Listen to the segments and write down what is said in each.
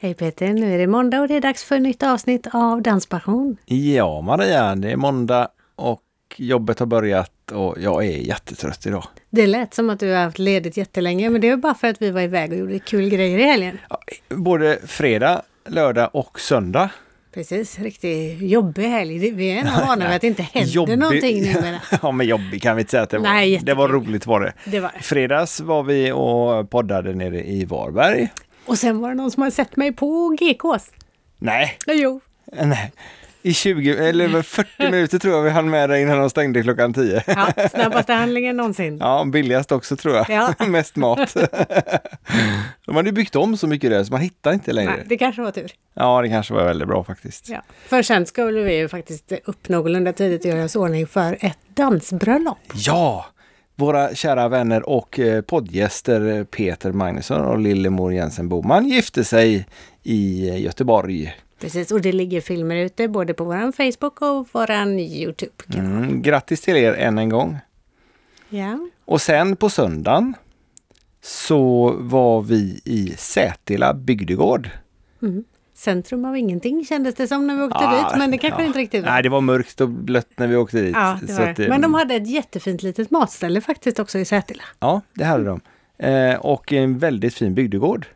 Hej Peter, nu är det måndag och det är dags för ett nytt avsnitt av Danspassion. Ja, Maria, det är måndag och jobbet har börjat och jag är jättetrött idag. Det lät som att du har haft ledigt jättelänge, men det var bara för att vi var iväg och gjorde kul grejer i helgen. Ja, Både fredag, lördag och söndag. Precis, riktigt jobbig helg. Det- Vi är nog vana vid att det inte händer någonting numera. ja, men jobbig kan vi inte säga att det var. Nej, det var jättejobbig. roligt var det. Det var det. Fredags var vi och poddade nere i Varberg. Och sen var det någon som hade sett mig på GKs. Nej, Ja, Jo, nej. I 20, eller 40 minuter tror jag vi hann med det innan de stängde klockan 10. ja, snabbaste handlingen någonsin. Ja, billigast också tror jag. Ja. Mest mat. De hade ju byggt om så mycket där så man hittar inte längre. Nej, det kanske var tur. Ja, det kanske var väldigt bra faktiskt. Ja. För sen skulle vi ju faktiskt upp någorlunda tidigt och göra oss i ordning för ett dansbröllop. Ja! Våra kära vänner och eh, poddgäster eh, Peter Magnusson och Lillemor Jensen Boman gifte sig i eh, Göteborg. Precis, och det ligger filmer ute både på vår Facebook och vår YouTube. Mm, grattis till er än en gång! Ja. Och sen på söndagen så var vi i Sätila bygdegård. Centrum av ingenting kändes det som när vi åkte dit, men det kanske Ah, ja. inte riktigt var. Nej, det var mörkt och blött när vi åkte dit. ja, det Så var att, det. eh, Men de hade ett jättefint litet matställe faktiskt också i Sätila. Ja, det hade de. Eh, och en väldigt fin bygdegård.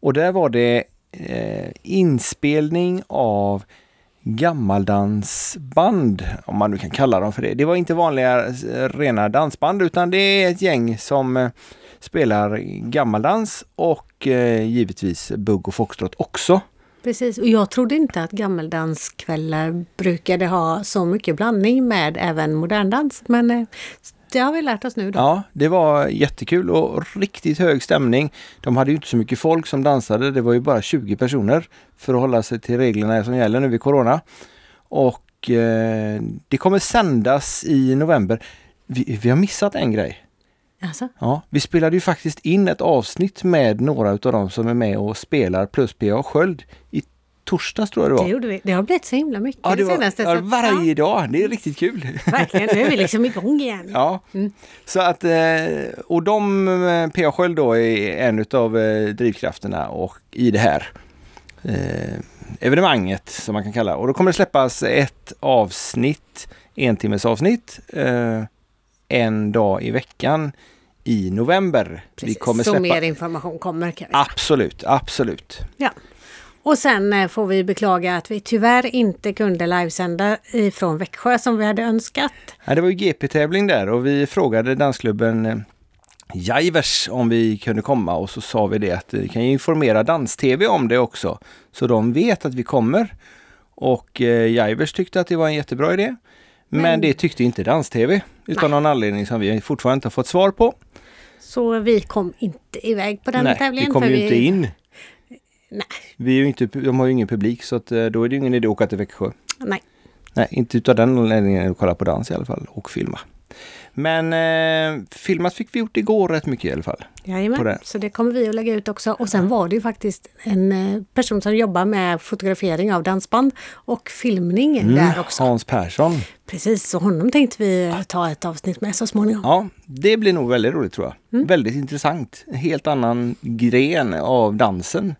Och där var det eh, inspelning av gammaldansband, om man nu kan kalla dem för det. Det var inte vanliga eh, rena dansband utan det är ett gäng som eh, spelar gammaldans och eh, givetvis bugg och foxtrot också. Precis, och jag trodde inte att gammeldanskvällar brukade ha så mycket blandning med även moderndans, men eh, det har vi lärt oss nu då. Ja, det var jättekul och riktigt hög stämning. De hade ju inte så mycket folk som dansade. Det var ju bara 20 personer för att hålla sig till reglerna som gäller nu vid corona. Och eh, det kommer sändas i november. Vi, vi har missat en grej. Alltså, Ja, vi spelade ju faktiskt in ett avsnitt med några utav dem som är med och spelar plus PA Sköld i torsdags tror jag det var. det gjorde vi. Det har blivit så himla mycket ja, det det var senaste. ja, så att- varje dag. Det är riktigt kul. ja, verkligen, nu är vi liksom igång igen. Ja, Mm. så att eh, och de, eh, P.A. Sköld då är en utav eh, drivkrafterna och i det här eh, evenemanget som man kan kalla Och då kommer det släppas ett avsnitt, en timmes avsnitt, eh, en dag i veckan i november. Precis, Vi kommer så släppa... mer information kommer kan vi säga. Absolut, absolut. Ja. Och sen eh, får vi beklaga att vi tyvärr inte kunde livesända ifrån Växjö som vi hade önskat. Ja, det var ju GP-tävling där och vi frågade dansklubben eh, Jaivers om vi kunde komma och så sa vi det att eh, vi kan ju informera Dans-TV om det också så de vet att vi kommer. Och eh, Jaivers tyckte att det var en jättebra idé. Men, det tyckte inte Dans-TV utan någon anledning som vi fortfarande inte har fått svar på. Så vi kom inte iväg på den Nej, tävlingen. vi kom för ju inte in. Nej, Vi är ju inte, de har ju ingen publik så att, eh, då är det ju ingen idé att åka till Växjö. nej. Nej, inte utav den anledningen att kolla på dans i alla fall och filma. Men eh, filmat fick vi gjort igår rätt mycket i alla fall. Jajamän. På det. Så det kommer vi att lägga ut också. Och sen var det ju faktiskt en eh, person som jobbar med fotografering av dansband och filmning Mm. där också. Hans Persson. Precis, så honom tänkte vi eh, ta ett avsnitt med så småningom. Ja, det blir nog väldigt roligt tror jag. Mm. Väldigt intressant. En helt annan gren av dansen.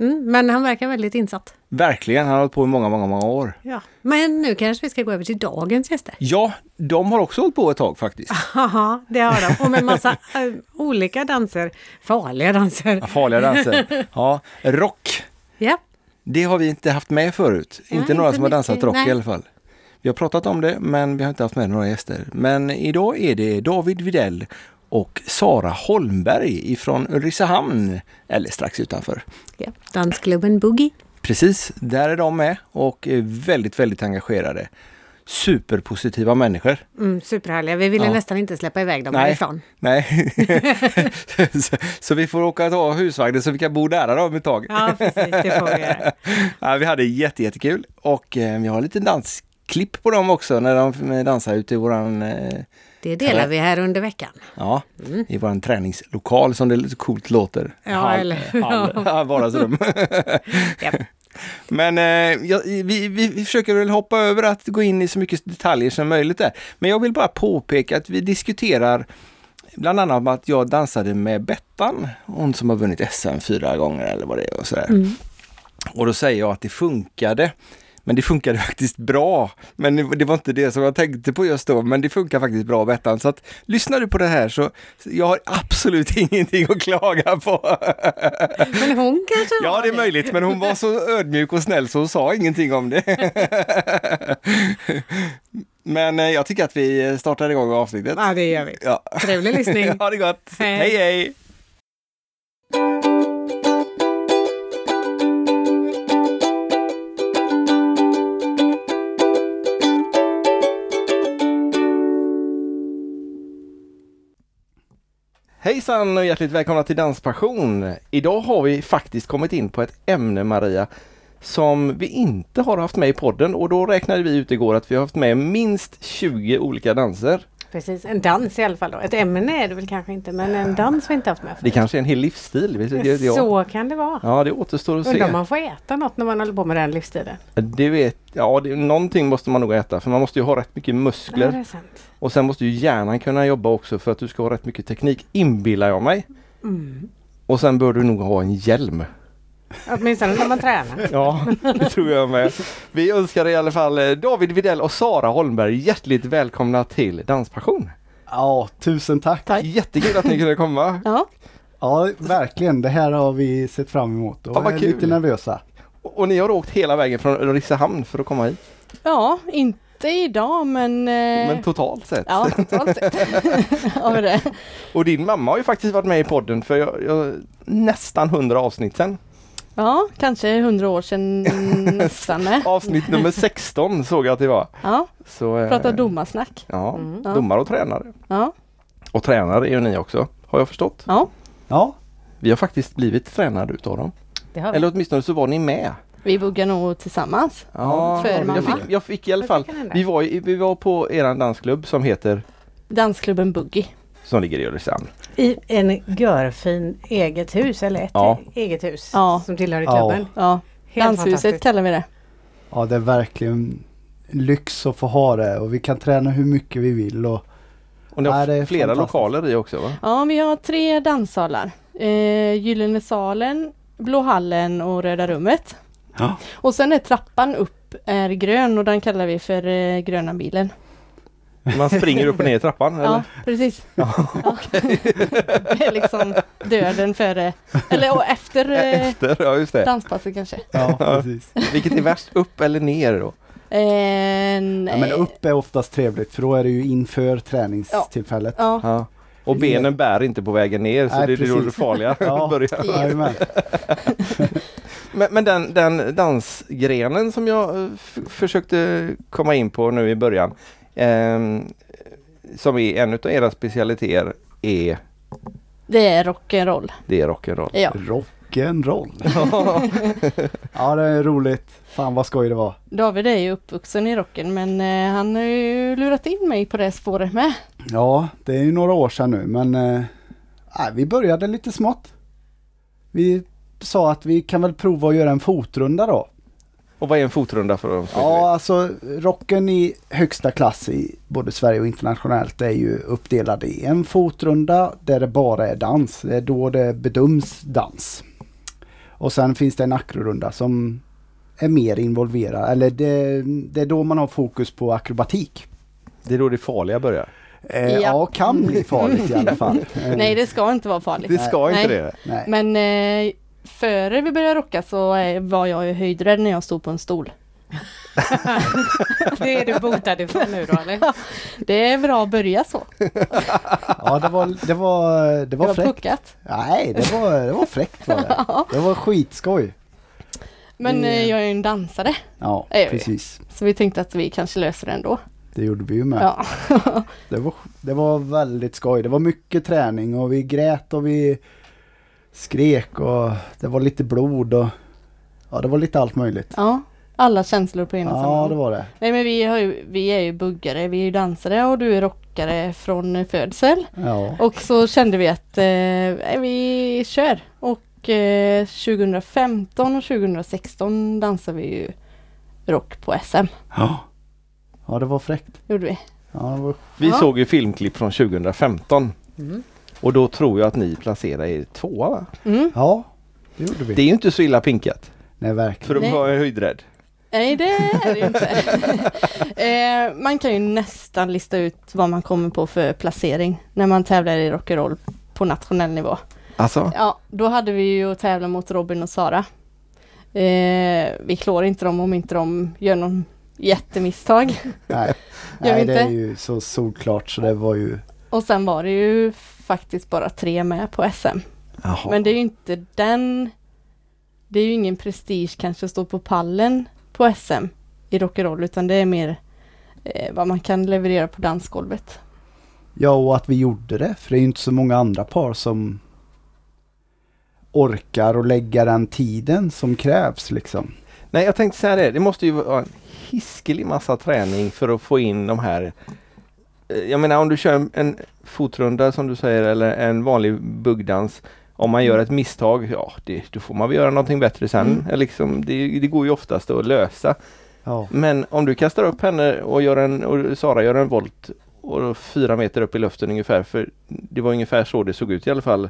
Mm, men han verkar väldigt insatt. Verkligen, han har hållit på i många, många, många år. Ja. Men nu kanske vi ska gå över till dagens gäster. Ja, de har också hållit på ett tag faktiskt. Ah. Haha, det har de. Och med massa eh, olika danser. Farliga danser. Farliga danser. Ja, rock. Ja, Det har vi inte haft med förut. Nej, inte några inte som har dansat mycket, rock nej. i alla fall. Vi har pratat om det men vi har inte haft med några gäster. Men idag är det David Videll och Sara Holmberg ifrån Ulricehamn, eller strax utanför. ja. Dansklubben Boogie. Precis, där är de med och är väldigt, väldigt engagerade. Superpositiva människor. Mm, superhärliga. Vi ville Ja. nästan inte släppa iväg dem härifrån. nej. så, så vi får åka och ta husvagnen så vi kan bo nära dem ett tag. Ja, precis. Det får vi göra. Ja, vi hade jätte, jättekul och eh, vi har lite dansklipp på dem också när de eh, dansar ute i våran, eh, Det delar vi här under veckan. ja, i våran träningslokal som det lite coolt låter. Mm. Ja, eller- hall, vardagsrum. Ja. Men eh, jag, vi, vi, vi försöker väl hoppa över att gå in i så mycket detaljer som möjligt där. Men jag vill bara påpeka att vi diskuterar Bland annat med att jag dansade med Bettan, hon som har vunnit SM fyra gånger eller vad det är och sådär. Mm. Och då säger jag att det funkade. Men det funkade faktiskt bra. Men det det var inte det som jag tänkte på just då, men det funkar faktiskt bra Bettan. Så att, lyssnar du på det här så, jag har absolut ingenting att klaga på. Men hon kanske Ja, var det är möjligt, men hon var så ödmjuk och snäll så hon sa ingenting om det. Men eh, jag tycker att vi startar igång avsnittet. Ja, det gör vi. Ja. Trevlig lyssning. Ha det gott! Hej. Hej hej! Hejsan och hjärtligt välkomna till Danspassion! Idag har vi faktiskt kommit in på ett ämne Maria som vi inte har haft med i podden och då räknade vi ut igår att vi har haft med minst 20 olika danser. Precis, en dans i alla fall då. Ett ämne är det väl kanske inte, men en dans vi inte haft med Det förut. kanske är en hel livsstil. vet du, det- det- Så kan det vara. Ja, det återstår att Undrar om se. man får äta något när man håller på med den livsstilen. Det vet, ja, det, någonting måste man nog äta för man måste ju ha rätt mycket Ja, det muskler är sant. och sen måste ju hjärnan kunna jobba också för att du ska ha rätt mycket teknik, inbillar jag mig. Mm. Och sen bör du nog ha en hjälm. Åtminstone när man tränar. Ja, det tror jag med. Vi önskar i alla fall eh, David Videll och Sara Holmberg hjärtligt välkomna till Danspassion. Ja, tusen tack! Jättekul att ni kunde komma. Ja. Ja, verkligen. Det här har vi sett fram emot och Ja, vad är kul. lite nervösa. Och och ni har åkt hela vägen från Ulricehamn för att komma hit. Ja, inte idag men... eh, Men totalt sett. ja, totalt sett. ja, men det. Och din mamma har ju faktiskt varit med i podden för jag, jag, nästan 100 avsnitt sedan. ja, kanske hundra år sedan nästan med. Avsnitt nummer 16 såg jag att det var. Ja, Så, eh, prata domarsnack. Ja, Mm. domare och tränare. Ja, Och tränare är ju ni också, har jag förstått. ja, Ja, Vi har faktiskt blivit tränade utav dem. Det har vi. Eller åtminstone så var ni med. vi buggar nog tillsammans. Ja, För mamma. jag, fick, jag fick i alla Jag fall, fick den där. vi var, i- vi var på eran dansklubb som heter, Dansklubben Buggy. som ligger i Ulricehamn. I en görfin eget hus, eller ett Ja. eget hus Ja. som tillhör Ja. klubben. Ja, Helt Danshuset fantastiskt. kallar vi det. ja det är verkligen lyx att få ha det och vi kan träna hur mycket vi vill. Och, Och ni har Ja, det är flera fantastiskt. lokaler i också va? Ja, vi har tre danssalar. Eh, Gyllene salen, Blå hallen och Röda rummet. Ja. Och sen är trappan upp är grön och den kallar vi för eh, gröna bilen. Man springer upp och ner i trappan Ja, eller? precis. det är liksom döden före, eller och efter eh, Efter, ja just det. danspasset kanske. ja, precis. Vilket är värst, upp eller ner då? Eh, nej. Ja, men upp är oftast trevligt för då är det ju inför träningstillfället. Ja, Ja. Och benen bär inte på vägen ner så Nej, det är då precis. det farliga Ja. börjar. Jajamän. Men, men den, den dansgrenen som jag eh, f- försökte komma in på nu i början, ehm, som är en utav era specialiteter, är det är rock'n'roll. det är rock'n'roll. Ja, Rock'n'roll. ja, det är roligt. Fan vad skoj det var. David är ju uppvuxen i rocken men eh, han har ju lurat in mig på det spåret med. Ja, det är ju några år sedan nu men eh, nej, vi började lite smått. Vi sa att vi kan väl prova att göra en fotrunda då. Och vad är en fotrunda för dem som inte Ja, alltså rocken i högsta klass i både Sverige och internationellt är ju uppdelad i en fotrunda där det bara är dans. Det är då det bedöms dans. Och sen finns det en akrorunda som är mer involverad, eller det, det är då man har fokus på akrobatik. vet? Det är då det farliga börjar. Eh, Ja. ja. kan bli farligt i alla fall. Eh, Nej, det ska inte vara farligt. Mm. Det ska Nej. inte det. nej. Men eh, före vi började rocka så eh, var jag ju höjdrädd när jag stod på en stol. Det är du botad ifrån nu då eller? Det är bra att börja så. Ja, det var, det var, det Det var var fräckt. puckat. Nej, det var, det var fräckt var det. Det var skitskoj. Men Mm. Det- eh, jag är ju en dansare Ja, Ja, ja. precis. så vi tänkte att vi kanske löser det ändå. Det gjorde vi ju med. Ja. Det var, det var väldigt skoj. Det var mycket träning och vi grät och vi skrek och det var lite blod och ja, det var lite allt möjligt. ja, alla känslor på ena samma Ja, gång. det var det. Nej men vi, har ju, vi är ju buggare, vi är ju dansare och du är rockare från födsel. Ja, Och så kände vi att eh, nej, vi kör. Och eh, 2015 och 2016 dansade vi ju rock på SM. ja. ja det var fräckt. Gjorde vi. Ja, det var, Vi Ja. såg ju filmklipp från 2015 Och då tror jag att ni placerar er tvåa va? Mm. Ja, det gjorde vi. Det är ju inte så illa pinkat. Nej, verkligen. För att Nej. vara höjdrädd. Nej det är det ju inte. eh, man kan ju nästan lista ut vad man kommer på för placering när man tävlar i rock'n'roll på nationell nivå. Alltså? Ja, då hade vi ju att tävla mot Robin och Sara. Eh, vi klår inte dem om inte de gör någon jättemisstag. Nej, Gör vi Nej det är inte? ju så solklart så det var ju... Och sen var det ju faktiskt bara tre med på SM. Jaha. Men det är ju inte den... Det är ju ingen prestige kanske att stå på pallen på SM i rock'n'roll utan det är mer eh, vad man kan leverera på dansgolvet. Ja, och att vi gjorde det. För det är ju inte så många andra par som orkar och lägga den tiden som krävs liksom. Nej, jag tänkte säga det. Det måste ju vara en hiskelig massa träning för att få in de här. Eh, Jag menar om du kör en, en fotrunda som du säger eller en vanlig buggdans. Om man gör ett misstag, ja det, då får man väl göra någonting bättre sen. Mm. Eller Liksom, det, det går ju oftast att lösa. Ja. Men om du kastar upp henne och, gör en, och Sara gör en volt och då fyra meter upp i luften ungefär. För det var ungefär så det såg ut i alla fall.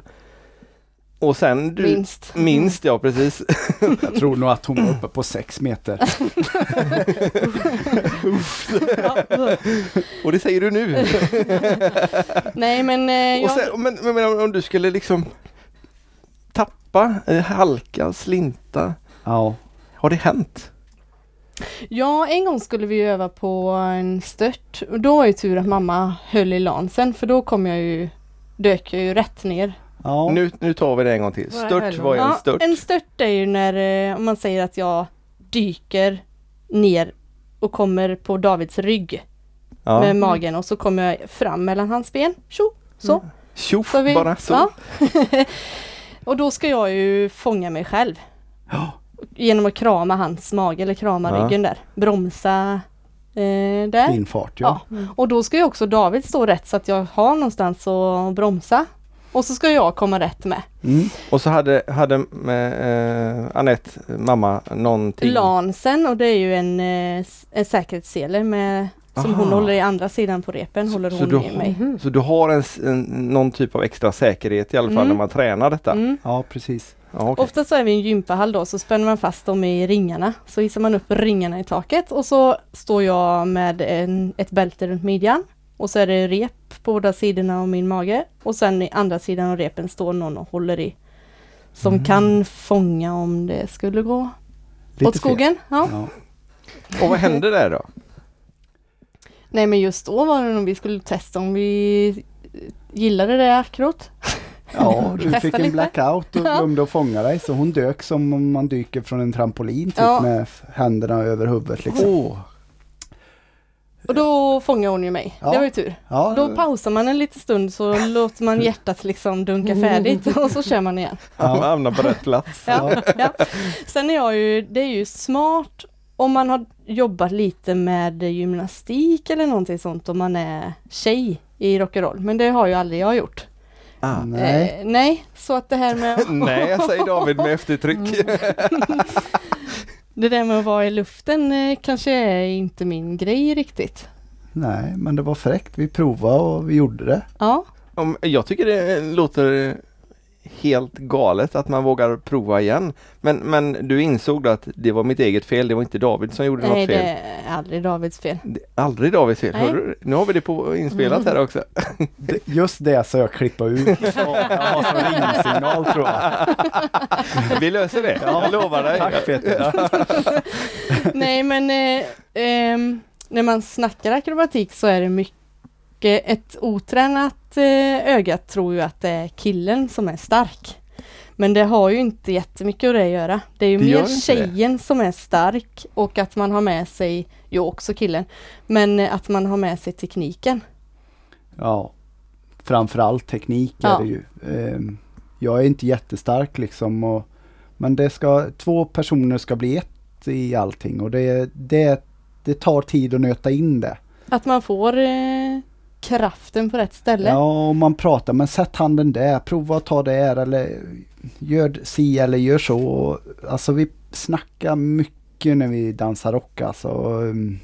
Och sen du... Minst. Minst ja, precis. Jag tror nog att hon var uppe på sex meter. Ja. Och det säger du nu. Nej men eh, Och jag... sen, men, men, men om- om du skulle liksom tappa, eh, halka, slinta. Ja. Har det hänt? Ja, en gång skulle vi öva på en stört. Och då var ju tur att mamma höll i lansen för då kom jag ju, dök jag ju rätt ner. ja. Nu, nu tar vi det en gång till. Vad är Stört, helvete? vad är en stört? en stört är ju när, eh, om man säger att jag dyker ner och kommer på Davids rygg Ja. med magen och så kommer jag fram mellan hans ben. Tjo, så. Tjoff så vi, Mm. bara så. Ja. och då ska jag ju fånga mig själv. Genom att krama hans mage eller krama Ja. ryggen där. Bromsa eh, där. Din fart ja. Ja. Och då ska ju också David stå rätt så att jag har någonstans att bromsa. Och så ska jag komma rätt med. Mm. Och så hade, hade eh, Anette, mamma, någonting. Lansen och det är ju en, eh, s- en säkerhetssele med som Aha. hon håller i andra sidan på repen Så- håller så hon du i mig. Mhm. Så du har en, s- en, någon typ av extra säkerhet i alla fall Mm. när man tränar detta? Mm. Ja, precis. Ja, okej. Ofta så är vi i en gympahall då så spänner man fast dem i ringarna. Så hissar man upp ringarna i taket och så står jag med en, ett bälte runt midjan. Och så är det rep på båda sidorna om min mage. Och sen i andra sidan av repen står någon och håller i. Som kan fånga om det skulle gå fel. åt skogen. Ja. Ja. Och vad hände där då? Nej men just då var det nog vi skulle testa om vi gillade det akrot. ja, du Testa fick en lite. blackout och glömde att fånga dig så hon dök som om man dyker från en trampolin typ Ja. med f- händerna över huvudet liksom. Åh, Och då fångade hon ju mig. Ja. Det var ju tur. Ja, Då pausar man en liten stund så låter man hjärtat liksom dunka färdigt och så kör man igen. man hamnar på rätt plats. Ja, ja. Sen är jag ju, det är ju smart om man har jobbat lite med gymnastik eller någonting sånt om man är tjej i rock'n'roll. Men det har ju aldrig jag gjort. Ah. nej. Eh, nej, så att det här med Nej, säger David med Mm. eftertryck. Det där med att vara i luften eh, kanske är inte min grej riktigt. nej, men det var fräckt. Vi provade och vi gjorde det. Ja, Om, jag tycker det låter helt galet att man vågar prova igen. Men, men du insåg då att det var mitt eget fel, det var inte David som gjorde nej något det fel. är aldrig Davids fel. Det... Aldrig Davids fel. Nej. Mm. Hör du? Nu har vi det på inspelat här också. Det- Just det ska jag klippa ut. Jag har som ringsignal tror jag. Vi löser det, jag lovar dig. Tack Peter. nej men eh, ehm, när man snackar akrobatik så är det mycket, ett otränat eh, öga tror ju att det är killen som är stark. Men det har ju inte jättemycket att det göra. Det är ju Det gör mer inte det. tjejen som är stark och att man har med sig, jo också killen, men eh, att man har med sig tekniken. Ja, framförallt teknik Ja. är det ju. Ehm, Jag är inte jättestark liksom. Och, men det ska, två personer ska bli ett i allting och det, det, det tar tid att nöta in det. Att man får eh, kraften på rätt ställe. Ja, och man pratar, men sätt handen där, prova att ta där eller gör si eller gör så. Och, Alltså vi snackar mycket när vi dansar rock alltså. och, um,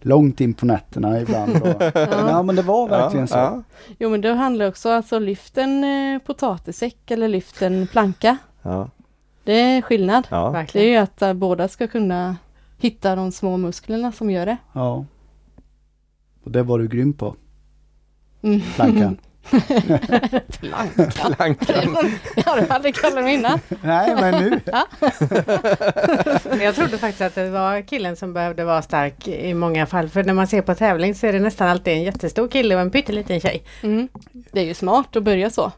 långt in på nätterna ibland. Och, ja men det var verkligen så. Ja, Jo men det handlar också alltså lyft en eh, potatissäck eller lyft en planka. ja, Det är skillnad. ja. Det är Verkligen. ju att eh, båda ska kunna hitta de små musklerna som gör det. Ja. Och det var du grym på. Mm. Plankan. Planka. Plankan. ja, du hade kallat mig innan. Nej men nu. Men Jag trodde faktiskt att det var killen som behövde vara stark i många fall. För när man ser på tävling så är det nästan alltid en jättestor kille och en pytteliten tjej. Mm. Det är ju smart att börja så.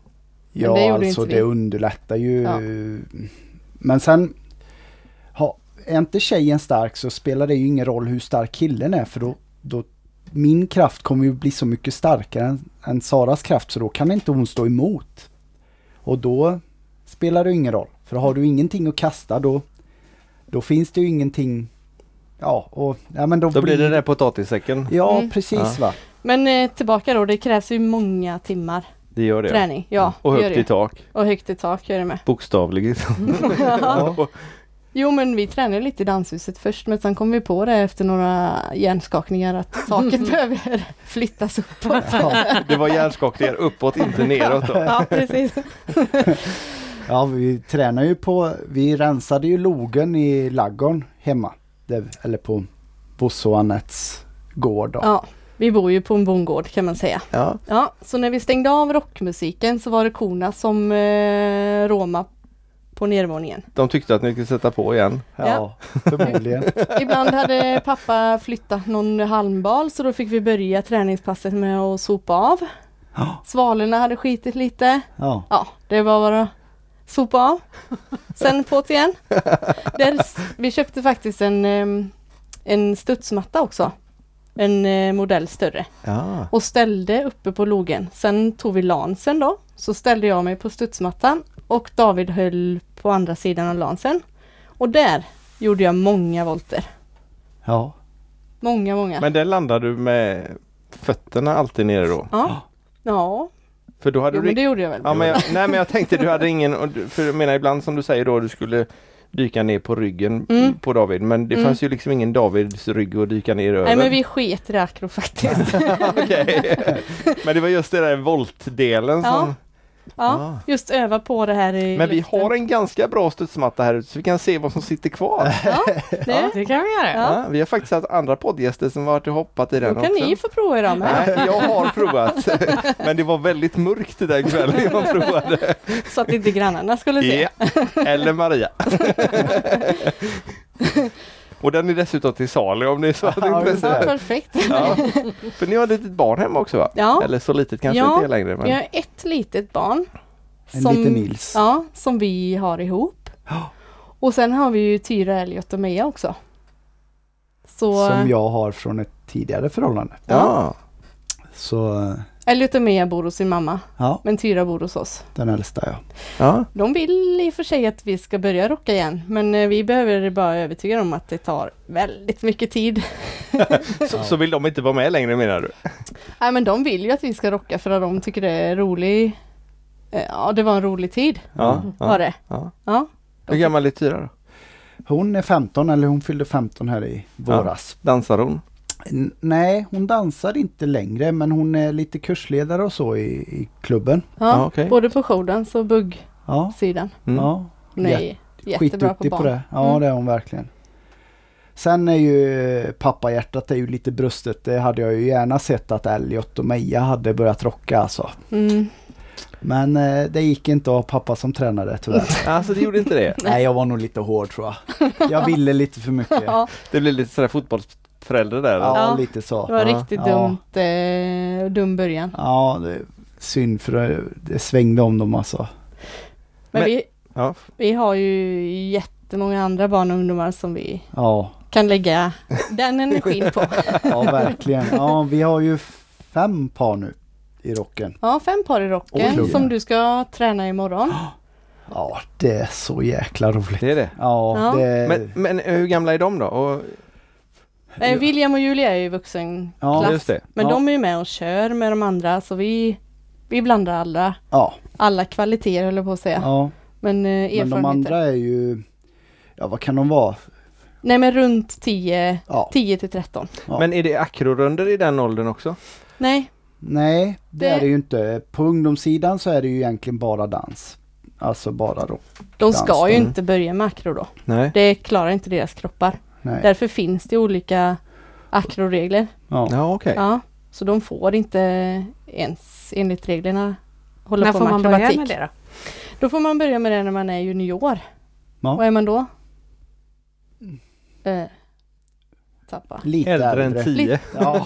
Ja, det gjorde alltså inte det vi. underlättar ju. Ja. Men sen, ha, är inte tjejen stark så spelar det ju ingen roll hur stark killen är för då, då min kraft kommer ju bli så mycket starkare än, än Saras kraft så då kan inte hon stå emot. Och då spelar det ju ingen roll. För har du ingenting att kasta då, då finns det ju ingenting, ja och, ja men då, Då blir det den där potatissäcken. Ja Mm. precis va. Men eh, tillbaka då, det krävs ju många timmar Det gör det. träning. Ja, Mm. Och det gör högt det. i tak. Och högt i tak gör det med. Bokstavligen. Ja. Jo men vi tränade lite i danshuset först men sen kom vi på det efter några hjärnskakningar att taket behöver flyttas uppåt. Det var hjärnskakningar uppåt, inte neråt. Då. Ja precis. Ja, vi tränar ju på, vi rensade ju logen i laggorn hemma. Där, eller på Bosse och Annettes gård. Då. Ja, vi bor ju på en bondgård kan man säga. Ja. Ja, så när vi stängde av rockmusiken så var det korna som eh, råma på nedervåningen. De tyckte att ni skulle sätta på igen. Ja, förmodligen. Ibland hade pappa flyttat någon halmbal så då fick vi börja träningspasset med att sopa av. Ja. Svalorna hade skitit lite. Ja. Ja, det var bara att sopa av. Sen på igen. Där, s- vi köpte faktiskt en, em, en studsmatta också. En eh, modell större. Ja. Och ställde uppe på logen. Sen tog vi lansen då. Så ställde jag mig på studsmattan och David höll på andra sidan av lansen. Och där gjorde jag många volter. ja. Många, många. Men där landade du med fötterna alltid nere då? Ja. Ja, För då hade jo, du... men det gjorde jag väl. ja, men jag, nej men jag tänkte du hade ingen... och du- För jag menar ibland som du säger då du skulle dyka ner på ryggen Mm. på David. Men det Mm. fanns ju liksom ingen Davids rygg att dyka ner över. Nej men vi sket i det akro faktiskt. Okej. Men det var just det där voltdelen Ja. som... Ah. Ja, just öva på det här i Men vi luften. har en ganska bra studsmatta här ute så vi kan se vad som sitter kvar. Ja, det. Det kan vi göra. Ja. Ja, vi har faktiskt haft andra poddgäster som har varit och hoppat i den Då kan också. ni få prova idag med. Nej, jag har provat. Men det var väldigt mörkt den kvällen jag provade. Så att inte grannarna skulle se. Ja. Eller Maria. Och den är dessutom till salu om det är så att det Ja, är just Ja, intressant. perfekt. Ja. För ni har ett litet barn hemma också va? Ja. Eller så litet kanske Ja. inte är längre. Vi Men... har ett litet barn. En liten Nils. Ja, som vi har ihop. Ja. Och sen har vi ju Tyra, Elliot och Meja också. Så Som jag har från ett tidigare förhållande. Ja. Så Elliot och Meja bor hos sin mamma, ja, men Tyra bor hos oss. den äldsta ja. ja. De vill i och för sig att vi ska börja rocka igen, men eh, vi behöver bara övertyga dem att det tar väldigt mycket tid. Så, så vill de inte vara med längre menar du? Nej, men de vill ju att vi ska rocka för att de tycker det är rolig. eh, Ja, det var en rolig tid Ja. var ja. det. ja. Ja. Hur gammal är Tyra då? Hon är 15 eller hon fyllde 15 här i våras. Dansar hon? N- Nej, hon dansar inte längre men hon är lite kursledare och så i, i klubben. Ja, Ja, okej. både på showdance och buggsidan. Ja, Mm. ja. Hon är jättebra på Skitduktig barn. på det. Ja, Mm. det är hon verkligen. Sen är ju pappahjärtat är ju lite brustet. Det hade jag ju gärna sett att Elliot och Meja hade börjat rocka alltså. Mm. Men eh, det gick inte att ha pappa som tränare tyvärr. Alltså det gjorde inte det? Nej, jag var nog lite hård tror jag. Jag ville lite för mycket. Ja, Ja, Det blir lite sådär fotbollsförälder där? eller? Ja. lite det så. var Ja. riktigt Ja. dumt, eh, dum början. Ja, det, synd för det, det svängde om dem alltså. Men, Men- vi, Ja. vi har ju jättemånga andra barn och ungdomar som vi Ja, kan lägga den energin på. ja verkligen. Ja, vi har ju fem par nu i rocken. Ja, fem par i rocken Oj. som du ska träna imorgon. Ja, det är så jäkla roligt. Det är det. Ja, Ja. det... Men, men eh, hur gamla är de då? Och, Eh, William och Julia är ju vuxenklass. Ja, just det. Men Ja. de är ju med och kör med de andra så vi, vi blandar alla, ja, alla kvaliteter höll jag på att säga. ja. Men eh, Men erfarenheter. de andra är ju, ja vad kan de vara? Nej men runt 10, Ja. 10 till 13. Ja. Men är det akrorunder i den åldern också? Nej, Nej, det, Det- är det ju inte. På ungdomssidan så är det ju egentligen bara dans. Alltså bara rock. de Dans ska ju då. inte börja med akro då. Nej. Det klarar inte deras kroppar. Nej. Därför finns det olika akroregler. Ja. Ja, okej. Ja, så de får inte ens enligt reglerna hålla När på får med man akrobatik. börja med det då? Då får man börja med det när man är junior. Ja. Vad är man då? Mm. Eh, tappa. Lite Äldre än 10. Ja.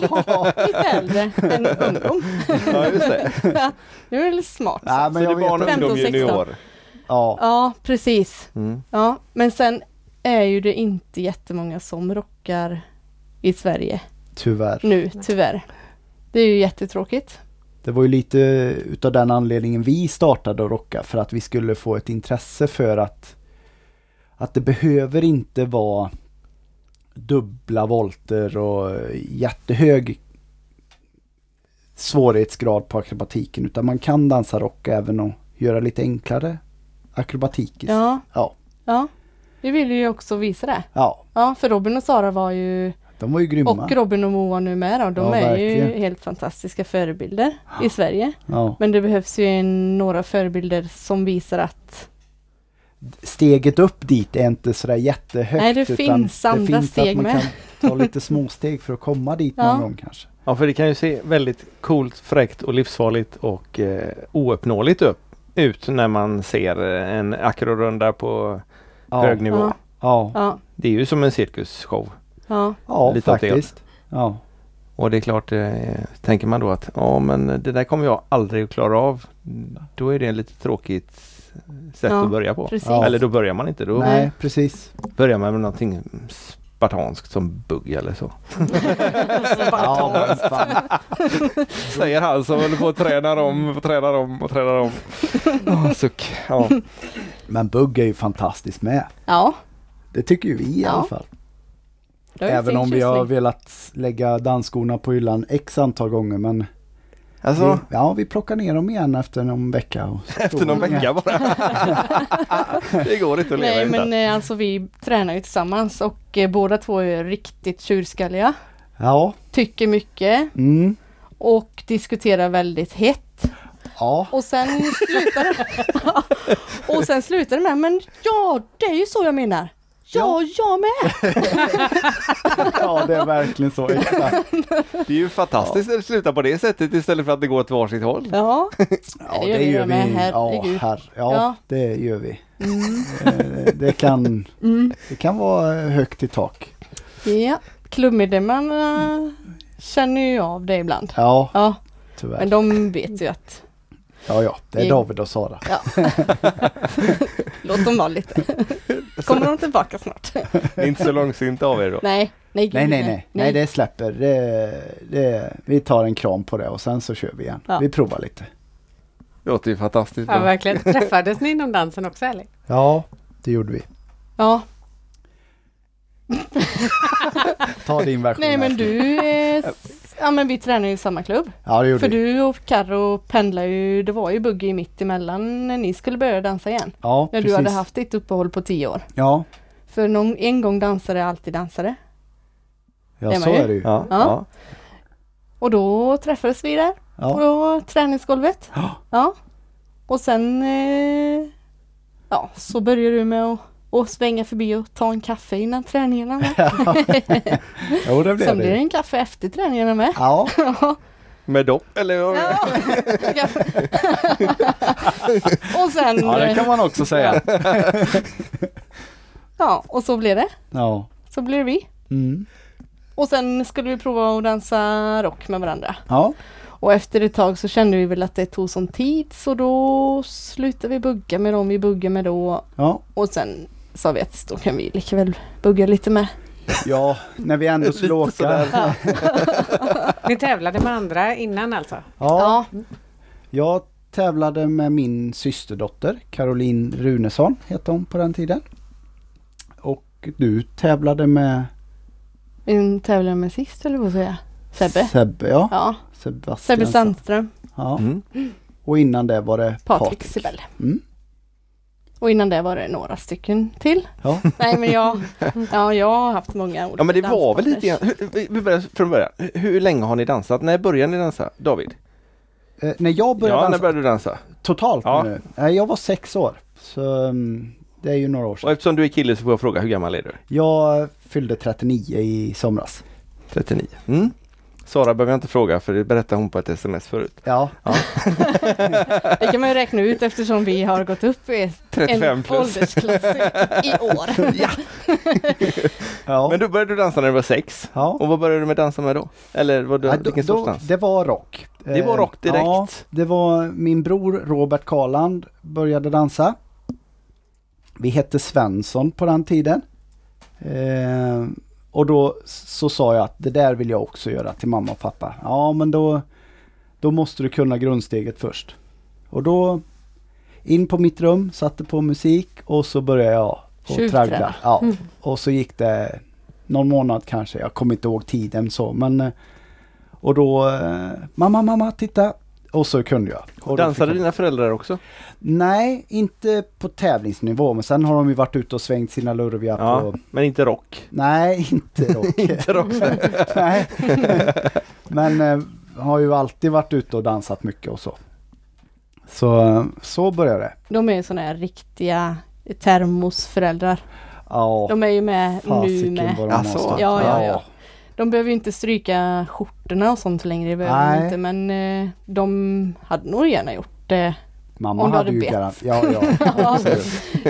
Lite äldre än ungdom. ja, just det. Nu är det lite smart. Nej, Men men så det jag är barn och vet inte. inte. ungdom 15, 16. junior. Ja. Ja, precis. Mm. Ja, men sen är ju det inte jättemånga som rockar i Sverige Tyvärr. nu, tyvärr. Det är ju jättetråkigt. Det var ju lite utav den anledningen vi startade att rocka för att vi skulle få ett intresse för att att det behöver inte vara dubbla volter och jättehög svårighetsgrad på akrobatiken utan man kan dansa rock även och göra lite enklare akrobatik. i- Ja, Ja, ja. Vi ville ju också visa det. ja, Ja, för Robin och Sara var ju de var ju grymma. Och Robin och Moa nu med då, de Ja, är ju verkligen. helt fantastiska förebilder i Sverige. Ja. Men det behövs ju en, några förebilder som visar att Steget upp dit är inte sådär jättehögt. Nej, det utan finns andra steg att man med. kan ta lite småsteg för att komma dit Ja. någon gång kanske. Ja, för det kan ju se väldigt coolt, fräckt och livsfarligt och eh, ouppnåeligt upp, ut när man ser eh, en akrorunda på Ja. hög nivå. Ja. Ja, ja, Det är ju som en cirkusshow. ja, ja Lite åt det faktiskt. Ja. Och det är klart, eh, tänker man då att ja men det där kommer jag aldrig att klara av. Då är det en lite tråkigt eh, sätt Ja, att börja på. precis. Ja. Eller då börjar man inte, då Nej, precis. börjar man med någonting spartanskt som bugg eller så. Ja, men fan. Säger han som håller på att träna om och tränar om och tränar om. Åh, suck. Ja. Men bugg är ju fantastiskt med. Ja, Det tycker ju vi i Ja. alla fall. det har ju Även sin om vi har tjusning. velat lägga dansskorna på hyllan x antal gånger men Alltså, vi, ja, vi plockar ner dem igen efter någon vecka. Och efter någon vecka bara. det går inte att leva Nej utan. men eh, alltså vi tränar ju tillsammans och eh, båda två är riktigt tjurskalliga. Ja, Tycker mycket mm, och diskuterar väldigt hett. ja, Och sen slutar Och sen slutar det med, men ja det är ju så jag menar. Ja, jag med! ja, det är verkligen så. Exakt. Det är ju fantastiskt att sluta på det sättet istället för att det går åt varsitt håll. Ja, Ja, Det gör vi med, Ja, herregud. herr, ja, Ja. Mm. det gör vi. Eh, Det kan, det kan vara högt i tak. ja. klubbmedlemmarna känner ju av det ibland. Ja, Ja, men tyvärr. de vet ju att Ja, ja, det vi- är David och Sara. låt dem vara lite. Kommer de tillbaka snart? Det är inte så långsint av er då. Nej, nej, gud, Nej, nej, nej. Nej, det släpper. Det, det, vi tar en kram på det och sen så kör vi igen. Ja. Vi provar lite. Det låter ju fantastiskt. Ja, bra. verkligen. Träffades ni inom dansen också eller? Ja, det gjorde vi. Ja, Ta din version. nej men Ashley. du, eh, s- ja men vi tränar ju i samma klubb. Ja, det gjorde För vi. du och Carro pendlar ju, det var ju buggy mitt emellan när ni skulle börja dansa igen. Ja, När precis. du hade haft ditt uppehåll på tio år. Ja, För någon, en gång dansare är alltid dansare. Det ja är så man ju. är det ju. Ja, Ja. ja. Och då träffades vi där Ja. på träningsgolvet. Ja. Ja. Och sen eh, ja, så började du med att och svänga förbi och ta en kaffe innan träningarna. Med. Jo, det blev Sen det. blir det ju. en kaffe efter träningarna med. Ja, Med dopp eller? Ja. och sen, ja, det kan man också säga. ja, och så blev det. Ja. Så blev vi. Mm. Och sen skulle vi prova att dansa rock med varandra. Ja. Och efter ett tag så kände vi väl att det tog sån tid så då slutade vi bugga med dem vi buggade med då Ja. och sen sa vi att då kan vi lika väl bugga lite med. ja, när vi ändå skulle åka. Ja. Ni tävlade med andra innan alltså? Jag tävlade med min systerdotter, Caroline Runesson hette hon på den tiden. Och du tävlade med Vi tävlade med sist eller vad säger jag? Sebbe. Sebbe, ja. Ja, Sebastian. Sebbe Sandström, Ja. Mm. Och innan det var det Patrik Patrik. Sibell. Mm. Och innan det var det några stycken till. Ja. Nej men jag, ja, jag har haft många olika Ja men det var väl lite grann, danspartners. hur- vi- vi börjar från början. Hur- Hur länge har ni dansat? När började ni dansa? David? Eh, när jag började ja, när dansa började du dansa? totalt Ja. nu, eh, jag var sex år. Så mm, det är ju några år Och sedan. eftersom du är kille så får jag fråga, hur gammal är du? Jag fyllde 39 i somras. 39. Mm. Sara behöver jag inte fråga för det berättade hon på ett sms förut. Ja, Det kan man ju räkna ut eftersom vi har gått upp i 35 en plus. åldersklass i år. ja. Men då började du dansa när du var sex. ja. Och vad började du med dansa med då? Eller vad du, Ja, vilken då- sorts dans? Det var rock. Det var Eh, rock direkt. Ja, det var min bror Robert Karland började dansa. Vi hette Svensson på den tiden. Eh, och då så sa jag att det där vill jag också göra till mamma och pappa. Ja men då, då måste du kunna grundsteget först. Och då in på mitt rum, satte på musik och så började jag och Tjuvträna. traggla. Ja. Och så gick det någon månad kanske, jag kommer inte ihåg tiden så men eh, Och då, eh, mamma, mamma, titta! Och så kunde jag. Och då Dansade fick jag- dina föräldrar också? Nej, inte på tävlingsnivå men sen har de ju varit ute och svängt sina lurviga Ja, på... men inte rock. Nej, inte rock. Inte rock. Mm. Nej. Men eh, har ju alltid varit ute och dansat mycket och så. Så, eh, så började det. De är ju sådana här riktiga termosföräldrar. Ja, De är ju med nu fasiken med. vad de har Alltså, stått. ja, ja, ja. De behöver ju inte stryka skjortorna och sånt längre, det behöver de Nej. inte. Men eh, de hade nog gärna gjort det. Mamma Om du hade hade ju bett. garanterat... Ja, ja. Ja.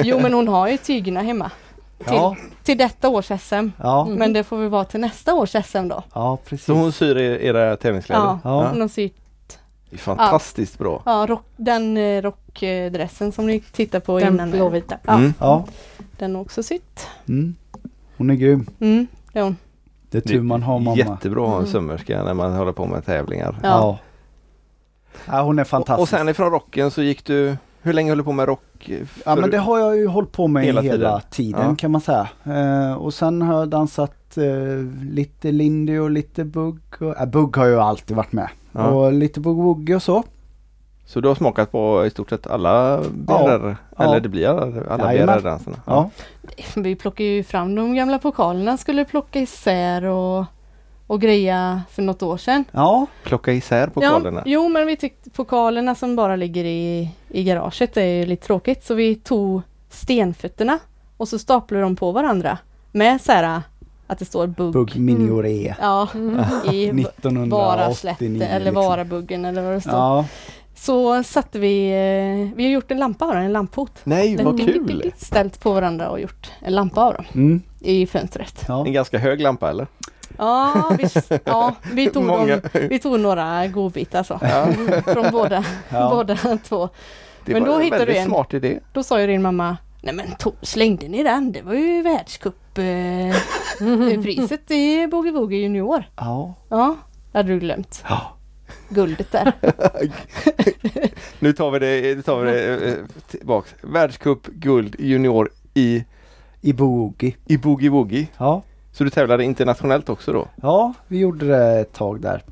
Jo men hon har ju tygerna hemma. Till, Ja, till detta års SM. ja, Men det får väl vara till nästa års SM då. ja precis. Så hon syr er- era tävlingskläder? Ja, Ja. hon har sytt Det är fantastiskt bra. Ja, rock, den eh, rockdressen som ni tittade på Den innan. blåvita. Ja. Mm. Ja, Den är också sytt. mm. hon är grym. Mm, det är hon. Det är tur man har mamma. Jättebra att ha en Mm. sömmerska när man håller på med tävlingar. Ja. ja. Hon är fantastisk. Och, och sen ifrån rocken så gick du, hur länge höll du på med rock? eh, Ja men förut? det har jag ju hållit på med Hela hela, hela tiden. tiden, Ja. kan man säga. Eh, och sen har jag dansat eh, lite lindy och lite bugg. Och, eh, bugg har jag ju alltid varit med. Ja. Och lite bugg wugg och så. Så du har smakat på i stort sett alla BRR, Ja. eller det blir alla, alla Jajamän. BRR-danserna? Ja. Vi plockar ju fram de gamla pokalerna, skulle plocka isär och, och greja för något år sedan. Ja. Plocka isär pokalerna? Ja, jo men vi tyckte pokalerna som bara ligger i, i garaget är ju lite tråkigt så vi tog stenfötterna och så staplade de på varandra med så här att det står bugg. Bugg Minior E. Ja, i Varaslätten 1989. eller liksom. Varabuggen eller vad det står. Ja. Så satte vi, eh, vi har gjort en lampa av den, en lampfot. Nej, vad Den- kul! Ställt på varandra och gjort en lampa av dem Mm. i fönstret. ja. En ganska hög lampa eller? Ja, visst, ja vi, tog Många. dem, vi tog några godbitar så. Från båda, Ja. båda två. Det Men var då en hittar du väldigt en. smart idé. Då sa ju din mamma, nej men to- slängde ni den? Det var ju världscuppriset eh, priset i Boogie Woogie Junior. ja. Ja, det hade du glömt. Ja. Guldet där. Nu tar vi det, nu tar vi det eh, tillbaks. Världscup guld junior i, I boogie. i Boogie Woogie. Ja. Så du tävlade internationellt också då? ja, vi gjorde det ett tag där.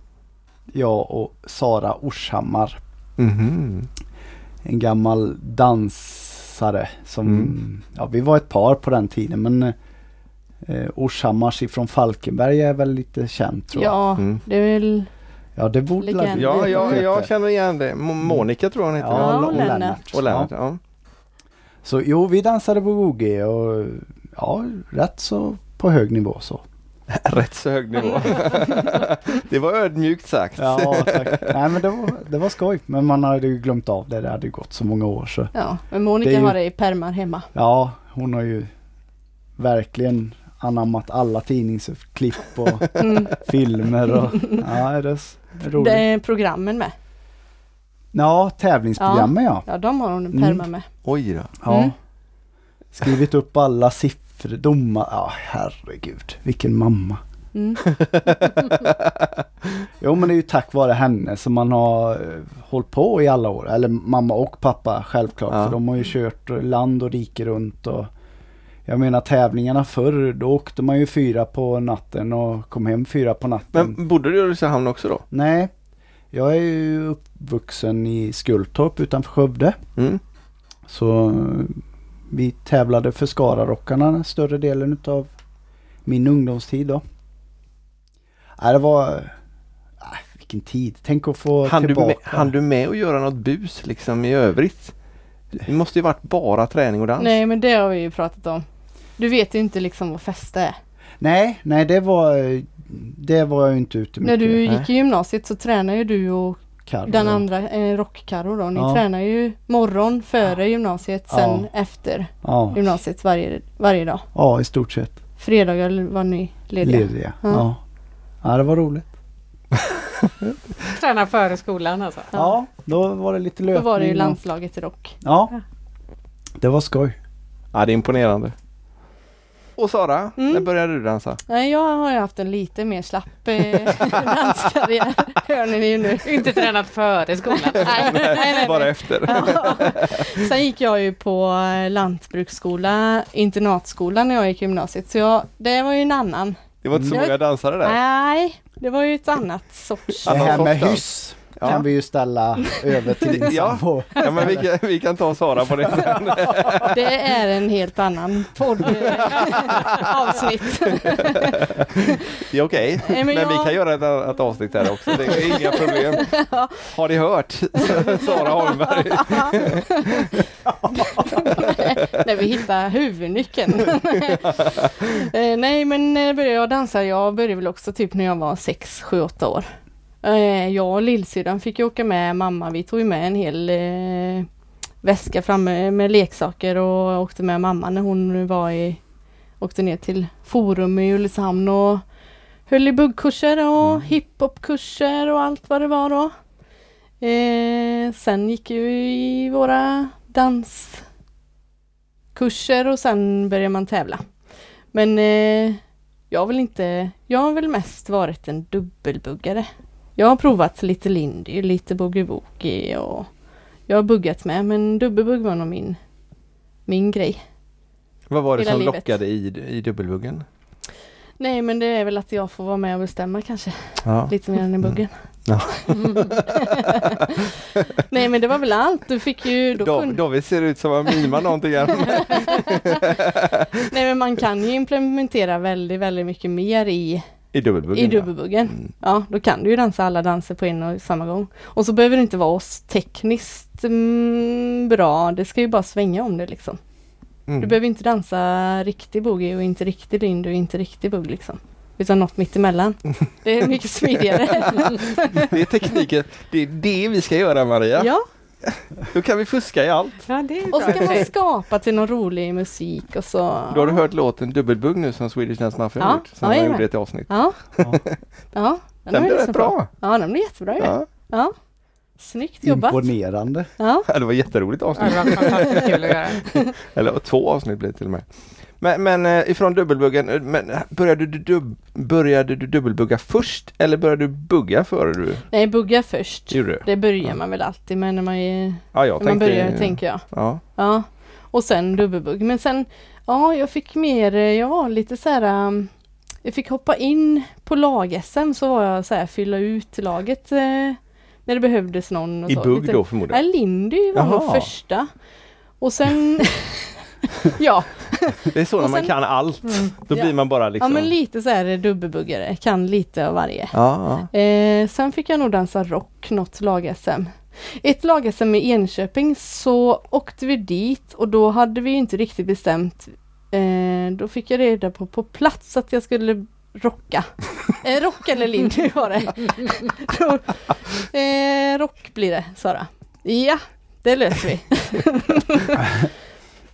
Jag och Sara Orshammar. Mm-hmm. Mhm. en gammal dansare som, Mm. ja vi var ett par på den tiden men eh, eh, Orshammars ifrån Falkenberg är väl lite känd tror jag. Ja, Mm. det är väl Ja, det borde Legend. Ja, ja, Mm. jag känner igen det. Mo- Monica tror jag hon heter. Mm. Ja, Ja, Lo- och och Lennart. Lennart. Och Lennart, Ja. ja. Så jo, vi dansade boogie och ja, rätt så på hög nivå så. Rätt så hög nivå. det var ödmjukt sagt. Ja, tack. Nej men det var, det var skoj. Men man hade ju glömt av det, det hade ju gått så många år så. Ja, men Monica Det är ju- har det i pärmar hemma. Ja, hon har ju verkligen anammat alla tidningsklipp och Mm. filmer och ja, det är s- roligt. Det är programmen med. Ja, tävlingsprogrammen ja. Ja, de har hon en Mm. pärma med. Oj då. ja. Mm. Skrivit upp alla siffror, domar. Ja, herregud. Vilken mamma. Mm. Jo, men det är ju tack vare henne som man har eh, hållit på i alla år. Eller mamma och pappa självklart. Ja. För de har ju kört land och rike runt. Och jag menar tävlingarna förr, då åkte man ju fyra på natten och kom hem fyra på natten. Men bodde du i Ulricehamn också då? Nej, jag är ju uppvuxen i Skultorp utanför Skövde. Mm. Så eh, Vi tävlade för Skararockarna större delen utav min ungdomstid då. Ja, det var... Ah, vilken tid! Tänk att få Hann du, med, tillbaka. hann du med att göra något bus liksom i övrigt? Det måste ju varit bara träning och dans. Nej men det har vi ju pratat om. Du vet ju inte liksom vad fest är. Nej, nej det var... eh, Det var jag ju inte ute När mycket. du nej. gick i gymnasiet så tränade ju du och Karro den då. andra, eh, Rockkarro då. Ni Ja. tränar ju morgon före gymnasiet, sen efter Ja, gymnasiet varje, varje dag. ja, i stort sett. Fredagar var ni lediga. Lediga. Ja. Ja. ja, det var roligt. Träna före skolan alltså. Ja, då var det lite Då löpning. var det ju och- landslaget i rock. Ja, det var skoj. Ja, det är imponerande. Och Sara, Mm. när började du dansa? Nej, jag har ju haft en lite mer slapp eh, danskarriär. Hör ni ju nu. Inte tränat före skolan. Nej, nej, nej. Bara efter. Ja. Sen gick jag ju på eh, lantbruksskola, internatskola när jag gick i gymnasiet. Så jag, det var ju en annan. Det var inte så Mm. många dansare där. Nej, det var ju ett annat sorts. Ja, det någon här med sorts dans. hyss Ja. kan vi ju ställa över till din Ja. sambo. Ja, men vi, kan, vi kan ta Sara på det. Det är en helt annan podd eh, avsnitt. Det är okej. Nej, Men men vi jag- kan göra ett annat avsnitt där också. Det är inga problem. Har ni hört Sara Holmberg? När vi hittar huvudnyckeln. Eh, Nej men eh, började jag dansa, jag började väl också typ när jag var 6, 7, 8 år. Eh, Jag och lillsyrran fick ju åka med mamma, vi tog ju med en hel eh, väska framme med leksaker och åkte med mamma när hon var i, åkte ner till Forum i Ulricehamn och höll i buggkurser och hiphopkurser och allt vad det var då. Eh, sen gick ju i våra dans kurser och sen börjar man tävla. Men eh, jag har väl inte, jag har väl mest varit en dubbelbuggare. Jag har provat lite lindy, lite boogie-woogie och jag har buggat med men dubbelbugg var nog min, min grej. Vad var det Hela som livet. lockade i, i dubbelbuggen? Nej men det är väl att jag får vara med och bestämma kanske Ja. lite mer än i buggen. Mm. Ja. Nej men det var väl allt, du fick ju... Då Dav, kunde- David ser ut som han mimar någonting här. Nej men man kan ju implementera väldigt, väldigt mycket mer i I dubbelbuggen. I ja. dubbelbuggen. Mm. Ja, då kan du ju dansa alla danser på en och samma gång. Och så behöver det inte vara oss tekniskt mm, bra. Det ska ju bara svänga om det liksom. Du Mm. behöver inte dansa riktig boogie och inte riktig lindy och inte riktig bugg liksom. Utan något mittemellan. Det är mycket smidigare. Det är tekniken. Det är det vi ska göra Maria. ja. Då kan vi fuska i allt. Ja, det är Och så kan bra. man skapa till någon rolig musik och så. Då har du hört låten Dubbelbugg nu som Swedish Dance Mafia har Ja, gjort. Som har jajamän. gjort ett avsnitt. Ja. Ja. Ja. Den har blev jag rätt lyssnat på. bra. Ja, den blev jättebra ju. Ja. Ja. Snyggt jobbat. Imponerande. Ja. Ja, det var ett jätteroligt Ja, avsnitt. det var fantastiskt kul att göra. Eller två avsnitt blir det till och med. Men, men eh, ifrån dubbelbuggen, eh, men började du, dubb, började du dubbelbugga först eller började du bugga före du Nej, bugga först. gjorde det? Det börjar Ja. man väl alltid med när man, är, Ja, jag när man tänkte... börjar, tänker jag. Ja. Ja. Och sen dubbelbugg. Men sen, ja, jag fick mer, eh, jag var lite så här, um, jag fick hoppa in på lag-SM så var jag så här, fylla ut laget eh, när det behövdes någon. Och I så. bugg Lite- då Ja, förmodligen. Lindy var nog Jaha. första. Och sen, ja, Det är så när och man sen- Mm. kan allt. Då Ja. blir man bara liksom... ja men lite så här eh, dubbelbuggare, kan lite av varje. ja, Eh, sen fick jag nog dansa rock något lag-SM. Ett lag-SM i Enköping så åkte vi dit och då hade vi inte riktigt bestämt. Eh, då fick jag reda på på plats att jag skulle rocka. Eh, rock eller lindy var det. Då, eh, rock blir det, Sara. Ja, det löser vi.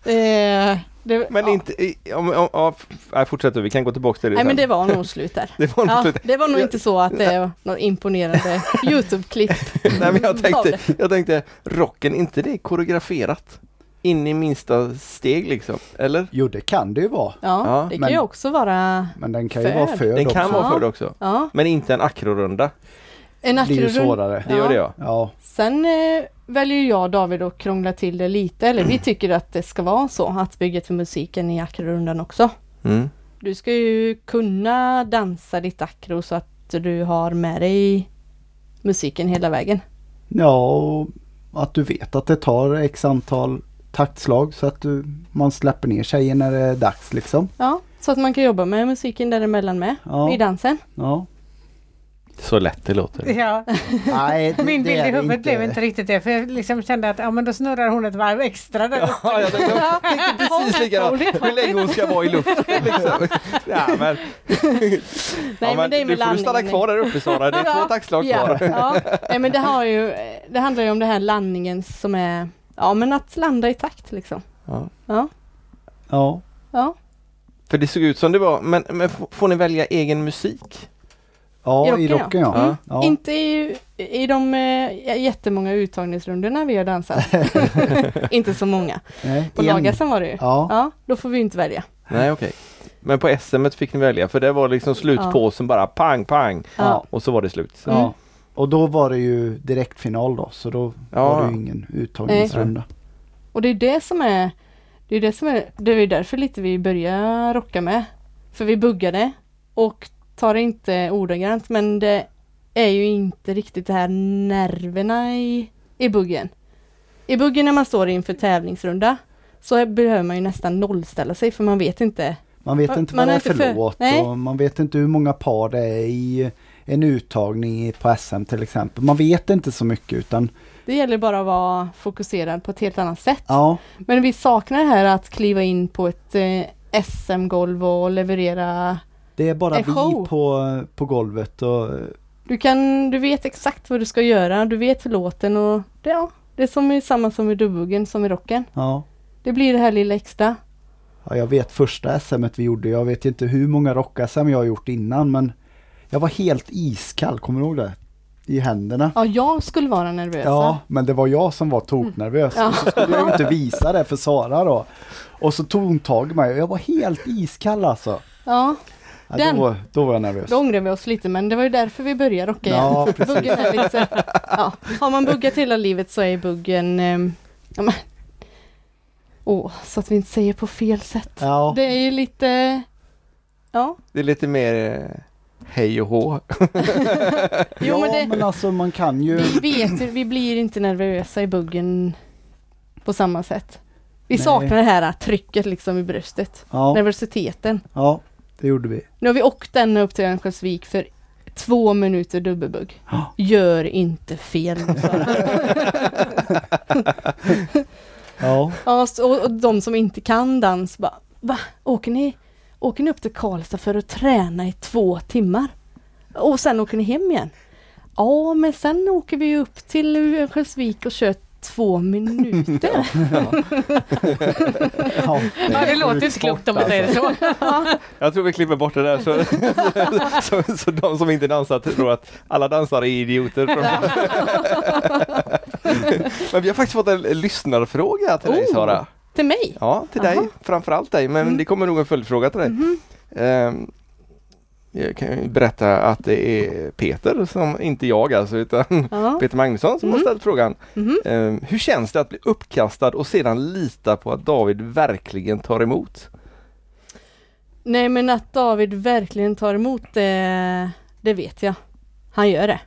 eh, det, Men ja. inte... i- Om, om, om, nej, fortsätt du, vi kan gå tillbaka till det Nej men sen. det var nog slut där. Det var Ja, ja. det var nog inte så att det var något imponerande Youtube-klipp. Nej, men jag, Gav tänkte, det. jag tänkte, rocken, inte det koreograferat? In i minsta steg liksom, eller? Jo, det kan det ju vara. Ja, Ja, det kan men- ju också vara Men den kan ju Föd. vara föd Den kan också. vara Ja. förd också. ja, Men inte en akrorunda. en Det är ju akrorund. svårare. Det gör Ja. det ja. Ja, Sen eh, väljer ju jag och David att krångla till det lite, eller Mm. vi tycker att det ska vara så, att bygga till musiken i akrorundan också. Mm. Du ska ju kunna dansa ditt akro så att du har med dig musiken hela vägen. ja och att du vet att det tar x antal taktslag så att du, man släpper ner tjejen när det är dags liksom. Ja, så att man kan jobba med musiken däremellan med. Ja. I dansen. Ja. Så lätt det låter. Ja, Nej, det- min det bild i är det huvudet blev inte riktigt det. För jag liksom kände att ja, men då snurrar hon ett varv extra där. uppe. Ja, jag tänkte jag tänkte precis likadant. Hur länge hon ska vara i luften liksom. Ja, men, ja, men du får du stanna kvar där uppe Sara, det är Ja. två taktslag Ja, kvar. ja. Nej, men det, har ju, det handlar ju om det här landningen som är, ja men att landa i takt liksom. Ja. Ja, Ja. ja. För det såg ut som det var, men, men f- får ni välja egen musik? ja, I i rocken, rocken ja. Mm. ja. Inte i, i de eh, jättemånga uttagningsrundorna vi har dansat. inte så många. Nej, På en- Lagasen var det ju. Ja, Ja, då får vi ju inte välja. Nej okej. Men på SM et fick ni välja för det var liksom slutpåsen bara pang pang ja. och så var det slut. ja. Mm. Och då var det ju direktfinal då så då var det ju ingen uttagningsrunda. Och det är det som är, det är det som är, det är ju därför lite vi börjar rocka med. För vi buggade och tar det inte ordagrant men det är ju inte riktigt det här nerverna i, i buggen. I buggen när man står inför tävlingsrunda så är- behöver man ju nästan nollställa sig för man vet inte. Man vet Man- inte man vad det har är inte för för- låt Nej. och man vet inte hur många par det är i en uttagning i- på SM till exempel. Man vet inte så mycket utan Det gäller bara att vara fokuserad på ett helt annat sätt. ja, Men vi saknar det här att kliva in på ett eh, SM-golv och leverera det är bara En vi show. på, på golvet och Du kan, du vet exakt vad du ska göra, du vet låten och det, ja, det är som är samma som i dubbuggen som i rocken. ja. Det blir det här lilla extra. Ja, jag vet första SM vi gjorde, jag vet inte hur många rock-SM jag har gjort innan men jag var helt iskall, kommer du ihåg det? I händerna. Ja, jag skulle vara nervös. Ja, men det var jag som var toknervös. Ja. Och så skulle jag ju inte visa det för Sara då. Och så tog hon tag i mig och jag var helt iskall alltså. ja Ja, Den- då, då var jag nervös. då ångrar vi oss lite men det var ju därför vi började rocka igen. Ja, precis. Buggen är lite, så- ja. Har man buggat hela livet så är buggen... ehm, ja, men, åh, så att vi inte säger på fel sätt. Ja, Det är ju lite... Ja, Det är lite mer eh, hej och hå. jo ja men det, men, alltså man kan ju... Vi vet ju, vi blir inte nervösa i buggen på samma sätt. Vi Nej. saknar det här trycket liksom i bröstet. Ja, Nervositeten. ja det gjorde vi. Nu har vi åkt ända upp till Örnsköldsvik för två minuter dubbelbugg. Ja. Gör inte fel nu, Sara. Ja, ja, så- och, och de som inte kan dans bara, va? Åker ni, åker ni upp till Karlstad för att träna i två timmar? Och sen åker ni hem igen? Ja, men sen åker vi ju upp till Örnsköldsvik och kör två minuter. ja, Ja, det är låter inte sjukt klokt om sport, man säger alltså. så. Jag tror vi klipper bort det där så, så, så, så de som inte dansat tror att alla dansare är idioter. men vi har faktiskt fått en lyssnarfråga till dig Oh. Sara. Till mig? Ja, till Jaha. dig, framförallt dig, men det kommer nog en följdfråga till dig. Ehm, jag kan ju berätta att det är Peter, som inte jag alltså, utan Ja. Peter Magnusson som har ställt frågan. Mhm. Ehm, hur känns det att bli uppkastad och sedan lita på att David verkligen tar emot? Nej men att David verkligen tar emot det, det vet jag. Han gör det.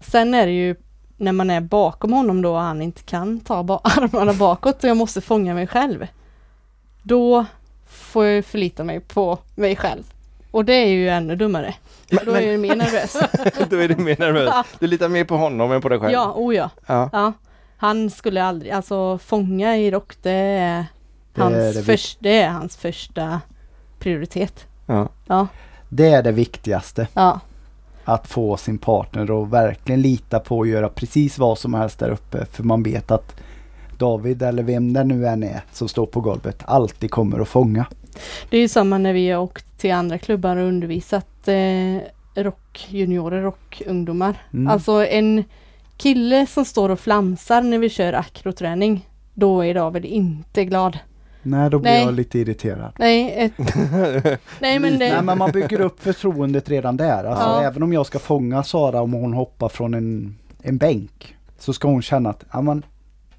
Sen är det ju när man är bakom honom då och han inte kan ta ba- armarna bakåt och jag måste fånga mig själv. Då får jag ju förlita mig på mig själv. Och det är ju ännu dummare. Då är jag ju mer nervös. Då är du mer nervös. Du litar mer på honom än på dig själv? Ja, o ja. Ja. ja. Han skulle aldrig, alltså fånga i rock det är Det är hans, det vi- först, det är hans första prioritet. Ja. Ja, Det är det viktigaste. ja. Att få sin partner och verkligen lita på att göra precis vad som helst där uppe. För man vet att David eller vem det nu än är som står på golvet alltid kommer att fånga. Det är ju samma när vi har åkt till andra klubbar och undervisat eh, rockjuniorer, rockungdomar. Mm. Alltså en kille som står och flamsar när vi kör akroträning, då är David inte glad. Nej, då blir Nej. jag lite irriterad. Nej, ett... Nej men Nej det... men man bygger upp förtroendet redan där. Alltså, Ja. Även om jag ska fånga Sara om hon hoppar från en, en bänk. Så ska hon känna att ja, men,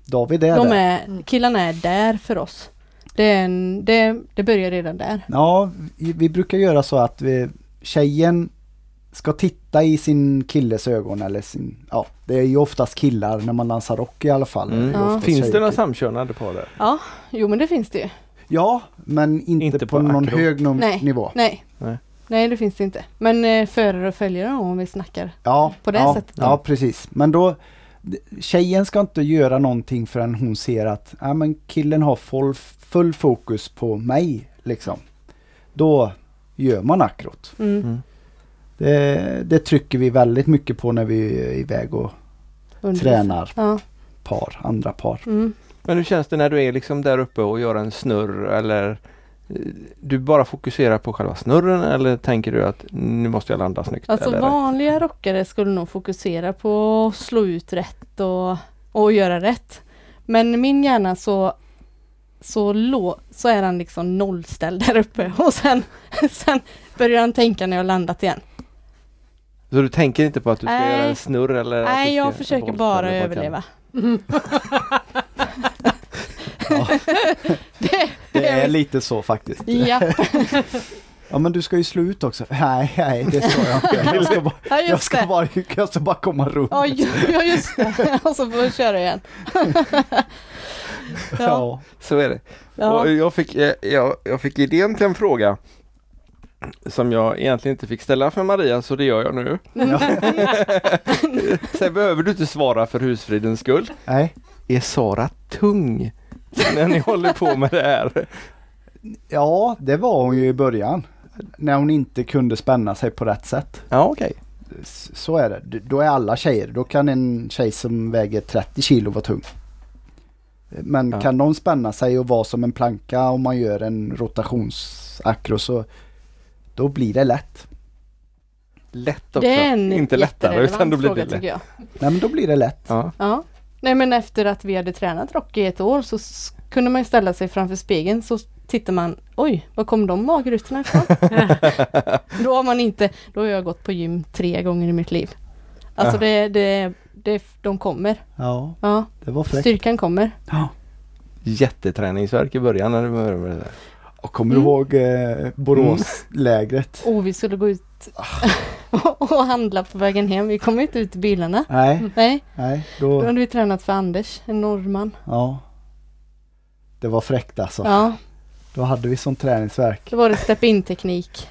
David är De där. är, killarna är där för oss. Det, är en, det, det börjar redan där. Ja, vi, vi brukar göra så att vi, tjejen ska titta i sin killes ögon eller sin, ja det är ju oftast killar när man dansar rock i alla fall. Mm. är oftast Finns det tjejer. några samkönade par där? Ja, jo men det finns det ju. Ja, men inte, Inte på, på någon akro. hög nom- Nej. nivå. Nej. Nej. Nej, det finns det inte. Men eh, förare och följare om vi snackar. Ja, På det ja, sättet. Ja, precis. Men då, d- tjejen ska inte göra någonting förrän hon ser att ja, men killen har full, full fokus på mig. Liksom. Då gör man akrot. Mm. Det, det trycker vi väldigt mycket på när vi är iväg och undervisning. tränar Ja. par, andra par. Mm. Men hur känns det när du är liksom där uppe och gör en snurr eller eh, du bara fokuserar på själva snurren eller tänker du att nu måste jag landa snyggt? Alltså eller? vanliga rockare skulle nog fokusera på att slå ut rätt och, och göra rätt. Men i min hjärna så så, lå, så är han liksom nollställd där uppe och sen, sen börjar han tänka när jag landat igen. Så du tänker inte på att du ska Nej. göra en snurr eller? att du Nej, ska jag göra försöker volt bara eller vad kan- överleva. Det är lite så faktiskt. Ja, Ja men du ska ju slå ut också. Nej, nej det ska jag inte. Jag ska bara, ja jag just ska det. bara, jag ska bara komma runt. Ja, ju- ja, just det. Och så får vi köra igen. Ja, Ja. Så är det. Och ja. jag, fick, eh, jag, jag fick idén till en fråga som jag egentligen inte fick ställa för Maria så det gör jag nu. Mm. Sen behöver du inte svara för husfridens skull. Nej. Är Sara tung när ni håller på med det här? Ja, det var hon ju i början. När hon inte kunde spänna sig på rätt sätt. Ja okej. S- Så är det. D- Då är alla tjejer, då kan en tjej som väger 30 kilo vara tung. Men Ja. kan de spänna sig och vara som en planka om man gör en rotationsakro så då blir det lätt. Lätt också. Det är en inte lättare utan jätterelevant då blir det fråga, lätt. tycker jag. Nej men då blir det lätt. Ja. Ja. Nej men efter att vi hade tränat rock i ett år så s- kunde man ju ställa sig framför spegeln så tittar man, oj, var kom de magrutorna ifrån? då har man inte, då har jag gått på gym tre gånger i mitt liv. Alltså det, det, det, de kommer. Ja, Ja, det var fräckt. styrkan kommer. Ja. Jätteträningsvärk i början när du började med det där. Och kommer Mm. du ihåg eh, Boråslägret? Och Oh, vi skulle gå ut och handla på vägen hem. Vi kom inte ut i bilarna. Nej, Nej, Mm. nej, då då, hade vi tränat för Anders, en norrman. ja. Det var fräckt alltså. Ja, Då hade vi sån träningsvärk. då var det step-in-teknik.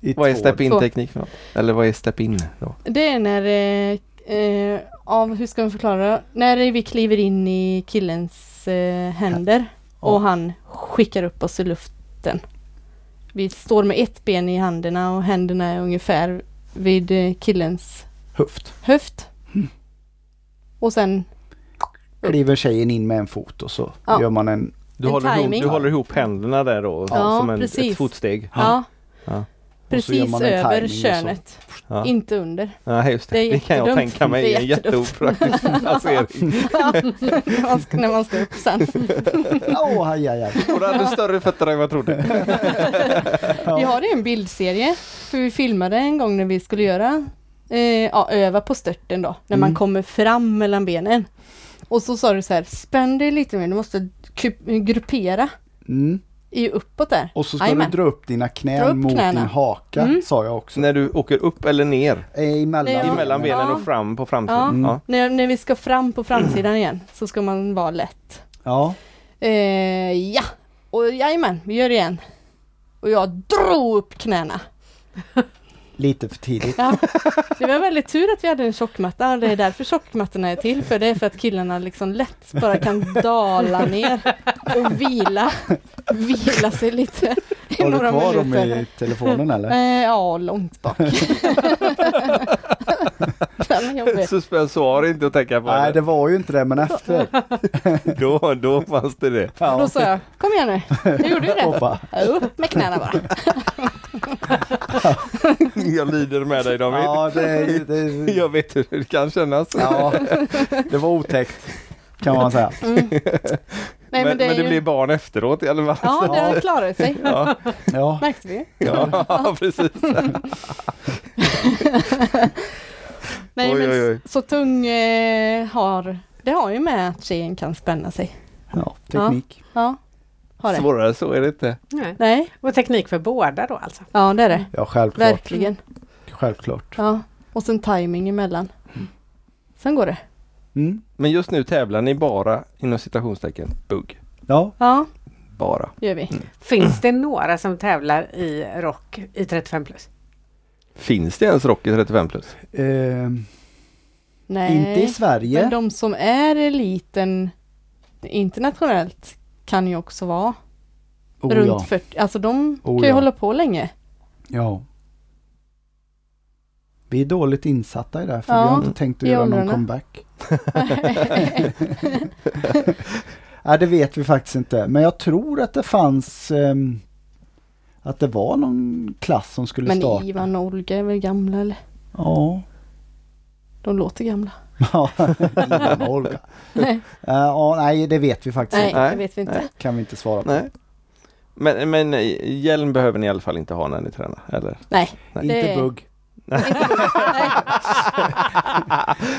i Vad är två- Två. step-in-teknik för något? Eller vad är step-in då? Det är när, eh, eh, ja, hur ska man förklara? När vi kliver in i killens eh, händer och Ja. han skickar upp oss i luften. Vi står med ett ben i händerna och händerna är ungefär vid eh, killens Höft. höft. Och sen, Kliver tjejen in med en fot och så Ja. gör man en... Du, En håller ihop, timing. du håller ihop händerna där då, Ja, som en, precis. ett fotsteg. ja, Ja. Och så gör precis man en timing över och så. könet, Ja. inte under. Ja, just det. Det Det, är kan jag jättedumt. tänka mig Det är är en jättedumt. jätteopraktisk placering. Ja, när, man ska, när man ska upp sen. Åh, aj, aj, aj. Och du hade större fötter än vad jag trodde. Vi har ju en bildserie, för vi filmade en gång när vi skulle göra, eh, ja, öva på störten då, när man Mm. kommer fram mellan benen. Och så sa du så här, spänn dig lite mer, du måste ku- gruppera Mm. i uppåt där. Och så ska Jajamän. du dra upp dina knän Dra upp mot knäna. din haka, Mm. sa jag också. När du åker upp eller ner, Eh, Emellan, Ja. emellan benen Ja. och fram på framsidan. Ja. Ja. När, när vi ska fram på framsidan igen så ska man vara lätt. Ja. Eh, ja, och jajamän, vi gör det igen. Och jag drog upp knäna. Lite för tidigt. Ja. Det var väldigt tur att vi hade en tjockmatta och det är därför tjockmattorna är till för det är för att killarna liksom lätt bara kan dala ner och vila, vila sig lite i Har du några kvar dem minuter. i telefonen eller? Eh, ja, långt bak. Den är jobbig. Suspensor inte att tänka på. Nej, det var ju inte det, men efter. Då, då fanns det det. Då Ja. sa jag, kom igen nu, jag gjorde ju det. Hoppa. Upp med knäna bara. Jag lider med dig David. Ja, det, det, Jag vet hur det kan kännas. ja, det var otäckt. Kan man säga. Mm. Nej, men, men, men det, det, är ju... blir barn efteråt i alla fall. Ja, det har klarat sig. Ja, Ja. Märkte vi. ja precis. Nej, Oj, men oj, oj. s- så tung eh, har, det har ju med att tjejen kan spänna sig. ja, teknik. Ja, har det. Svårare så är det inte. Nej. Nej, Och teknik för båda då alltså. Mm. ja det är det. Ja, självklart. Mm. Verkligen. självklart. Ja, och sen timing emellan. Sen går det. Mm. Men just nu tävlar ni bara inom citationstecken bugg. Ja, Ja, Bara. gör vi. Finns det några som tävlar i rock i 35 plus? Finns det ens Rocky 35 plus? ehm, Nej. inte i Sverige. Men de som är eliten internationellt kan ju också vara Oh, runt ja. 40. Alltså de Oh, kan ju ja. hålla på länge. ja. Vi är dåligt insatta i det här för Ja, vi har inte tänkt att i göra någon åldrarna. comeback. Nej, det vet vi faktiskt inte. Men jag tror att det fanns ehm, att det var någon klass som skulle Men starta. Ivan och Olga är väl gamla eller? Ja. De låter gamla. Ja, Ivan och Olga. Nej. Eh, ja, nej, det vet vi faktiskt Nej, inte. Nej, det vet vi inte. nej. kan vi inte svara på. Nej. Men, men eh, hjälm behöver ni i alla fall inte ha när ni tränar, eller? Nej. Inte Det- bugg.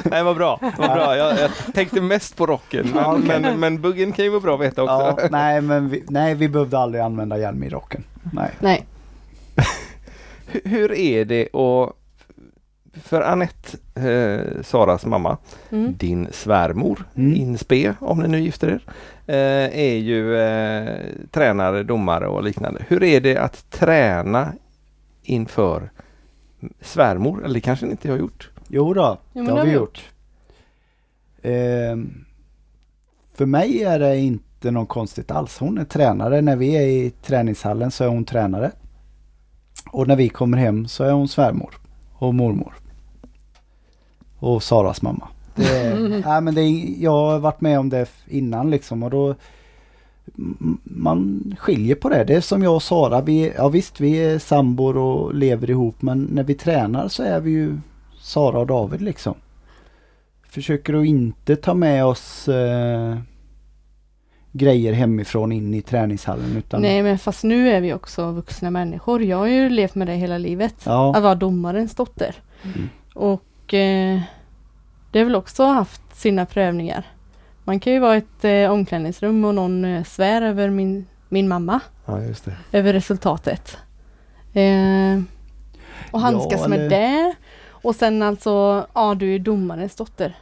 Nej vad bra, vad bra. Jag, jag tänkte mest på rocken. Men, Ja, okej. men, men buggen kan ju vara bra att veta också. Ja, nej, men vi, nej, vi behövde aldrig använda hjälm i rocken. Nej. Nej. Hur- Hur är det att... För Anette, eh, Saras mamma, Mm. din svärmor, Mm. inspe om ni nu gifter er, eh, är ju eh, tränare, domare och liknande. Hur är det att träna inför svärmor? Eller det kanske ni inte har gjort? Jo då, men Mm. det har vi gjort. Ehm, för mig är det inte något konstigt alls. Hon är tränare. När vi är i träningshallen så är hon tränare. Och när vi kommer hem så är hon svärmor och mormor. Och Saras mamma. Det, eh, Mm. nej, men det, är- jag har varit med om det innan liksom och då m- man skiljer på det. Det är som jag och Sara, vi, ja visst vi är sambor och lever ihop men när vi tränar så är vi ju Sara och David liksom. Försöker att inte ta med oss eh, grejer hemifrån in i träningshallen utan Nej men fast nu är vi också vuxna människor. Jag har ju levt med det hela livet. ja, Att vara domarens dotter. Mm. Och eh, det har väl också haft sina prövningar. Man kan ju vara i ett eh, omklädningsrum och någon eh, svär över min, min mamma. Ja, just det. över resultatet. Eh, och handskas Ja, eller- med det. Och sen alltså, ja du är domarens dotter.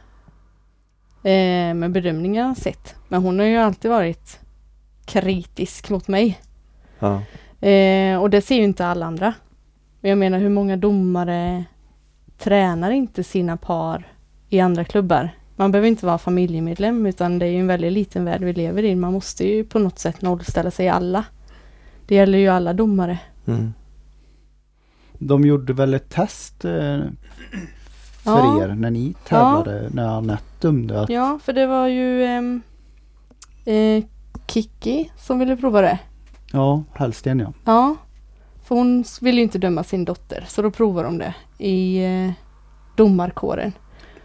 Eh, med bedömningar sett. Men hon har ju alltid varit kritisk mot mig. Ja. Eh, och det ser ju inte alla andra. Men jag menar hur många domare tränar inte sina par i andra klubbar? Man behöver inte vara familjemedlem utan det är ju en väldigt liten värld vi lever i. Man måste ju på något sätt nollställa sig i alla. Det gäller ju alla domare. Mm. de gjorde väl ett test eh, för Ja. er när ni tävlade, när Anette dömde att Ja, för det var ju ehm, eh, Kiki som ville prova det. Ja, Hellsten ja. Ja, för hon s- vill ju inte döma sin dotter så då provar de det i eh, domarkåren.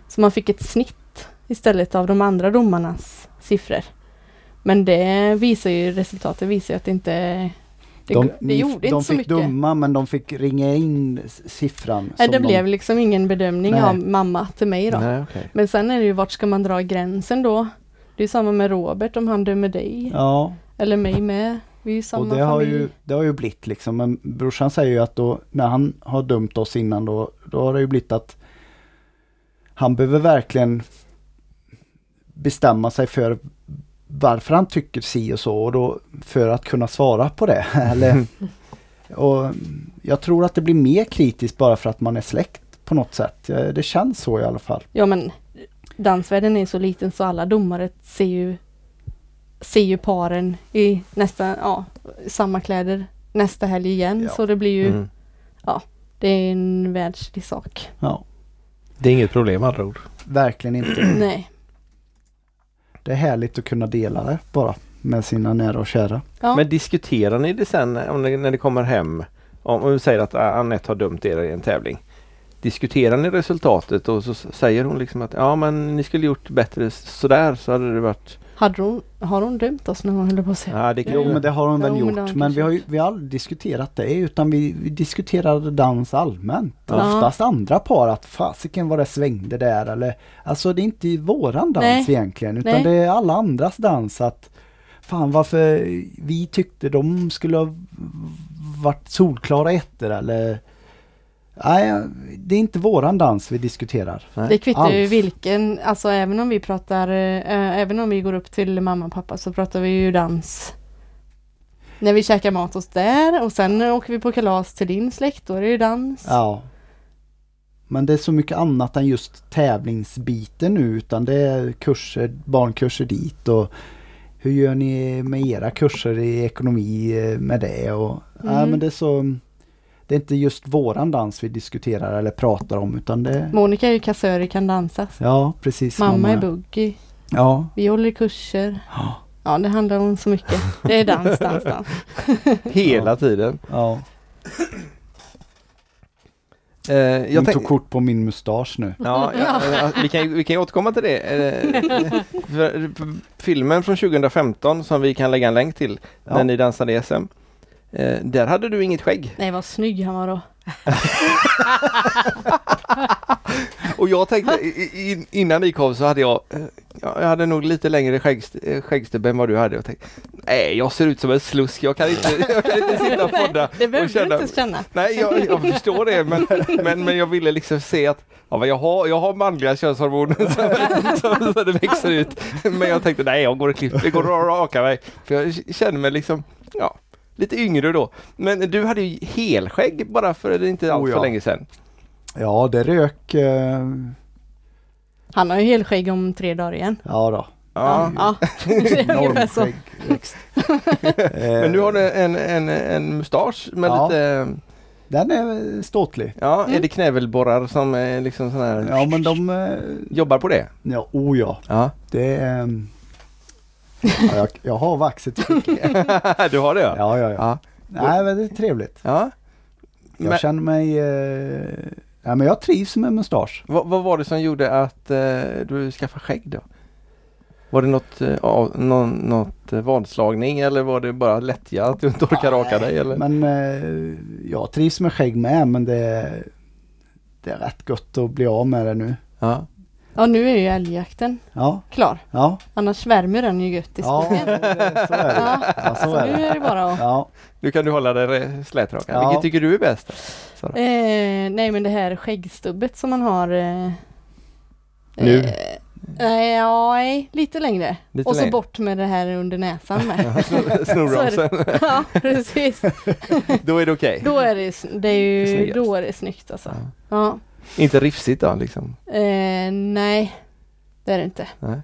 Så man fick ett snitt istället av de andra domarnas siffror. Men det visar ju, resultatet visar ju att det inte, det, de det ni- gjorde de inte så fick mycket. döma men de fick ringa in s- siffran. Nej, som det de, blev liksom ingen bedömning Nej. av mamma till mig då. Nej, okej. Men sen är det ju vart ska man dra gränsen då? Det är ju samma med Robert om han dömer dig. Ja, Eller mig med. Vi är ju samma och det har, familj. ju, det har ju blivit liksom. Men brorsan säger ju att då när han har dömt oss innan då, då har det ju blivit att han behöver verkligen bestämma sig för varför han tycker si och så och då för att kunna svara på det. Eller, och jag tror att det blir mer kritiskt bara för att man är släkt på något sätt. Eh, Det känns så i alla fall. Ja men dansvärlden är så liten så alla domare ser ju, ser ju paren i nästa, ja, samma kläder nästa helg igen. Ja. Så det blir ju, Mm. det är en världslig sak. Ja, Det är inget problem med andra ord. verkligen inte. Nej. Det är härligt att kunna dela det bara med sina nära och kära. Ja. Men diskuterar ni det sen eh, om ni, när ni kommer hem? Om om vi säger att ah, Anette har dömt er i en tävling. Diskuterar ni resultatet och så s- säger hon liksom att ja men ni skulle gjort bättre s- sådär så hade det varit... Hade hon, har hon dömt oss när hon höll på att säga? Ja, det kan Jo ju- men det har hon Jo, väl men det har gjort. hon Men, kanske vi har ju gjort. vi har aldrig diskuterat det utan vi, vi diskuterade dans allmänt. Ja. Oftast andra par att fasiken vad det svängde där eller Alltså det är inte våran dans Nej. egentligen utan Nej. det är alla andras dans att Fan varför vi tyckte de skulle ha varit solklara ettor eller Nej, det är inte våran dans vi diskuterar. Det kvittar ju Alls. vilken, alltså även om vi pratar, eh, även om vi går upp till mamma och pappa så pratar vi ju dans. När vi käkar mat hos där och sen åker vi på kalas till din släkt, då är det ju dans. Ja. Men det är så mycket annat än just tävlingsbiten nu utan det är kurser, barnkurser dit och hur gör ni med era kurser i ekonomi eh, med det och ja, Mm. men det är så Det är inte just våran dans vi diskuterar eller pratar om utan det Monica är ju kassör i Kan dansas. Ja precis. Mamma är boogie. Ja. Vi håller kurser. Ja. Ja, det handlar om så mycket. Det är dans, dans, dans. Hela tiden. ja. Eh, jag Jag tänk- tog kort på min mustasch nu. Ja, ja, ja, vi, kan, ju- vi kan ju återkomma till det. Eh, för, för filmen från 2015 som vi kan lägga en länk till när Ja. ni dansade i SM. Eh, där hade du inget skägg. Nej, vad snygg han var då. Och jag tänkte, i- i- in, innan ni kom så hade jag, eh, jag hade nog lite längre skäggst, eh, skäggstubb än vad du hade. Jag tänkte, nej jag ser ut som en slusk, jag kan inte, jag kan inte sitta och podda. Det behöver du känna- inte känna. Nej, jag, jag förstår det, men, men, men jag ville liksom se att ja, men jag, har, jag har manliga könshormoner som, som, som det växer ut. Men jag tänkte, nej, jag går och klipper, jag går och rakar mig. För jag k- känner mig liksom, ja, lite yngre då. Men du hade ju helskägg bara för inte allt Oh, för ja. länge sedan. Ja det rök. eh, Han har ju helskägg om tre dagar igen. Ja då. Ja. Ja, det är ungefär så. Normskäggväxt. Eh, Men nu har du en, en, en mustasch med Ja. lite, Den är ståtlig. ja, är det knävelborrar som är liksom sån här, Ja men de... eh, jobbar på det? Ja, oh ja. Ja, Det är... ehm, Ja, jag, jag har vaxet. du har det ja. Ja, ja, ja. Ja. Nej, men det är trevligt. ja. Jag Men- känner mig... Eh, ja, men jag trivs med mustasch. Vad, vad var det som gjorde att eh, du skaffade skägg då? Var det något, eh, av, någon, något eh, vadslagning eller var det bara lättja att du inte orkar raka dig? Eller? Men eh, jag trivs med skägg med, men det är, det är rätt gött att bli av med det nu. Ja. Ja, nu är ju älgjakten Ja, klar. ja. Annars svärmer den ju gött i Ja, skogen. det- så är det. Ja. Ja, så Så är nu det. är det bara att... Ja, Nu kan du hålla dig re- slätrakad. Ja. Vilket tycker du är bäst? Ja. Eh, nej men det här skäggstubbet som man har eh, Nu? Eh, nej, ja, nej, lite längre. Lite och så längre. bort med det här under näsan med. Snor- Snorromsen, ja, precis. då är det okej. Då är det, sn- Det det är är ju, snyggast. då är det snyggt alltså. Ja. Inte rifsigt då liksom? Eh, nej, det är det inte. Nej.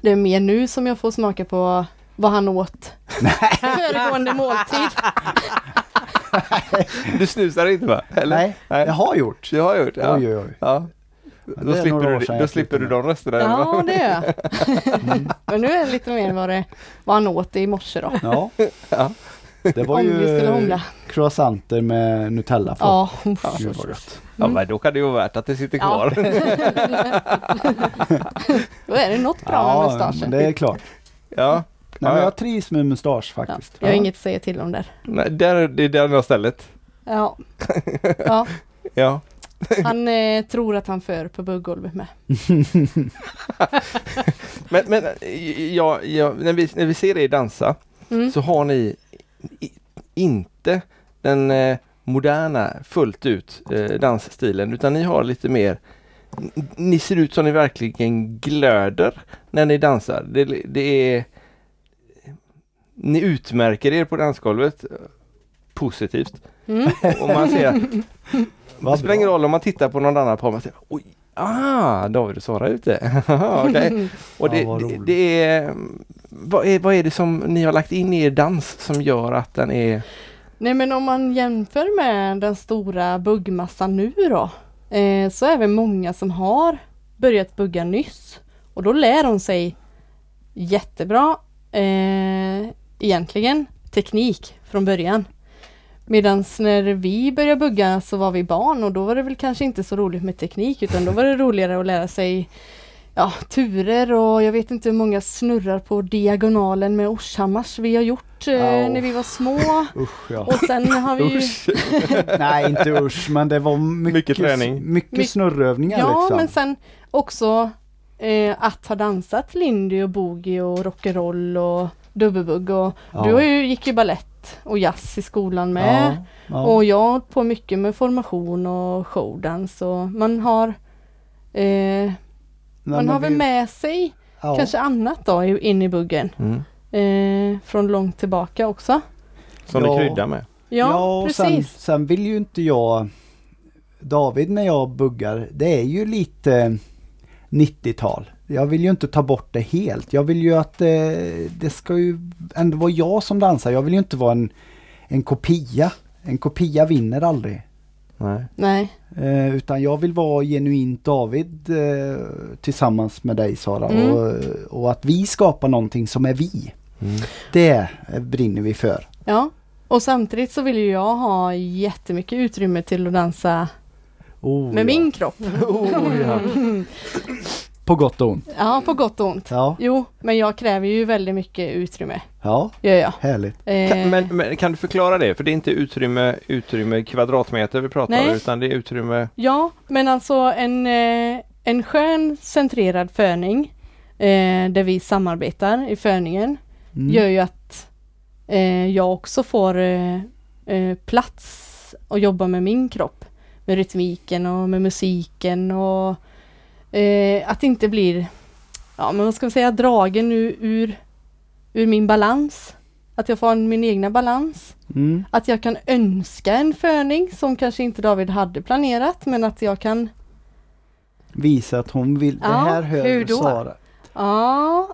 Det är mer nu som jag får smaka på vad han åt föregående måltid. Du snusar inte va? Eller? nej, Nej. jag har gjort. Du har gjort? Ja. Oj, oj, oj. ja. det Då, är slipper några du, år sedan då jag slipper du slipper de rösterna. Ja, det gör jag. Men nu är det lite mer vad, det, vad han åt i morse då. Ja. Ja. Det var Om vi ju skulle hångla. croissanter med Nutella. för. Ja, Gud vad gött. ja, men då kan det ju vara värt att det sitter Ja. kvar. då är det något bra med Ja, men mustaschen. det är klart. Ja. Nej, men Ja. jag trivs med mustasch Ja, faktiskt. jag har inget att säga till om där. Nej, där, det är där något stället. Ja. ja, Ja. han eh, tror att han för på buggolvet med. Men, men eh, ja, ja, när, vi, när vi ser er dansa Mm. så har ni i, inte den eh, moderna fullt ut eh, dansstilen utan ni har lite mer n- ni ser ut som ni verkligen glöder när ni dansar. Det, det är Ni utmärker er på dansgolvet eh, positivt. Mm. Och man ser att det Vad spelar ingen bra. roll om man tittar på någon annan par, man säger oj, ah, David och Sara är ute. Okej. Och det, Ja, vad det, roligt. det är, vad är, vad är det som ni har lagt in i er dans som gör att den är, Nej men om man jämför med den stora buggmassan nu då, eh, så är det många som har börjat bugga nyss. Och då lär de sig jättebra, eh, egentligen, teknik från början. Medan när vi började bugga så var vi barn och då var det väl kanske inte så roligt med teknik utan då var det roligare att lära sig ja, turer och jag vet inte hur många snurrar på diagonalen med Orshammars vi har gjort eh, Ja, när vi var små. Usch ja. Och sen har vi ju... Nej inte usch men det var mycket, Mycket träning. Mycket Mycket- snurrövningar Ja, liksom. men sen också eh, att ha dansat lindy och boogie och rock'n'roll och dubbelbugg och Ja. du har ju, gick ju ballett och jazz i skolan Ja, med. ja. Och jag har hållit på mycket med formation och showdance och man har eh, Nej, Man men har väl vi- med sig ja. kanske annat då i- in i buggen. Mm. Eh, från långt tillbaka också. Som Ja. du kryddar med. Ja, och Sen, precis. sen vill ju inte jag... David när jag buggar, det är ju lite 90-tal. Jag vill ju inte ta bort det helt. Jag vill ju att eh, det ska ju ändå vara jag som dansar. Jag vill ju inte vara en, en kopia. En kopia vinner aldrig. Nej. Nej. Eh, utan jag vill vara genuint David eh, tillsammans med dig Sara Mm. och, och att vi skapar någonting som är vi. Mm. Det eh, brinner vi för. Ja. Och samtidigt så vill ju jag ha jättemycket utrymme till att dansa Oh, med ja. min kropp. Oh, ja. På gott och ont. Ja, på gott och ont. Ja, Jo, men jag kräver ju väldigt mycket utrymme. ja Gör jag. härligt. Eh, Kan, men, men kan du förklara det? För det är inte utrymme, utrymme kvadratmeter vi pratar Nej. utan det är utrymme... Ja, men alltså en, eh, en skön centrerad föning eh, där vi samarbetar i föningen Mm. gör ju att eh, jag också får eh, eh, plats att jobba med min kropp. Med rytmiken och med musiken och eh, att det inte blir, ja men vad ska man säga, dragen ur, ur, ur min balans. Att jag får min egna balans. Mm. Att jag kan önska en föning som kanske inte David hade planerat men att jag kan, Visa att hon vill. Ja, det här hör hur då? Sara. ja,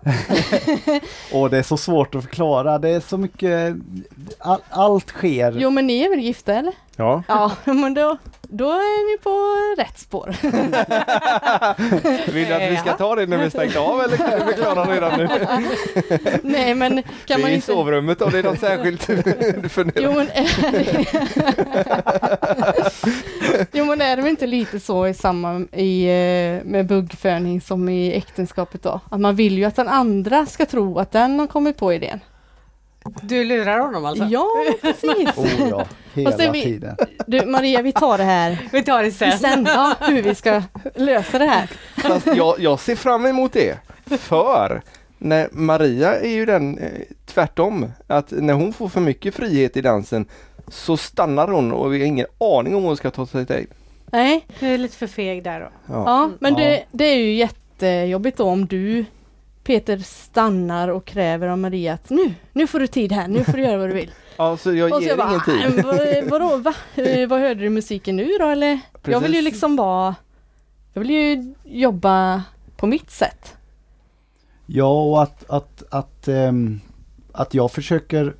Åh, det är så svårt att förklara. Det är så mycket. All, allt sker. jo men ni är väl gifta eller? Ja. Ja, men då, då är ni på rätt spår. Vill du att vi ska ta det när vi stängt av eller kan du förklara redan nu? Nej men det kan är man i inte... sovrummet om det är något särskilt du funderar Jo men, är det... jo men är det väl inte lite så i samma i, eh, med buggföning som i äktenskapet då? Att man vill ju att den andra ska tro att den har kommit på idén. Du lurar honom alltså? Ja, men precis! Oh, ja, Fast det hela vi- tiden. Du Maria, vi tar det här Vi tar det sen. sen, ja, hur vi ska lösa det här. Fast jag, jag ser fram emot det. För när Maria är ju den eh, tvärtom. Att när hon får för mycket frihet i dansen så stannar hon och vi har ingen aning om vad hon ska ta sig till. Nej, Du är lite för feg där då. Ja. ja, men Ja. det, det är ju jättejobbigt då om du Peter stannar och kräver av Maria att nu, nu får du tid här, nu får du göra vad du vill. ja, så Alltså, jag Och ger så jag bara, ingen tid. "Ah, men vad- vadå, va? Eh, Vad hörde du musiken nu då eller? Jag vill ju Precis. liksom vara, jag vill ju jobba på mitt sätt. Ja, och att, att, att, ehm, att jag försöker...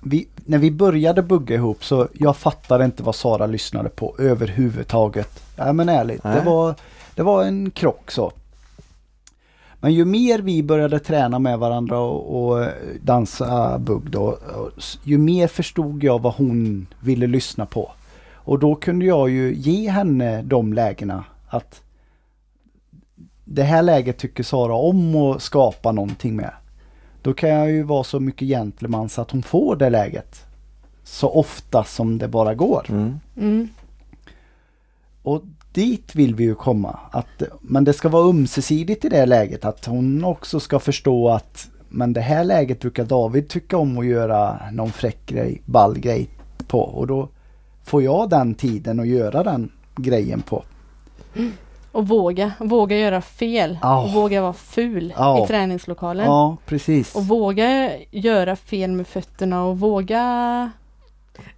Vi, när vi började bugga ihop så jag fattade inte vad Sara lyssnade på överhuvudtaget. Nej men ärligt, det Nej. var, det var en krock så. Men ju mer vi började träna med varandra och, och dansa bugg då, och s- ju mer förstod jag vad hon ville lyssna på. Och då kunde jag ju ge henne de lägena att det här läget tycker Sara om att skapa någonting med. Då kan jag ju vara så mycket gentleman så att hon får det läget. Så ofta som det bara går. Mm. Mm. Och dit vill vi ju komma. Att, men det ska vara ömsesidigt i det läget. Att hon också ska förstå att men det här läget brukar David tycka om att göra någon fräck grej, ball grej på. Och då får jag den tiden att göra den grejen på. Och våga, våga göra fel och Ja. våga vara ful Ja. i träningslokalen. Ja, precis. Och våga göra fel med fötterna och våga,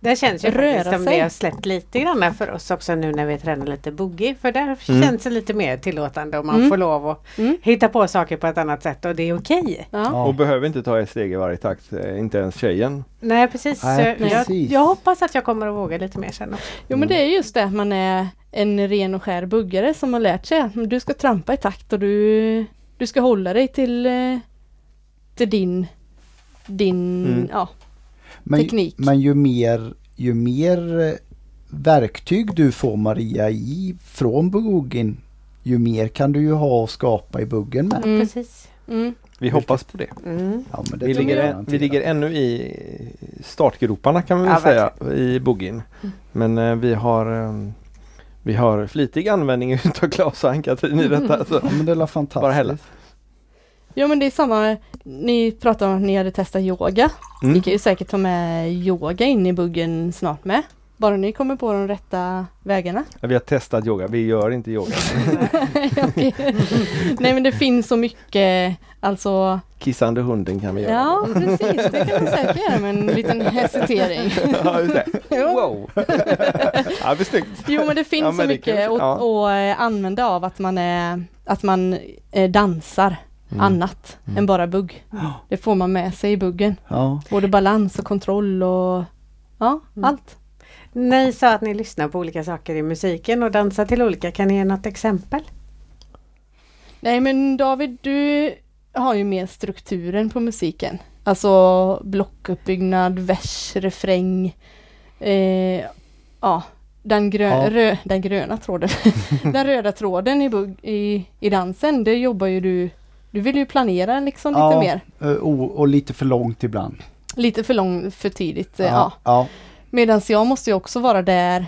Det känns ju Röra faktiskt som sig. det har släppt lite grann för oss också nu när vi tränar lite boogie. För där Mm. känns det lite mer tillåtande och man Mm. får lov att Mm. hitta på saker på ett annat sätt och det är okej. ja. Och Ja. behöver inte ta ett steg i varje takt, eh, inte ens tjejen. Nej precis. Nej, Så precis. Jag, jag hoppas att jag kommer att våga lite mer sen. också. Jo men det är just det att man är en ren och skär buggare som har lärt sig att men du ska trampa i takt och du, du ska hålla dig till, eh, till din, din, Mm. ja. Men, Teknik. men ju mer, ju mer eh, verktyg du får Maria i från buggen, ju mer kan du ju ha att skapa i buggen med. Mm. Precis. Mm. Vi hoppas på det. Mm. Ja, men det Vi tror jag ligger, vi garanterat. ligger ännu i startgroparna kan man Ja, väl säga i boggin. Men eh, vi har eh, vi har flitig användning utav Klas och Ann-Katrin i detta. Så. Ja men det är la Bara hälla. fantastiskt. Jo men det är samma, ni pratade om att ni hade testat yoga. Mm. Ni kan ju säkert ta med yoga in i buggen snart med. Bara ni kommer på de rätta vägarna. Ja, Vi har testat yoga, vi gör inte yoga. Nej men det finns så mycket, alltså Kissande hunden kan vi göra. ja precis, det kan man säkert göra med en liten hesitering. Ja, just det. Jo. Wow! ja, det är snyggt. Jo men det finns Ja, men så det mycket kanske- att, att eh, använda av att man, är, att man eh, dansar annat än bara bugg. Det får man med sig i buggen. Ja. Både balans och kontroll och ja, allt. Ni sa att ni lyssnar på olika saker i musiken och dansar till olika. Kan ni ge något exempel? Nej men David, du har ju mer strukturen på musiken. Alltså blockuppbyggnad, vers, refräng. Eh, ja, den, grö- Ja. Rö- den gröna tråden. den röda tråden i, bug- i, i dansen, det jobbar ju du du vill ju planera liksom lite Ja. mer. Eh, Och, och lite för långt ibland. Lite för lång, för tidigt. eh, Ja. ja. Medan jag måste ju också vara där.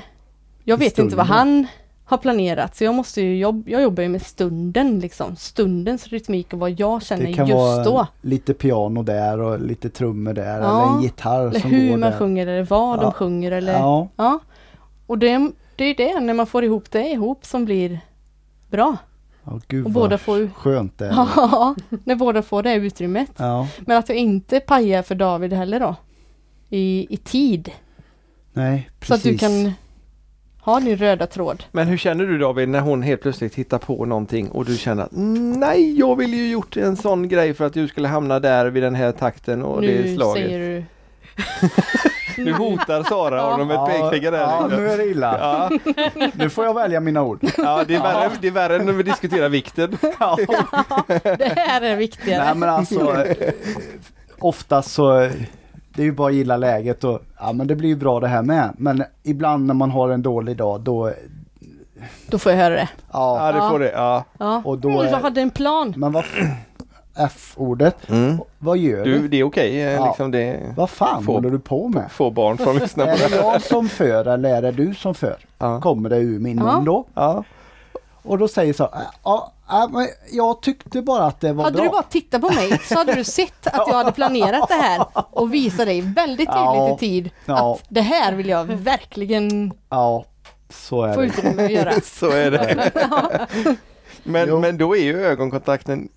Jag I vet inte vad stunden. han har planerat så jag måste ju jobba, jag jobbar ju med stunden liksom. Stundens rytmik och vad jag känner Det kan just vara då. lite piano där och lite trummor där Ja. eller en gitarr Eller som hur går man där. sjunger eller vad Ja. de sjunger eller ja. Ja, Och det, det är ju det, när man får ihop det ihop som blir bra. oh, gud Och vad båda får ju- skönt det är. Ja, när båda får det utrymmet. Ja, Men att jag inte pajar för David heller då. I, i tid. nej precis. Så att du kan ha din röda tråd. Men hur känner du David när hon helt plötsligt hittar på någonting och du känner att nej, jag ville ju gjort en sån grej för att du skulle hamna där vid den här takten och det nu slaget. säger du Nu hotar Sara Ja. honom med ett pekfinger där. Ja, liksom. nu är det illa. Ja, Nu får jag välja mina ord. ja, det, är värre, det är värre än när vi diskuterar vikten. det här är viktigare. Nej men alltså, eh, oftast så, eh, det är ju bara att gilla läget och ja men det blir ju bra det här med. Men ibland när man har en dålig dag då, Då får jag höra det. ja, Ja, det får det. Ja. Ja. Och då mm, är- jag hade en plan. men vad, F-ordet, vad gör du? Du, det är okej. eh, Ja. Liksom det Vad fan Får- håller du på med? Få barn får de lyssna på Är det. det jag som för eller är det du som för? Ja. Kommer det ur min Ja. mun då? Ja. Och då säger så, äh, ja, äh, men jag tyckte bara att det var Hade bra. du bara tittat på mig så hade du sett att jag hade planerat det här och visat dig väldigt tydligt Ja. i tid Ja. att det här vill jag verkligen Ja, så är få det. utrymme att göra. Så är det. Jo. men, men då är ju ögonkontakten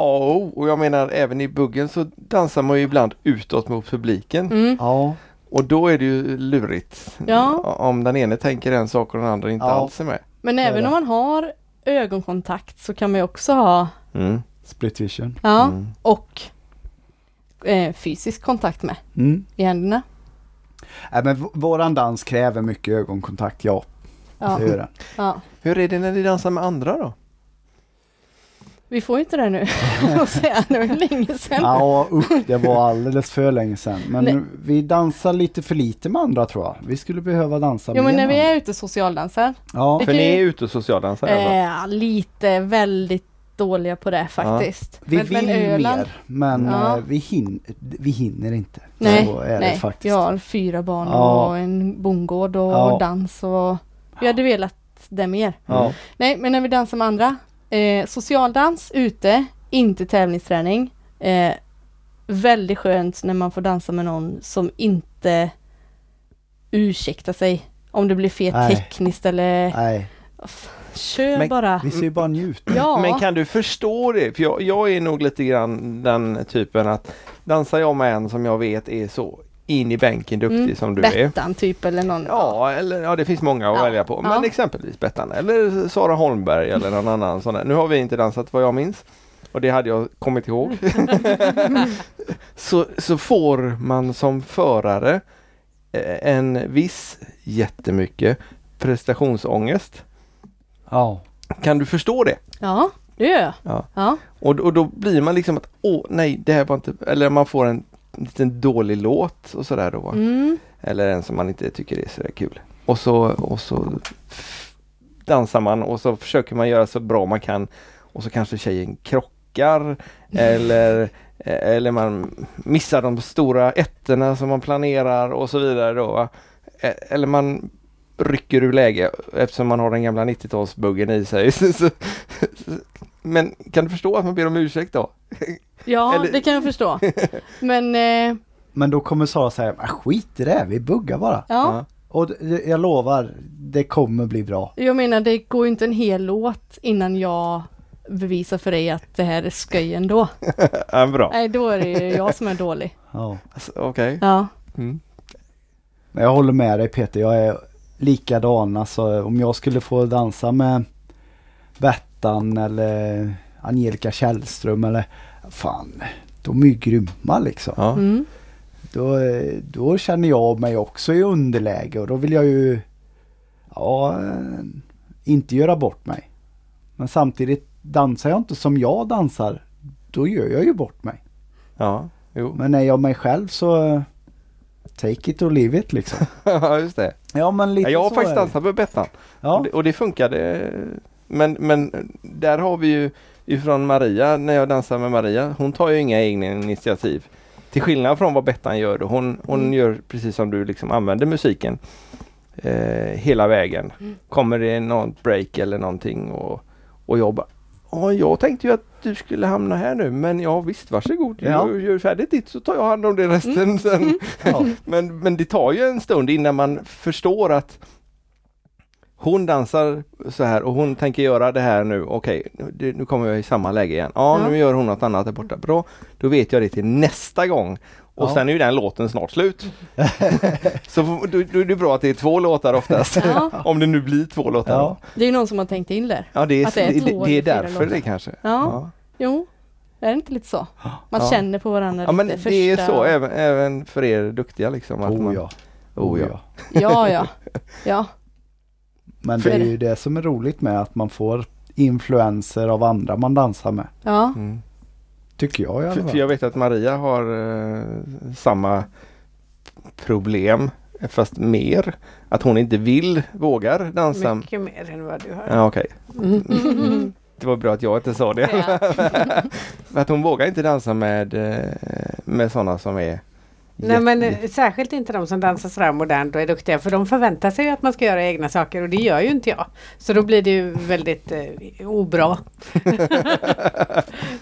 A och O. Och jag menar även i buggen så dansar man ju ibland utåt mot publiken. Mm. Ja, Och då är det ju lurigt. Ja. Om den ene tänker en sak och den andra inte Ja. alls är med. Men är även det. om man har ögonkontakt så kan man ju också ha split vision. ja, Mm. och eh, fysisk kontakt med Mm. i händerna. Äh, men v- våran dans kräver mycket ögonkontakt, ja. Ja, Det gör den. ja. Hur är det när ni dansar med andra då? Vi får ju inte det nu. Och säga, det var ju länge sedan. Ja, usch, det var alldeles för länge sedan. Men Nej. vi dansar lite för lite med andra tror jag. Vi skulle behöva dansa Jo mer men när med vi andra. är ute och socialdansar Ja, Det För kan ni ju- är ute och socialdansar? alltså. Eh, lite väldigt dåliga på det faktiskt. vi Men- vill men Öland- mer, men Ja. eh, vi, hin- vi hinner inte. Nej, så är det Nej, faktiskt. Mm. jag har fyra barn Ja. och en bondgård och Ja. dans och jag hade velat det mer. Ja. Nej, men när vi dansar med andra. Eh, socialdans ute, inte tävlingsträning. Eh, väldigt skönt när man får dansa med någon som inte ursäktar sig om det blir fel Nej. tekniskt eller Nej, kör Men- bara. vi ser ju bara njut. Ja, Men kan du förstå det? För jag, jag är nog lite grann den typen att dansar jag med en som jag vet är så in i bänken duktig Mm, som du är. Bettan typ eller någon. Ja, eller, ja, det finns många att Ja. välja på. Men Ja. exempelvis Bettan eller Sara Holmberg eller någon annan sån där. Nu har vi inte dansat vad jag minns. Och det hade jag kommit ihåg. så, så får man som förare eh, en viss, jättemycket, prestationsångest. Ja. Kan du förstå det? ja det gör jag. Ja. Ja. Och, och då blir man liksom att, åh nej, det här var inte... Eller man får en liten dålig låt och sådär då. va? Mm. Eller en som man inte tycker är sådär kul. Och så, och så f- dansar man och så försöker man göra så bra man kan. Och så kanske tjejen krockar eller, eh, eller man missar de stora ettorna som man planerar och så vidare då. va? Eh, Eller man rycker ur läge eftersom man har den gamla 90-talsbuggen i sig. Så, så, Men kan du förstå att man ber om ursäkt då? Ja, Eller- det kan jag förstå. Men eh, Men då kommer Sara säga, "Ah, skit i det, här, vi buggar bara. ja, Och d- jag lovar, det kommer bli bra. jag menar det går ju inte en hel låt innan jag bevisar för dig att det här är skoj ändå. Ja, bra. Nej, då är det ju jag som är dålig. Ja. Alltså, Okej. Ja, Mm. Men Jag håller med dig Peter, jag är likadan. Alltså, om jag skulle få dansa med Bettan eller Angelica Källström eller fan, de är ju grymma liksom. Ja. mm. Då, eh, då känner jag mig också i underläge och då vill jag ju ja, eh, inte göra bort mig. Men samtidigt dansar jag inte som jag dansar, då gör jag ju bort mig. Ja, jo. Men är jag mig själv så eh, take it or leave it liksom. Ja, just det. Ja men lite Ja, jag har så faktiskt är det. dansat med Bettan. Och, Ja. det, och det funkade. Men, men där har vi ju ifrån Maria, när jag dansar med Maria, hon tar ju inga egna initiativ. Till skillnad från vad Bettan gör då. Hon, hon Mm. gör precis som du liksom använder musiken eh, hela vägen. Mm. Kommer det något break eller någonting och, och jag bara Ja, jag tänkte ju att du skulle hamna här nu men ja visst varsågod, Ja. Mm. gör, gör färdigt ditt så tar jag hand om det resten sen. Ja. Men, men det tar ju en stund innan man förstår att hon dansar så här och hon tänker göra det här nu. Okej, nu- det- nu kommer jag i samma läge igen. Ja, Ja. nu gör hon något annat där borta. Bra, då vet jag det till nästa gång. Och Ja. sen är ju den låten snart slut. så f- då, då är det bra att det är två låtar oftast. ja. Om det nu blir två låtar. Ja. Ja, Det är ju någon som har tänkt in där. ja det, är, Att det är det, två det, det är eller fyra därför låtar. det kanske. Ja, jo. Är det inte lite så? Man Ja. känner på varandra Ja men lite det är första- så även, även för er duktiga liksom. Att Oh man, ja. Oh, ja. Ja, ja. Ja, Men det För- är ju det som är roligt med att man får influenser av andra man dansar med. ja. Mm. Tycker jag i alla För, fall. för jag vet att Maria har eh, samma problem fast mer. Att hon inte vill, vågar dansa. Mycket mer än vad du har. Ja, okej. Mm. Det var bra att jag inte sa det. Ja. för att hon vågar inte dansa med, eh, med sådana som är Nej jätte- men eh, särskilt inte de som dansar sådär modernt och är duktiga för de förväntar sig ju att man ska göra egna saker och det gör ju inte jag. Så då blir det ju väldigt eh, obra. ja,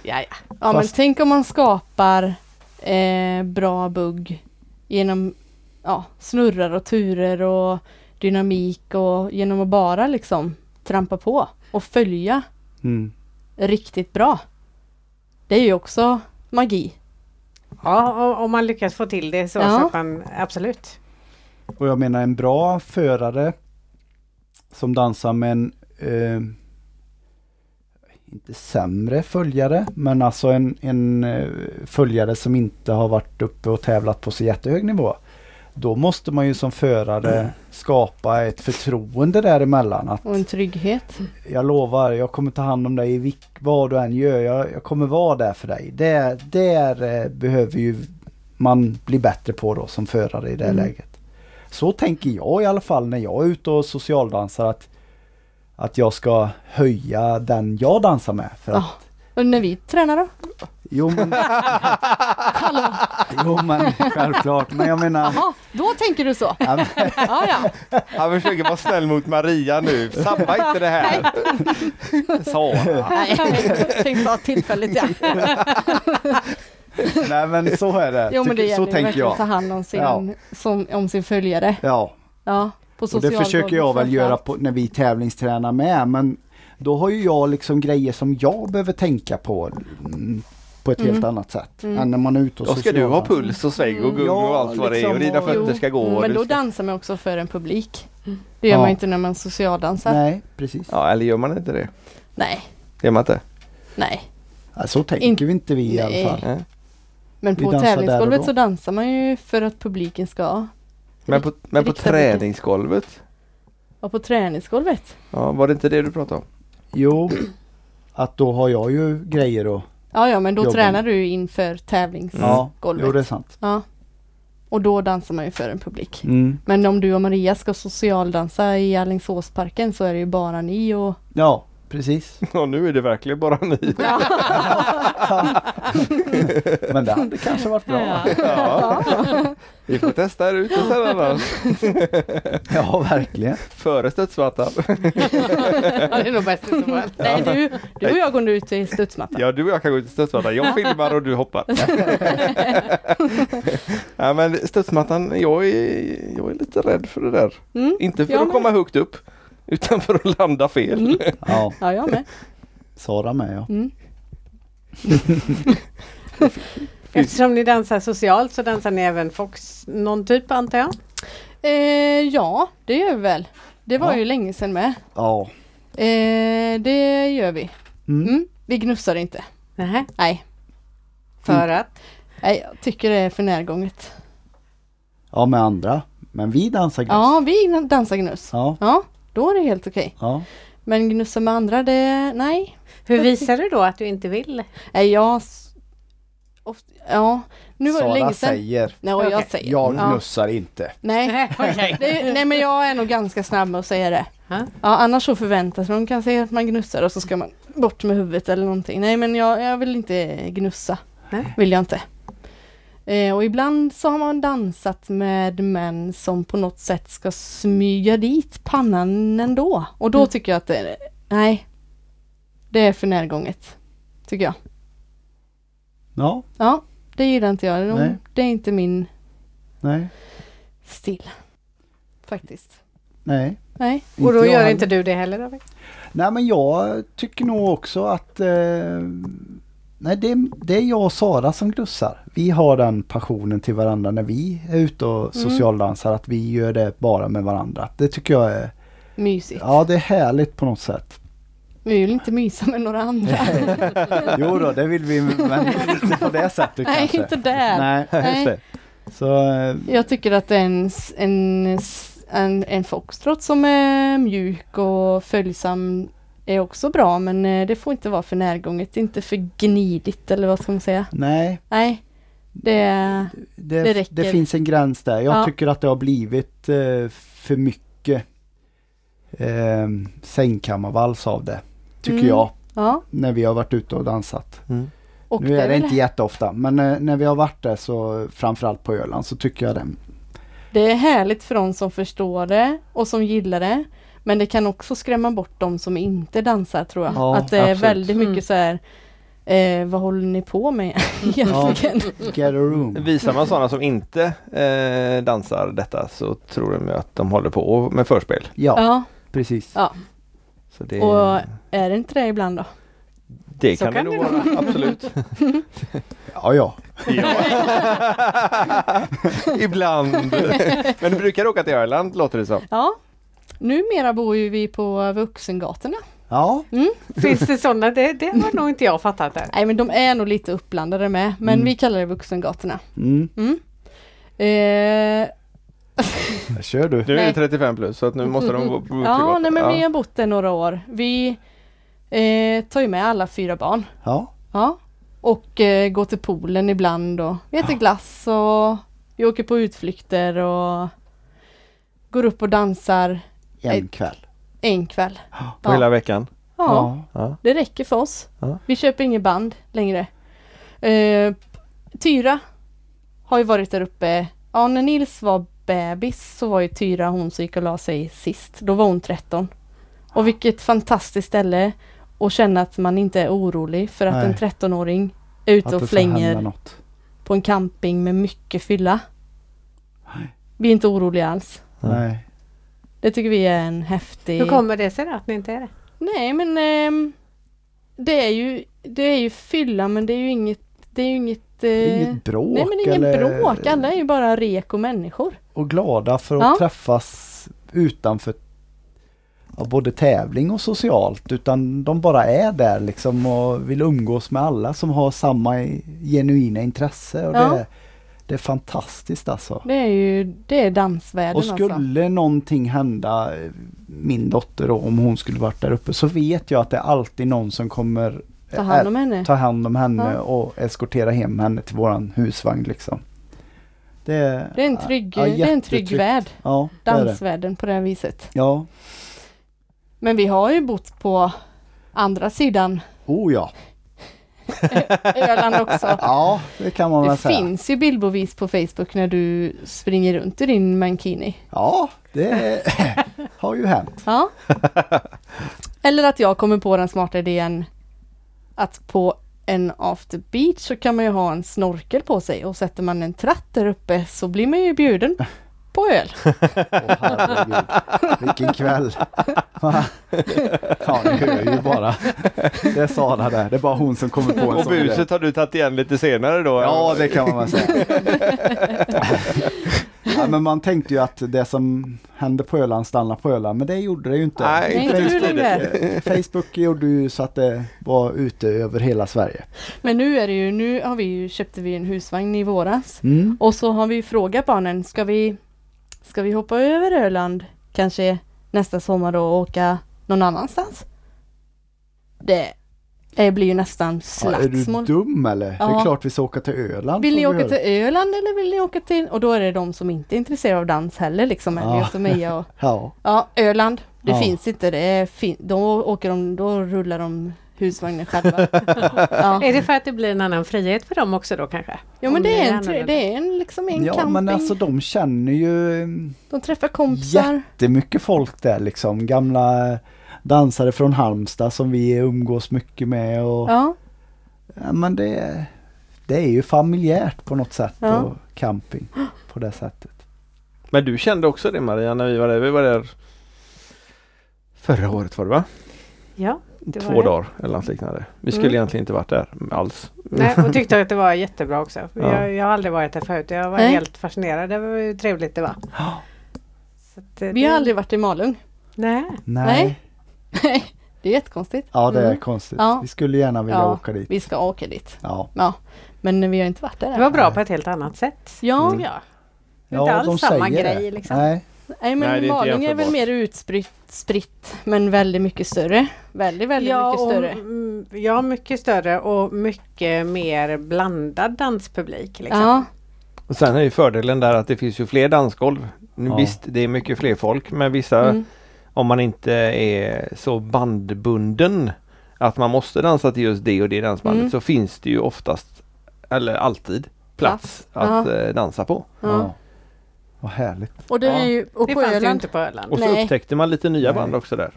ja. Ja men Fast- tänk om man skapar eh, bra bugg genom ja, snurrar och turer och dynamik och genom att bara liksom trampa på och följa Mm. riktigt bra. Det är ju också magi. ja och- om man lyckas få till det så, Ja. så att man absolut. Och jag menar en bra förare som dansar med en eh, inte sämre följare men alltså en, en eh, följare som inte har varit uppe och tävlat på så jättehög nivå. Då måste man ju som förare skapa ett förtroende däremellan. Att Och en trygghet. Jag lovar, jag kommer ta hand om dig i vilk, vad du än gör. Jag, jag kommer vara där för dig. Där, där eh, behöver ju man bli bättre på då som förare i det Mm. läget. Så tänker jag i alla fall när jag är ute och socialdansar att, att jag ska höja den jag dansar med. För att, Ja. Och när vi tränar då? jo, men, jo men självklart. Men jag menar... Jaha, då tänker du så? ja, men- Ja, ja. Han försöker vara snäll mot Maria nu. Sabba inte det här! Sara. Nej, tänkte ta tillfället ja. Nej men så är det. Jo men Tycker- det så gäller ju tänker verkligen jag. att ta hand om sin, Ja. som, om sin följare. Ja. Ja, på Och det försöker jag väl göra på, när vi tävlingstränar med men då har ju jag liksom grejer som jag behöver tänka på mm, på ett helt Mm. annat sätt Mm. än när man är ute och Då ska du ha socialdansar. puls och sväng och gung Ja, och allt vad det är och liksom, dina och- fötter ska gå. och Mm, Men du då ska... dansar man också för en publik. Det gör Ja. man ju inte när man socialdansar. Nej, Nej, precis. Ja, eller gör man inte det? nej. Gör man inte? Ja, så tänker Inte- vi inte vi i alla Nej. fall. Nej. Men Vi på dansar där och tävlingsgolvet då. så dansar man ju för att publiken ska... Men på, men på Rikta blicken. träningsgolvet? Och på träningsgolvet. Ja, var det inte det du pratade om? Jo, att då har jag ju grejer att... Ja, ja, men då Jobbar. tränar du ju inför tävlingsgolvet. Ja, jo det är sant. Ja. Och då dansar man ju för en publik. Mm. Men om du och Maria ska socialdansa i Alingsåsparken så är det ju bara ni och Ja, precis. Ja, nu är det verkligen bara ni. Men det hade kanske varit bra. Ja, Ja. Vi får testa här ute sen annars. verkligen. Före studsmattan. Ja, det är nog bäst i så fall. Nej, du, du och jag går nu ut i studsmattan. Ja, du och jag kan gå ut i studsmattan. Jag filmar och du hoppar. ja, men studsmattan, jag är, jag är lite rädd för det där. Mm. Inte för Jag att med. komma högt upp, utan för att landa fel. Mm. Ja, Ja, jag med. Sara med ja. Mm. Eftersom ni dansar socialt så dansar ni även fox, någon typ antar jag? Eh, ja, det gör vi väl. Det var Ja. ju länge sedan med. Ja. Eh, det gör vi. Mm. Mm. Vi gnussar inte. Nähä, Mm. Nej. för att? Nej, jag tycker det är för närgånget. ja, med andra. Men vi dansar gnuss. Ja, vi dansar gnuss. Ja. Ja, då är det helt okej. ja. Men gnussa med andra, det... Nej. Hur visar du då att du inte vill? Nej, jag... s- Oft... Ja, nu var det Sara länge sedan. säger. Nej, och jag Okej. säger. Jag Ja. gnussar inte. Nej. Nej, okej. Det, nej, men jag är nog ganska snabb med att säga det. Ja. Ja, annars så förväntas de kan säga att man gnussar och så ska man bort med huvudet eller någonting. Nej, men jag, jag vill inte gnussa. Nej. Vill jag inte. Eh, och ibland så har man dansat med män som på något sätt ska smyga dit pannan ändå. Och då tycker jag att det är, nej, det är för närgånget. Tycker jag. Ja, Ja, det gillar inte jag. Nej. De, det är inte min nej, stil. Faktiskt. nej. Nej. Och då jag gör heller. inte du det heller David? Nej men jag tycker nog också att eh, Nej det, det är jag och Sara som gnussar. Vi har den passionen till varandra när vi är ute Mm. och socialdansar. Att vi gör det bara med varandra. Det tycker jag är Mysigt. Ja det är härligt på något sätt. Vi vill inte mysa med några andra. Jo då, det vill vi men inte på det sättet Nej, kanske. inte där. Nej, Nej. just det. Så eh, Jag tycker att det är en, s- en, s- en, en foxtrot som är mjuk och följsam är också bra men eh, det får inte vara för närgånget, inte för gnidigt eller vad ska man säga. nej, Nej, det är... det, Det det, räcker. finns en gräns där. Jag Ja. tycker att det har blivit eh, för mycket eh, sängkammarvals av det. Tycker Mm. jag. Ja, när vi har varit ute och dansat. och nu är det väl- inte jätteofta men eh, när vi har varit där så framförallt på Öland så tycker jag det. det är härligt för de som förstår det och som gillar det. Men det kan också skrämma bort de som inte dansar tror jag. Ja, att det är absolut. väldigt mycket Mm. så här, eh, vad håller ni på med egentligen? Get a room. Visar man sådana som inte eh, dansar detta så tror de ju att de håller på med förspel. Ja, ja, precis. Ja. Så det, och är det inte det ibland då? det så kan det kan det nog vara, absolut. Ja, ja. Ibland. Men du brukar åka till Öland låter det som. Ja, numera bor ju vi på Vuxengatorna. Ja, Finns det sådana? Det, det har nog inte jag fattat där. Nej men de är nog lite uppblandade med, men Mm. vi kallar det Vuxengatorna. mm. Mm. Eh, Där kör du. Nu är det Nej. 35 plus så att nu måste de gå gå ja, tillbaka. nej men vi Ja. har bott där några år. Vi eh, tar ju med alla fyra barn. Ja, Ja. Och eh, går till poolen ibland och vi äter glass och vi åker på utflykter och går upp och dansar en Nej. kväll. en kväll. På hela veckan. ja. Ja. Ja. Det räcker för oss. Ja. Vi köper inget band längre. Eh, Tyra har ju varit där uppe. Ja, när Nils var bebis så var ju Tyra hon som gick och la sig sist. Då var hon 13. Och vilket fantastiskt ställe att känna att man inte är orolig för att Nej. en 13-åring är ute Att det och får hända flänger något. på en camping med mycket fylla. Nej. Vi är inte oroliga alls. Nej. Det tycker vi är en häftig... Hur kommer det sig då att ni inte är det? Nej men ehm, det är ju det är ju fylla men det är ju inget det är ju inget, eh, Inget bråk Nej men ingen eller- bråk, alla är ju bara rek och människor. Och glada för att Ja. träffas utanför ja, både tävling och socialt utan de bara är där liksom och vill umgås med alla som har samma i- genuina intresse. Och Ja. det, det är fantastiskt alltså. Det är ju det är dansvärlden Och alltså. skulle någonting hända eh, min dotter då, om hon skulle varit där uppe så vet jag att det är alltid någon som kommer Ta hand om henne. eh, ta hand om henne Ja. och eskortera hem henne till våran husvagn liksom. Det är, Det är en trygg, ja, det är en trygg jättetryggt. värld, Ja, det är det. dansvärlden på det här viset. Ja, Men vi har ju bott på andra sidan Oh ja. Öland också. Ja, det kan man väl Det säga. finns ju bildbevis på Facebook när du springer runt i din mankini. Ja, det har ju hänt. Ja. Eller att jag kommer på den smarta idén att på en after beach så kan man ju ha en snorkel på sig och sätter man en tratt där uppe så blir man ju bjuden på öl. Åh herregud, vilken kväll. Va? Ja, ni hör ju bara. Det är Sara där, det är bara hon som kommer på en Och sån grej. buset har du tagit igen lite senare då? Ja, det kan man väl säga. ja, men man tänkte ju att det som hände på Öland stannar på Öland, men det gjorde det ju inte. Nej, Nej, inte nu längre. Facebook gjorde ju så att det var ute över hela Sverige. Men nu är det ju, nu har vi ju, köpte vi en husvagn i våras Mm. och så har vi ju frågat barnen, ska vi, ska vi hoppa över Öland kanske nästa sommar då och åka någon annanstans? Det, det blir ju nästan Ja, är du slagsmål. dum eller? Det är Ja. klart vi ska åka till Öland. Vill får ni vi åka höra. till Öland eller vill ni åka till... Och då är det de som inte är intresserade av dans heller liksom. Ja. Elliot och Mia och... Ja. Ja, Öland. Det Ja. finns inte. Det är fin- då åker de... Då rullar de husvagnen själva. ja. Är det för att det blir en annan frihet för dem också då kanske? Jo men Om det är en, annorlunda. tre- det är en, liksom en ja, camping. men alltså de känner ju mm, De träffar kompisar. jättemycket folk där liksom. Gamla dansare från Halmstad som vi umgås mycket med. Och, ja. Ja. men det, det är ju familjärt på något sätt Ja. och camping på det sättet. Men du kände också det Maria när vi var där. Vi var där förra året var det va? Ja, det var Två det. dagar eller något liknande. Vi skulle Mm. egentligen inte varit där alls. Nej, och tyckte att det var jättebra också. Ja. Jag, jag har aldrig varit där förut. Jag var Nej. helt fascinerad. Det var ju trevligt det var. Så att, eh, Vi det- har aldrig varit i Malung. Nej. Nej. Nej. det är jättekonstigt. Ja, det är Mm. konstigt. Ja. Vi skulle gärna vilja Ja. åka dit. Vi ska åka dit. Ja, Ja. Men vi har inte varit där Det än. var bra på ett helt annat sätt. Ja. Mm. tycker jag. Det är ja inte alls samma säger det. grej liksom. Nej. Nej men Nej, det är inte Malung är väl jämförbart. mer utspritt spritt, men väldigt mycket större. Väldigt, väldigt mycket och, större. mm, ja, mycket större och mycket mer blandad danspublik. Liksom. Ja, Och sen är ju fördelen där att det finns ju fler dansgolv. Nu, Ja. Visst, det är mycket fler folk men vissa, mm. om man inte är så bandbunden att man måste dansa till just det och det dansbandet Mm. så finns det ju oftast, eller alltid, plats att eh, dansa på. Ja. Ja. Vad härligt. Och det Ja. är ju, och Det på fanns ju Öland. inte på Öland. Och så Nej. upptäckte man lite nya Nej. band också där.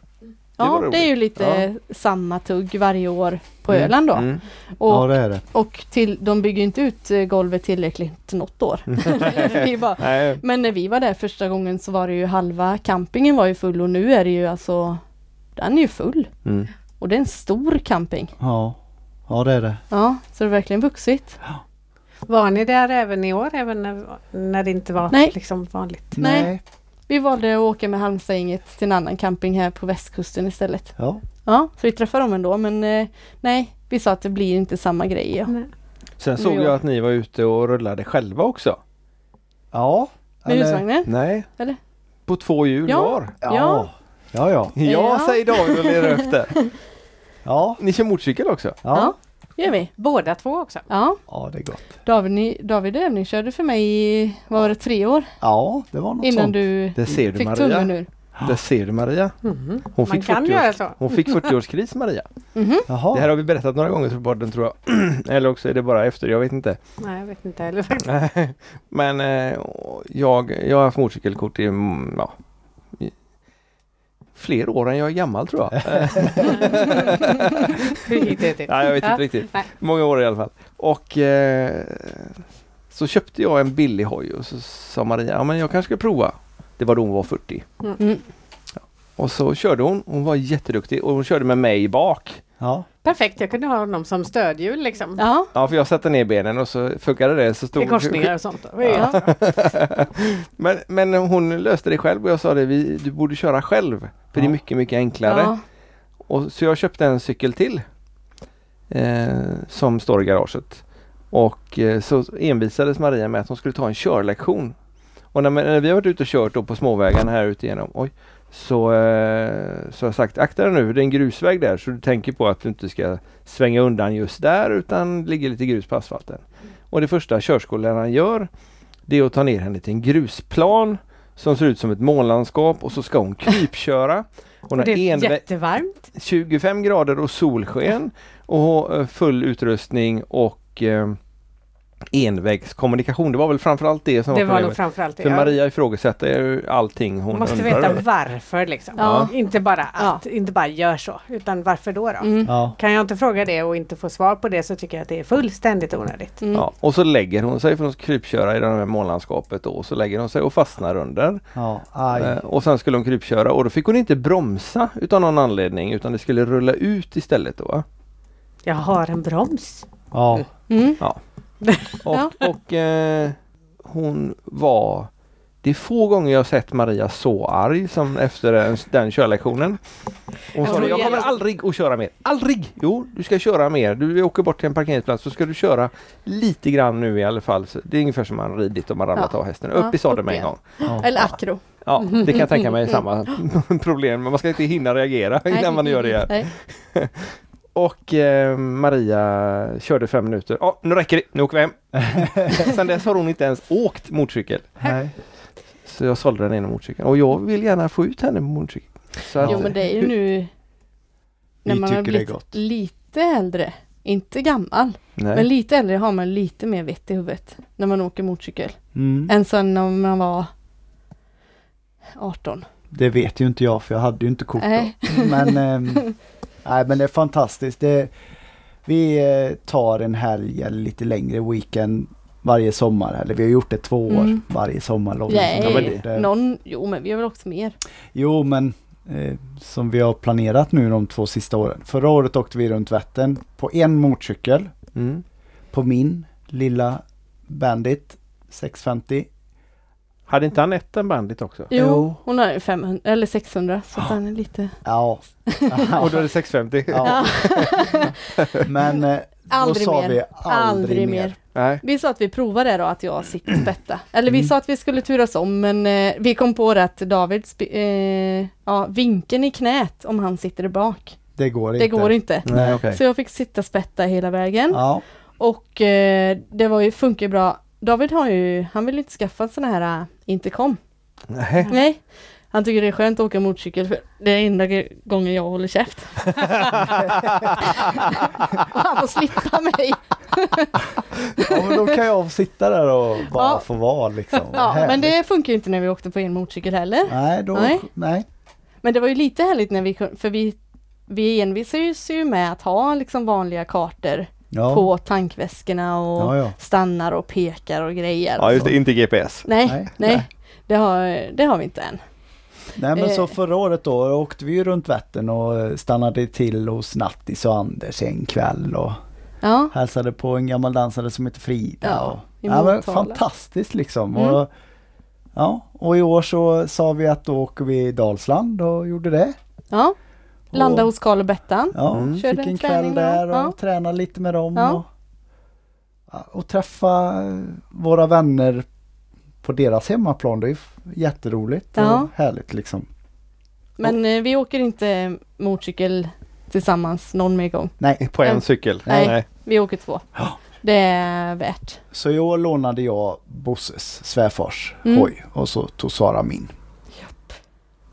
var ja, roligt. det är ju lite samma tugg varje år på Mm. Öland då. Mm. Och, ja, det är det. och till, de bygger ju inte ut eh, golvet tillräckligt något år. det är bara, Nej, men när vi var där första gången så var det ju halva campingen var ju full och nu är det ju alltså, den är ju full. mm. Och det är en stor camping. Ja. ja, det är det. Ja, så det har verkligen vuxit. Var ni där även i år? Även när, när det inte var Nej. liksom vanligt? Nej. Vi valde att åka med Halmstadgänget till en annan camping här på västkusten istället. Ja. Ja, så vi träffade dem ändå men eh, nej, vi sa att det blir inte samma grej. Ja. Nej. Sen såg Jo. jag att ni var ute och rullade själva också. Ja. Med eller- husvagnen? Nej. Eller? På två hjul Ja. var. Ja. Ja, ja. Ja, Ja. säger David och ler efter. Ja. Ni kör motorcykel också? Ja. gör vi. Båda två också? Ja, Ja, det är gott. David, ni- David övningskörde för mig i, vad var det, tre år Ja, det var något innan sånt. du Det ser du fick Maria. tummen ur. Det ser du Maria. Mhm. Hon Man fick, kan 40 göra års, så. hon fick 40-årskris Maria. Jaha. Det här har vi berättat några gånger på podden tror jag. Eller också är det bara efter, jag vet inte. Nej, jag vet inte heller faktiskt. Men eh, jag, jag har haft motorcykelkort i, mm, ja, i fler år än jag är gammal tror jag. Hur gick det till? Nej, jag vet Ja. inte riktigt. Nej. Många år i alla fall. Och eh, så köpte jag en billig hoj och så sa Maria, ja men jag kanske ska prova. Det var då hon var 40. Mm. Och så körde hon, hon var jätteduktig och hon körde med mig bak. Ja. Perfekt, jag kunde ha honom som stödhjul liksom. Ja, Ja, för jag satte ner benen och så funkade det. Så stod I korsningar och sånt. Då. Ja. ja. men, men hon löste det själv och jag sa det, vi, du borde köra själv. För det Ja. är mycket, mycket enklare. ja. Och, så jag köpte en cykel till eh, som står i garaget. Och eh, så envisades Maria med att hon skulle ta en körlektion. Och när, när vi har varit ute och kört då på småvägarna här ute igenom, oj, så, eh, så har jag sagt akta dig nu, det är en grusväg där så du tänker på att du inte ska svänga undan just där utan det ligger lite grus på asfalten. Och det första körskolläraren gör det är att ta ner henne till en grusplan som ser ut som ett månlandskap och så ska hon krypköra. Hon Och har det är envä- jättevarmt. 25 grader och solsken och eh, full utrustning och eh, envägskommunikation. Det var väl framförallt det som Det var var nog problemet. framförallt det. För ja. Maria ifrågasätter ju allting hon Man måste undrar veta över. varför liksom. Ja. Inte bara att, inte bara gör så, utan varför då? då? Mm. Ja. Kan jag inte fråga det och inte få svar på det så tycker jag att det är fullständigt onödigt. Mm. Ja, och så lägger hon sig för hon ska krypköra i det här månlandskapet då, och så lägger hon sig och fastnar under. Ja, aj. Eh, och sen skulle hon krypköra och då fick hon inte bromsa utan någon anledning utan det skulle rulla ut istället då. va? Jag har en broms. Ja. Mm. Och, Ja. och eh, hon var det är få gånger jag har sett Maria så arg som efter den, den körlektionen. Hon sa tror det, jag kommer jag- aldrig att köra mer. Aldrig! Jo, du ska köra mer. Du åker bort till en parkeringsplats så ska du köra lite grann nu i alla fall. Så det är ungefär som man ridit och man ramlat Ja. av hästen. Upp Ja, i sadeln upp med en igen. gång. ja. Eller akro. Ja, det kan jag tänka mig är samma problem. Men man ska inte hinna reagera innan man gör det här. Nej. Och eh, Maria körde fem minuter. Ja, nu räcker det. Nu åker vi hem. Sen dess har hon inte ens åkt motorcykel. Nej. Så jag sålde den ena motorcykeln och jag vill gärna få ut henne på motorcykeln. Så att, Jo men det är ju nu när Vi man har tycker det är blivit gott. lite äldre. Inte gammal, men nej. lite äldre har man lite mer vett i huvudet när man åker motorcykel. Mm. Än sen när man var 18. Det vet ju inte jag för jag hade ju inte kort då. Nej. Men, ehm, nej, men det är fantastiskt. Det, vi eh, tar en helg eller lite längre weekend varje sommar. Eller vi har gjort det två år Mm. varje sommarlov. Nej, Liksom. men Vi har gjort det- någon, jo men vi har väl åkt mer. Jo men eh, som vi har planerat nu de två sista åren. Förra året åkte vi runt Vättern på en motorcykel. Mm. På min lilla Bandit 650. Hade inte Anette en bandit också? Jo, Jo. hon har ju 500 eller 600 så att den är lite... Ja. Och då är det 650? ja. Men eh, då Aldrig sa mer. vi aldrig, mer. Mm. Nej. Vi sa att vi provar det då, att jag sitter och spettar. Eller vi sa att vi skulle turas om, men eh, vi kom på det att Davids eh, ja, vinkeln i knät om han sitter där bak. Det går Det inte. går inte. Nej, okej. Så jag fick sitta och spätta hela vägen. Ja. Och eh, det var ju, funkar ju bra. David har ju, han vill ju inte skaffa en sån här eh, intercom. Mm. Nej. Nej. Han tycker det är skönt att åka motorcykel för det är enda g- gången jag håller käft. och han får slippa mig. ja, men då kan jag sitta där och bara Ja. få vara liksom. Ja, men Härligt. det funkar ju inte när vi åkte på en motorcykel heller. Nej, då... Nej. Nej. Men det var ju lite härligt när vi kun- för vi, vi envisades ju med att ha liksom vanliga kartor Ja. på tankväskorna och Ja, ja. stannar och pekar och grejer. Ja, just det. Inte GPS. Nej, nej, Nej. Det, har, det har vi inte än. Nej men Eh. så förra året då åkte vi ju runt Vättern och eh, stannade till hos Nattis och Anders en kväll och Ja, hälsade på en gammal dansare som heter Frida. Ja, och, i ja men Motala. fantastiskt liksom. Mm. Och, ja, och i år så sa vi att då åker vi i Dalsland och gjorde det. ja. landa Och- hos Karl och Bettan. Ja, Mm. Körde fick en en träning kväll med där dem. och Ja. tränade lite med dem. Ja. Och, ja, och träffa eh, våra vänner på deras hemmaplan. Det är ju f- jätteroligt Ja. och härligt liksom. Men eh, vi åker inte motorcykel tillsammans någon mer gång. Nej, På en Nej. cykel. Nej. Vi åker två. Ja. Det är värt. så i år lånade jag Bosses svärfars Mm. hoj och så tog Sara min.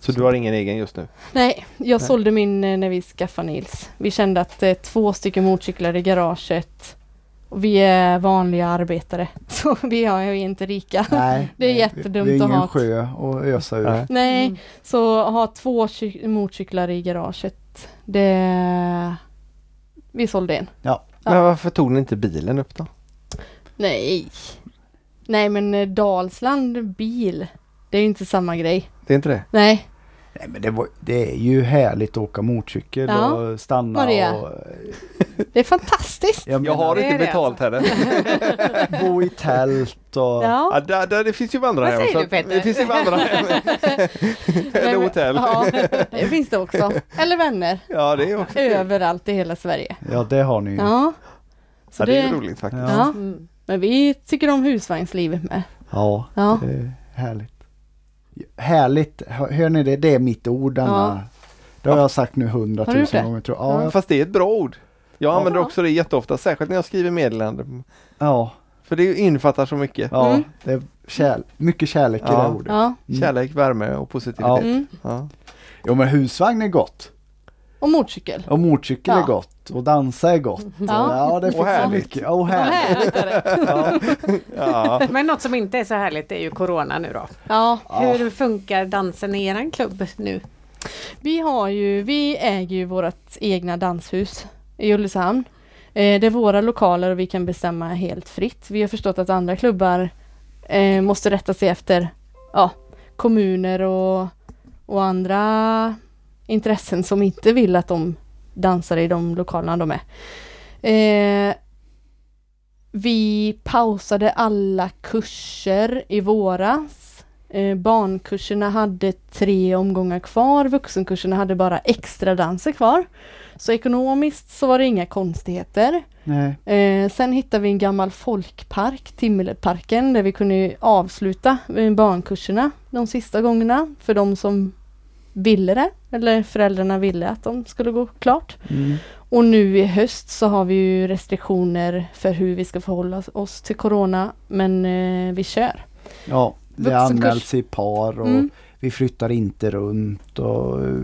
Så du har ingen egen just nu? Nej, jag Nej. sålde min eh, när vi skaffade Nils. Vi kände att eh, två stycken motorcyklar i garaget. Och vi är vanliga arbetare, så vi är ju inte rika. Nej, Det är nej, jättedumt vi, vi att är ha ingen ett- sjö att ösa ur. Nej. Nej, så ha två cy- motorcyklar i garaget. Det... Vi sålde en. Ja. Men varför tog ni inte bilen upp då? Nej. Nej men eh, Dalsland bil. Det är ju inte samma grej. Det är inte det? Nej. Nej, men det, var, det är ju härligt att åka motorcykel Ja. och stanna Maria. och... Det är fantastiskt. Jag, Jag menar, har det är inte det alltså. betalt henne. bo i tält och... Ja, Ja. där, där, det finns ju andra Vad hem, säger så du, att- Peter? Det finns ju andra hem. Eller men- hotell. Ja, det finns det också. Eller vänner. Ja, det är också kul. Överallt i hela Sverige. Ja, det har ni ju. Ja. Så Ja, det är det, roligt faktiskt. Ja. ja. Mm. Men vi tycker om husvagnslivet med. ja. Ja. Det är härligt. Härligt, hör hör ni det? Det är mitt ord denna. Det har jag sagt nu Har du gjort hundratusen det? gånger tror jag. Ja, Ja. jag- Fast det är ett bra ord. Jag Ja. använder också det jätteofta, särskilt när jag skriver meddelanden. ja, För det innefattar så mycket. ja Mm. det, kärl, mycket kärlek i det Ja. här ordet. Ja. Mm. Kärlek, värme och Ja. positivitet. Mm. Ja. Jo men husvagn är gott. Och motorcykel. Och motorcykel Ja. är gott. Och dansa är gott. Ja, det finns så härligt. mycket. Och Vad härligt. härligt är det. Men något som inte är så härligt är ju Corona nu då. Ja, Hur funkar dansen i eran klubb nu? vi har ju, vi äger ju vårt egna danshus i Ulricehamn. Eh, det är våra lokaler och vi kan bestämma helt fritt. Vi har förstått att andra klubbar eh, måste rätta sig efter ja, kommuner och, och andra intressen som inte vill att de dansar i de lokalerna de är. Eh, vi pausade alla kurser i våras. Eh, barnkurserna hade tre omgångar kvar, vuxenkurserna hade bara extra danser kvar. Så ekonomiskt så var det inga konstigheter. Nej. Eh, sen hittade vi en gammal folkpark, Timmerparken, där vi kunde avsluta eh, barnkurserna de sista gångerna för de som ville det, eller föräldrarna ville att de skulle gå klart. Mm. Och nu i höst så har vi ju restriktioner för hur vi ska förhålla oss till Corona, men eh, vi kör. Ja, det Vuxenkurs. anmäls i par och Mm. vi flyttar inte runt och eh,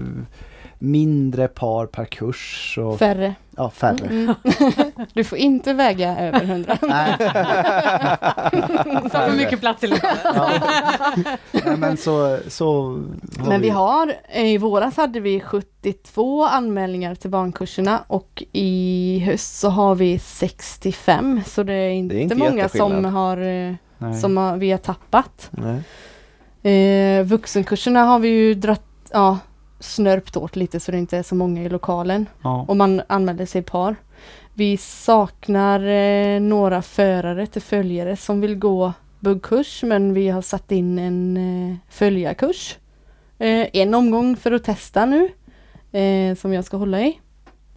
mindre par per kurs. Och, Färre. ja, färre. Mm. Du får inte väga över 100. Nej, Ta för mycket plats i lokalen. nej, men så, så Men vi har, eh, i våras hade vi 72 anmälningar till barnkurserna och i höst så har vi 65 så det är inte, Det är inte många som, jätteskillnad. har, eh, nej. som har, vi har tappat. Nej. Eh, vuxenkurserna har vi ju dratt, ja, snörpt åt lite så det inte är så många i lokalen Ja. och man anmäler sig i par. Vi saknar eh, några förare till följare som vill gå buggkurs men vi har satt in en eh, följarkurs. Eh, en omgång för att testa nu eh, som jag ska hålla i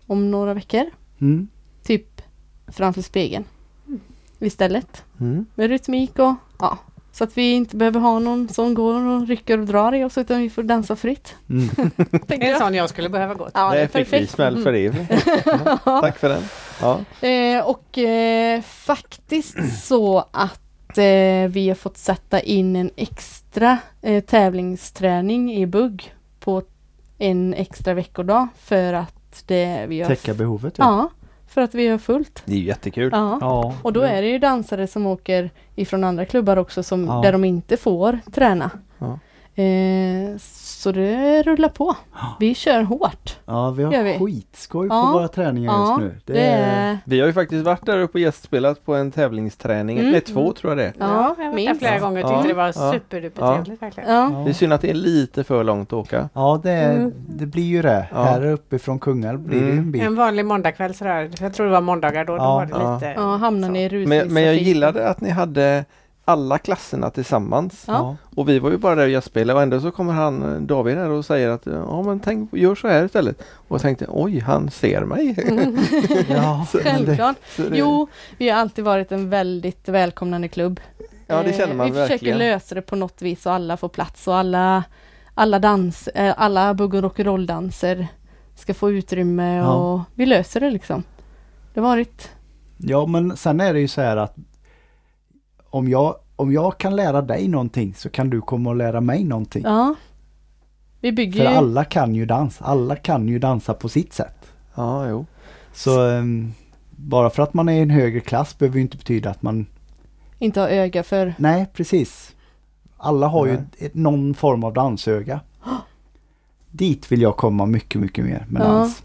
om några veckor. Mm. Typ framför spegeln Mm. istället Mm. med rytmik och ja. Så att vi inte behöver ha någon som går och rycker och drar i oss utan vi får dansa fritt. Mm. Det är en sån jag skulle behöva gå till. Ja, det är Där fick vi perfekt. smäll för det. Ja. Tack för den. Ja. Eh, och eh, faktiskt så att eh, vi har fått sätta in en extra eh, tävlingsträning i bugg på en extra veckodag för att det vi har... Täcka behovet. Ja, för att vi har fullt. Det är ju jättekul. Ja. ja. Och då är det ju dansare som åker ifrån andra klubbar också som, Ja. där de inte får träna. Ja. Eh, så det rullar på. Vi kör hårt. Ja, vi Gör har vi. skitskoj på Ja. våra träningar Ja, just nu. Det, Det är... är... Vi har ju faktiskt varit där uppe och gästspelat på en tävlingsträning. Mm. Nej, två tror jag det är. Ja, jag har varit där minst. flera gånger och tyckte det var Ja. superdupertrevligt verkligen. Ja. Det är Ja. synd att det är lite för långt att åka. Ja, det, är, Mm. det blir ju det. Ja. Här uppe från Kungälv blir det ju en Mm. bit. En vanlig måndagkväll sådär, jag tror det var måndagar då, då Ja. var det Ja. lite... ja, hamnar ni i Men, rusningstrafik. men jag gillade att ni hade alla klasserna tillsammans. Ja. Och vi var ju bara där och gästspelade och ändå så kommer han eh, David här och säger att ja men tänk, gör så här istället. Och jag tänkte oj han ser mig. Ja, men det, Självklart. Så det- Mm. Jo, vi har alltid varit en väldigt välkomnande klubb. ja det Eh, känner man Vi försöker verkligen. lösa det på något vis så alla får plats och alla, alla, dans, eh, alla bugg och rock'n'roll-danser ska få utrymme Ja. och vi löser det liksom. Det har varit ja, men sen är det ju så här att om jag, om jag kan lära dig någonting så kan du komma och lära mig någonting. Ja. Vi bygger För ju... alla kan ju dansa. Alla kan ju dansa på sitt sätt. Ja jo. Så ehm, bara för att man är i en högre klass behöver ju inte betyda att man... Inte ha öga för... Nej, precis. Alla har ju Nej. ett, någon form av dansöga. Dit vill jag komma mycket, mycket mer med Ja. dans.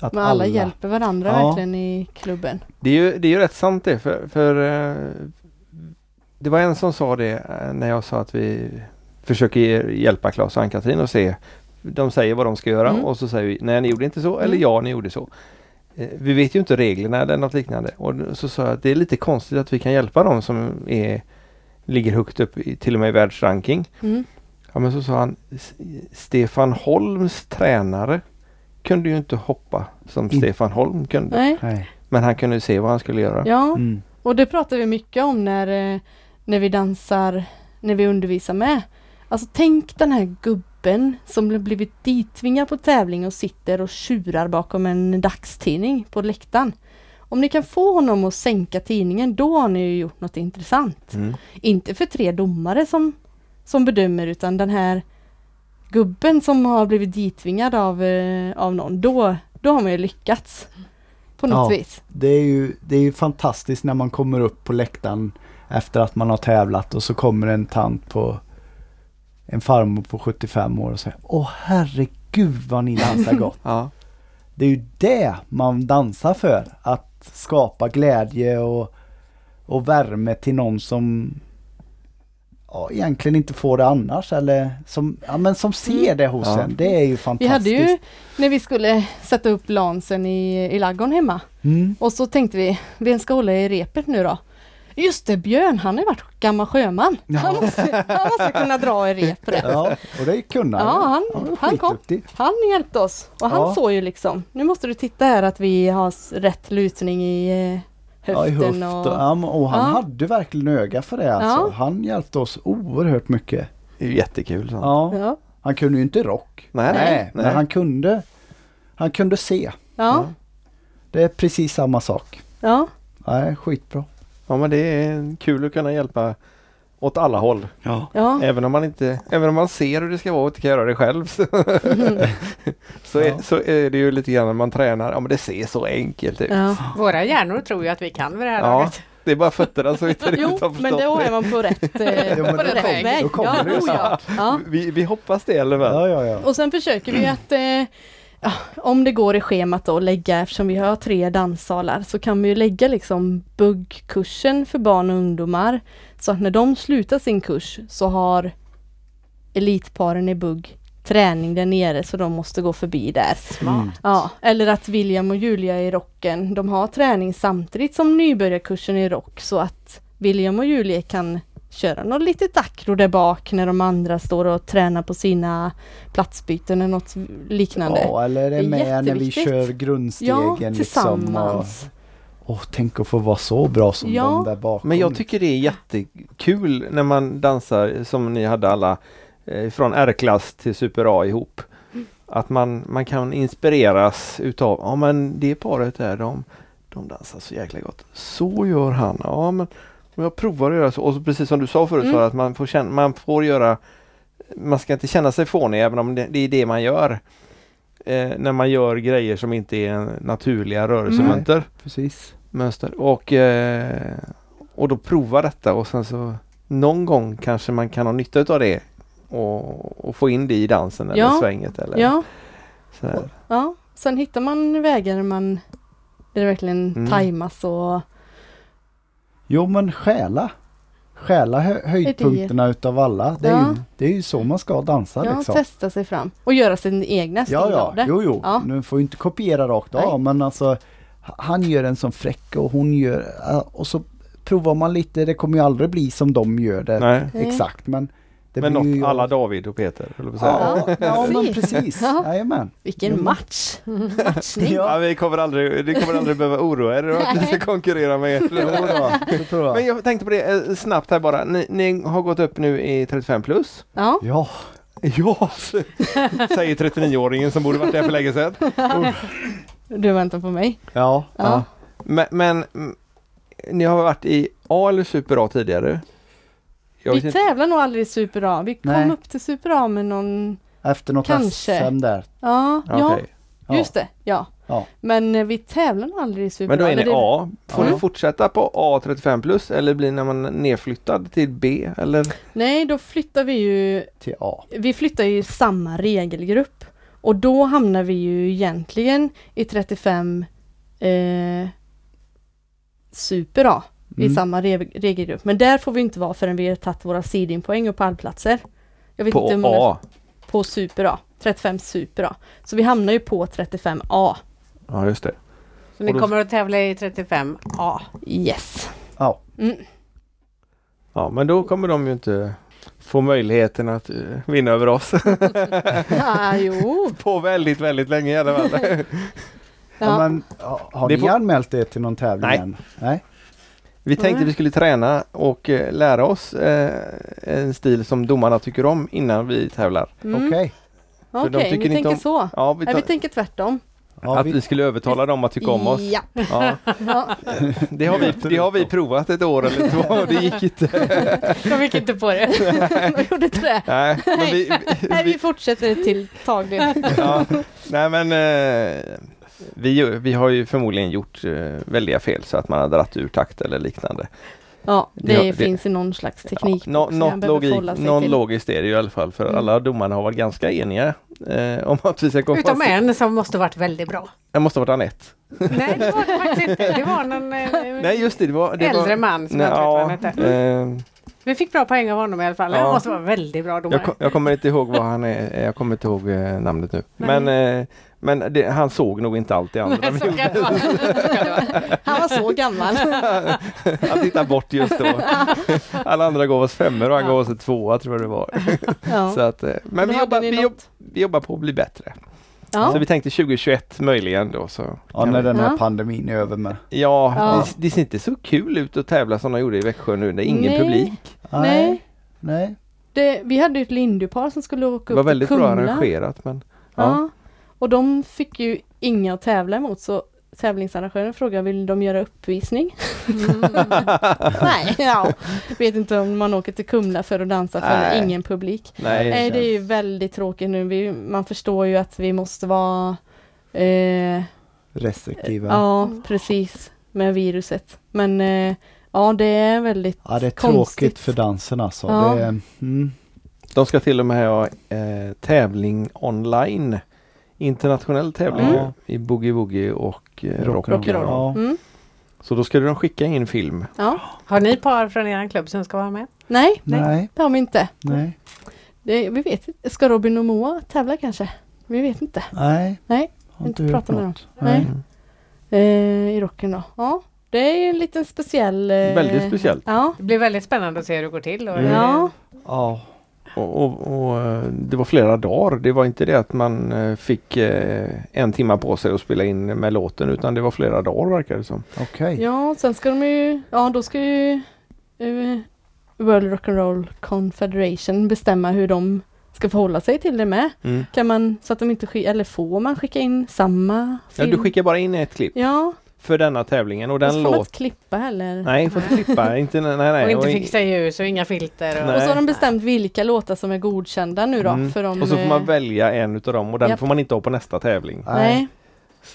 Att Men alla, hjälper varandra Ja. verkligen i klubben. Det är ju, det är ju rätt sant det för, för eh, det var en som sa det eh, när jag sa att vi försöker ge- hjälpa Claes och Ann-Katrin och se. De säger vad de ska göra Mm. och så säger vi nej ni gjorde inte så eller Mm. ja ni gjorde så. Eh, Vi vet ju inte reglerna eller något liknande och så sa jag att det är lite konstigt att vi kan hjälpa dem som är, ligger högt upp i, till och med i världsranking. Mm. Ja men så sa han "S- Stefan Holms tränare kunde ju inte hoppa som Mm. Inte. Stefan Holm kunde. Nej. Nej. Men han kunde ju se vad han skulle göra. Ja, Mm. och det pratar vi mycket om när, eh, när vi dansar, när vi undervisar med. Alltså tänk den här gubben som blir- blivit ditvingad på tävling och sitter och tjurar bakom en dagstidning på läktaren. Om ni kan få honom att sänka tidningen, då har ni ju gjort något intressant. Mm. Inte för tre domare som, som bedömer, utan den här gubben som har blivit ditvingad av, eh, av någon. Då, då har man ju lyckats. På något Ja. vis. Det är, ju, det är ju fantastiskt när man kommer upp på läktaren efter att man har tävlat och så kommer en tant på en farmor på 75 år och säger Åh herregud vad ni dansar gott! Ja. det är ju det man dansar för. Att skapa glädje och, och värme till någon som ja, egentligen inte får det annars eller som, ja, men som ser det hos Ja. en. Det är ju Mm. Vi fantastiskt. hade ju, när vi skulle sätta upp lansen i, i laggården hemma, Mm. Och så tänkte vi, vem ska hålla i repet nu då? Just det, Björn, han har ju varit gammal sjöman. Han, måste, han måste kunna dra i repet. Ja, Ja, och det är ju kunnande. han, var han kom. skitduktig. Han hjälpte oss och han Ja. såg ju liksom, nu måste du titta här att vi har s- rätt lutning i eh, höften. Ja, i höft och, och, ja, men- och han Ja. hade verkligen öga för det alltså. Ja. Han hjälpte oss oerhört mycket. Det är ju jättekul. sånt. Ja. ja, Han kunde ju inte rock. Nej, nej, men nej. han kunde. Han kunde se. ja, Det är precis samma sak. ja. Nej, skitbra. Ja men det är kul att kunna hjälpa åt alla håll. Ja. ja. Även om man inte, även om man ser hur det ska vara och inte kan göra det själv. Så, så, är, Ja. så är det ju lite grann när man tränar, ja men det ser så enkelt ut. ja. Våra hjärnor tror ju att vi kan vid det här Ja. laget. Det är bara fötterna som inte Jo, riktigt har men då förstått är det. man på rätt, eh, Jo, men då på rätt kommer- väg. då kommer ja, det ju oh, ja. ja. Vi, vi hoppas det eller väl? Ja, ja, ja. Och sen försöker vi att eh, ja, om det går i schemat då, lägga, eftersom vi har tre danssalar, så kan vi ju lägga liksom buggkursen för barn och ungdomar. Så att när de slutar sin kurs så har elitparen i bugg träning där nere så de måste gå förbi där. Mm. Ja, eller att William och Julia i rocken, de har träning samtidigt som nybörjarkursen i rock så att William och Julia kan köra något litet akro där bak när de andra står och tränar på sina platsbyten eller något liknande. Ja, Ja, eller Det är är med när vi jätteviktigt. kör grundstegen. liksom, och, tillsammans. åh, tänk att få vara så bra som Ja. de där bakom. Men jag tycker det är jättekul när man dansar som ni hade alla eh, från R-klass till Super A ihop. Att man, man kan inspireras utav, ja men det paret där de, de dansar så jäkla gott. Så gör han, ja men om jag provar att göra så. Och så precis som du sa förut, Mm. så att man får, känna, man får göra, man ska inte känna sig fånig även om det, det är det man gör. Eh, när man gör grejer som inte är naturliga rörelsemönster Precis. mönster. Och, eh, och då prova detta och sen så någon gång kanske man kan ha nytta av det och, och få in det i dansen eller Ja. svänget. Eller Ja, sådär. ja. Sen hittar man vägar där man där det verkligen Mm. tajmas och Jo, men stjäla. Stjäla hö- höjdpunkterna utav alla. Det är, Ja. ju, det är ju så man ska dansa ja, liksom. testa sig fram och göra sin egna stil Ja, av det. ja, jo, jo. Ja. Nu får vi inte kopiera rakt av, men alltså h- han gör en sån fräck och hon gör äh, och så provar man lite. Det kommer ju aldrig bli som de gör det Nej. Nej. exakt, men det Men blir ju något alla David och Peter. höll jag på att säga. Ja, ja, men Precis. precis. Ja. Jajamän. Eh, Vilken Jo. match! Matchning! Ja, Ja, vi kommer aldrig, ni kommer aldrig behöva oroa er att ni ska konkurrera med jo er. då, det tror Men jag. jag tänkte på det eh, snabbt här bara. Ni, ni har gått upp nu i 35 plus. Ja. Ja, Ja, säger 39-åringen som borde varit där för länge sedan. Du väntar på mig. ja, Ja. ja. Men, men mm, ni har varit i A eller Super A tidigare? Jag vi vet inte. tävlar nog aldrig i Super A. Vi kom Nej. upp till Super A med någon... efter något Kanske. SM där. Ja, Okej. ja Ja. just det. Ja. Ja. Men eh, vi tävlar nog aldrig i Super Men då är ni eller det- A. Får Ja. ni fortsätta på A35 plus eller blir när man nedflyttad till B? Eller? Nej, då flyttar vi ju... Till A. Vi flyttar ju i samma regelgrupp. Och då hamnar vi ju egentligen i 35 eh, Super A. I Mm. samma re- regelgrupp. Men där får vi inte vara förrän vi har tagit våra seedingpoäng och pallplatser. Jag vet inte hur På många A? på Super A. 35 Super A. Så vi hamnar ju på 35 A. Ja just det. Så ni Och då- kommer att tävla i 35A. Yes. Ja. Mm. Ja men då kommer de ju inte få möjligheten att eh, vinna över oss Ja, jo. på väldigt, väldigt länge i alla fall. Ja. Ja. Mm. men, ja, har Det ni får- anmält er till någon tävling Nej. än? Nej. Vi tänkte vi skulle träna och eh, lära oss eh, en stil som domarna tycker om innan vi tävlar. Mm. Okej. Okej, de tycker ni inte tänker om- så. Ja, vi Nej, vi tar, tänker tvärtom. Ja, att vi- vi skulle övertala dem att tycka om oss. Ja. Ja, ja. det, har vi, det har vi provat ett år eller två och det gick inte. De gick inte på det. De gjorde inte det. Nej, men vi, Nej, vi, vi fortsätter till tag det. ja, nej men eh, vi, vi har ju förmodligen gjort eh, väldiga fel så att man har dratt ur takt eller liknande. Ja, det, Det- det- finns i någon slags teknik. Ja, nå- också, något man behöver logik, förhålla sig någon till. logiskt är det ju i alla fall för Mm. alla domarna har varit ganska eniga eh, om att vi ska komma Utom fast. en som måste varit väldigt bra. Det måste ha varit Anette. Nej, det var det faktiskt inte. Det var någon eh, Mm. Nej just det, det var... Det äldre var, man som Nej, jag tror att han ja, hette. eh, Vi fick bra poäng av honom i alla fall. Han Ja. måste vara väldigt bra domare. jag, kom, jag kommer inte ihåg vad han är, jag kommer inte ihåg eh, namnet nu. Nej. Men, eh, men det, han såg nog inte allt det andra. Så kan det vara. Han var så gammal. Han tittade bort just då. Alla andra gav oss femmor och han gav oss en tvåa tror jag det var. Ja. Så att, eh, men Men vi hade jobbar, ni vi, något? jobb, vi jobbar på att bli bättre. Så Ja. vi tänkte 2021 möjligen då. Så Ja, när den här Ja. pandemin är över med. Ja, Ja. Det, det ser inte så kul ut att tävla som de gjorde i Växjö nu. Det är ingen Nej. publik. Nej, Nej. det, vi hade ju ett lindupar som skulle åka Det upp var väldigt till bra Kumla. arrangerat men Ja. ja. Och de fick ju inga att tävla emot så tävlingsarrangören frågade vill de göra uppvisning? Nej, ja. Vet inte om man åker till Kumla för att dansa för Nej. ingen publik. Nej, Nej, det är ju väldigt tråkigt nu. Vi, man förstår ju att vi måste vara eh, Restriktiva. Ja, Ja, precis. Med viruset. Men eh, ja, det är väldigt det är konstigt. tråkigt för dansen alltså. Ja. Det är, mm. De ska till och med ha eh, tävling online. Internationell tävling Mm. nu i Boogie Woogie och eh, Rock- Rock'n'Roll. rock'n'roll. Ja. Mm, Så då skulle de skicka in film. ja. Har ni par från er klubb som ska vara med? Nej, Nej, det har vi inte. nej, Det, vi vet inte. Ska Robin och Moa tävla kanske? Vi vet inte. nej. Nej, Har inte hört prata med något. Nej. Mm. Eh, I rocken då. Ja, det är ju en liten speciell... Eh, Väldigt speciellt. Ja. Det blir väldigt spännande att se hur det går till. Mm. Och, Ja. Ja, Och, och, och eh, det var flera dagar. Det var inte det att man eh, fick eh, en timma på sig att spela in med låten utan det var flera dagar verkar det som. okej. ja, sen ska de ju... Ja, då ska ju eh, World Rock'n'Roll Confederation bestämma hur de ska förhålla sig till det med. Mm. Kan man, så att de inte skickar, eller får man skicka in samma Ja, film? du skickar bara in ett klipp Ja, för denna tävlingen och och så den får man inte låt... klippa heller. Nej, får inte klippa. Inte, nej, nej. och inte in- fixa ljus och inga filter. Och, Och så har Nej. de bestämt vilka låtar som är godkända nu då. Mm. För de, och så får man eh, välja en utav dem och den Japp. får man inte ha på nästa tävling. Nej.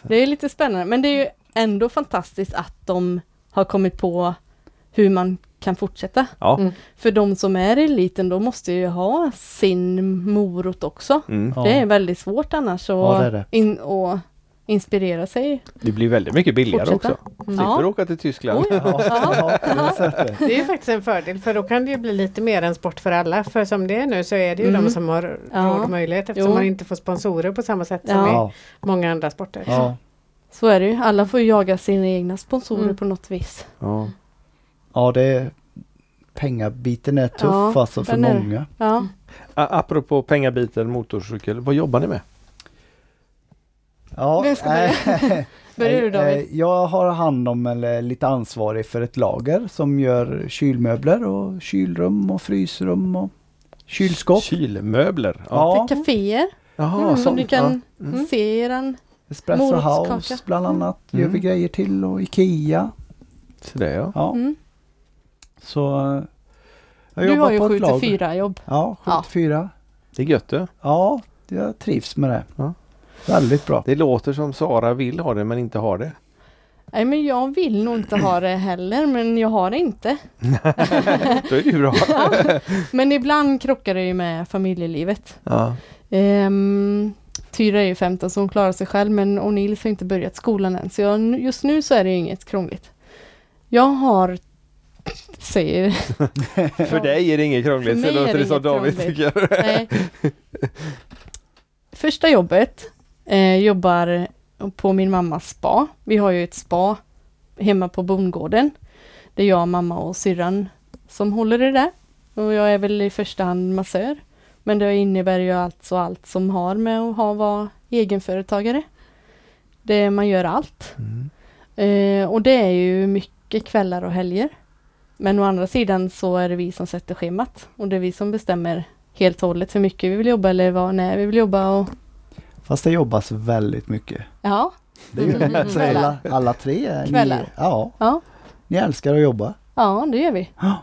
Det är lite spännande, men det är ju ändå fantastiskt att de har kommit på hur man kan fortsätta. Ja. Mm. För de som är i eliten, de måste ju ha sin morot också. Mm. Ja. Det är väldigt svårt annars att Ja, det är det. In, och inspirera sig. Det blir väldigt mycket billigare Fortsätta. Mm. också. Slipper Ja. åka till Tyskland. Oj, Ja, på det sättet. Det är ju faktiskt en fördel för då kan det ju bli lite mer en sport för alla. För som det är nu så är det ju Mm. de som har Ja. råd och möjlighet eftersom Jo. man inte får sponsorer på samma sätt som Ja. i Ja, många andra sporter. ja, Så är det ju. Alla får ju jaga sina egna sponsorer Mm. på något vis. Ja. ja, det är pengabiten är tuff Ja, alltså för den är det. många. Ja. A- Apropå pengabiten motorcykel, vad jobbar ni med? Ja, Vem ska eh, Börjar du eh, David? Jag har hand om eller lite ansvarig för ett lager som gör kylmöbler och kylrum och frysrum och kylskåp. Kylmöbler? Ja, Till kaféer Jaha, mm, som sånt, du kan ja. Mm. se i den. Espresso morotskaka. House bland annat Mm. gör vi grejer till och Ikea. Så det, ja. Ja, Mm. så eh, jag Du jobbar har ju på ett 7 lager. till 4 jobb. Ja, 7 Ja. till 4. det är gött det. Ja, jag trivs med det. Ja. Väldigt bra. Det låter som Sara vill ha det men inte har det. Nej men jag vill nog inte ha det heller men jag har det inte. Då är det ju bra. Men ibland krockar det ju med familjelivet. Ja. Um, Tyra är ju 15 så hon klarar sig själv men O'Neill har inte börjat skolan än så jag, just nu så är det ju inget krångligt. Jag har säger För dig är det inget krångligt, För så mig är låter det det som inget David krångligt. tycker. Nej. Första jobbet eh, jobbar på min mammas spa. Vi har ju ett spa hemma på bondgården. Det är jag, mamma och syrran som håller det där. Och jag är väl i första hand massör. Men det innebär ju alltså allt som har med att ha, vara egenföretagare. Det, man gör allt. Eh, och det är ju mycket kvällar och helger. Men å andra sidan så är det vi som sätter schemat och det är vi som bestämmer helt och hållet hur mycket vi vill jobba eller vad, när vi vill jobba och Fast det jobbas väldigt mycket. Ja, Det är ju Mm. så alla, alla tre. är- Ni, Kvällar. ja, ja, ni älskar att jobba. ja det gör vi. Ja.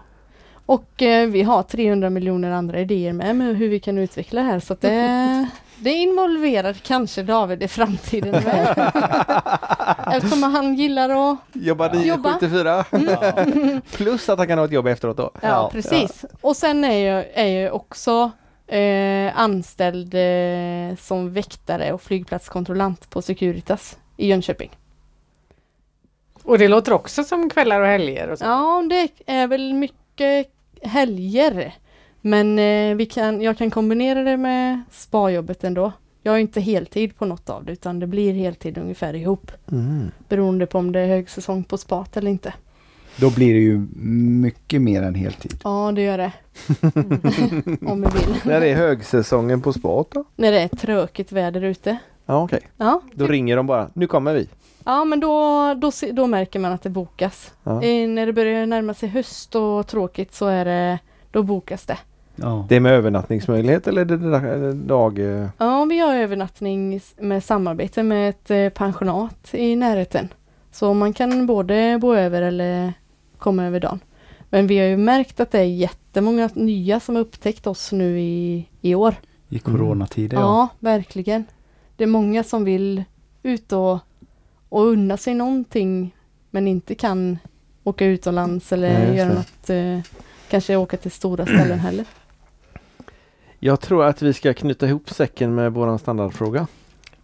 Och eh, vi har 300 miljoner andra idéer med, med hur vi kan utveckla det här så att det, det involverar kanske David i framtiden med. Eftersom han gillar att... Jobba 9 Jobba. 7 till 4. Plus att han kan ha ett jobb efteråt då. Ja, Ja, precis. Och sen är jag, är jag också eh, anställd eh, som väktare och flygplatskontrollant på Securitas i Jönköping. Och det låter också som kvällar och helger och så. Ja, det är väl mycket helger. Men eh, vi kan, jag kan kombinera det med spajobbet ändå. Jag är inte heltid på något av det utan det blir heltid ungefär ihop. Beroende på om det är högsäsong på spat eller inte. Då blir det ju mycket mer än heltid. Ja, det gör det. om vi vill. När är högsäsongen på spat då? När det är tråkigt väder ute. Ja okej. Ja, Då ringer de bara. Nu kommer vi. ja men då, då, se- då märker man att det bokas. Ja. Eh, när det börjar närma sig höst och tråkigt så är det, då bokas det. Ja. Det är med övernattningsmöjlighet eller är det dag- eller dag... eh, Ja, vi har övernattning s- med samarbete med ett eh, pensionat i närheten. Så man kan både bo över eller komma över dagen. Men vi har ju märkt att det är jättemånga nya som har upptäckt oss nu i, i år. I coronatider Ja. ja. verkligen. Det är många som vill ut och, och unna sig någonting men inte kan åka utomlands eller Nej, just göra det. något, eh, kanske åka till stora ställen heller. Jag tror att vi ska knyta ihop säcken med våran standardfråga.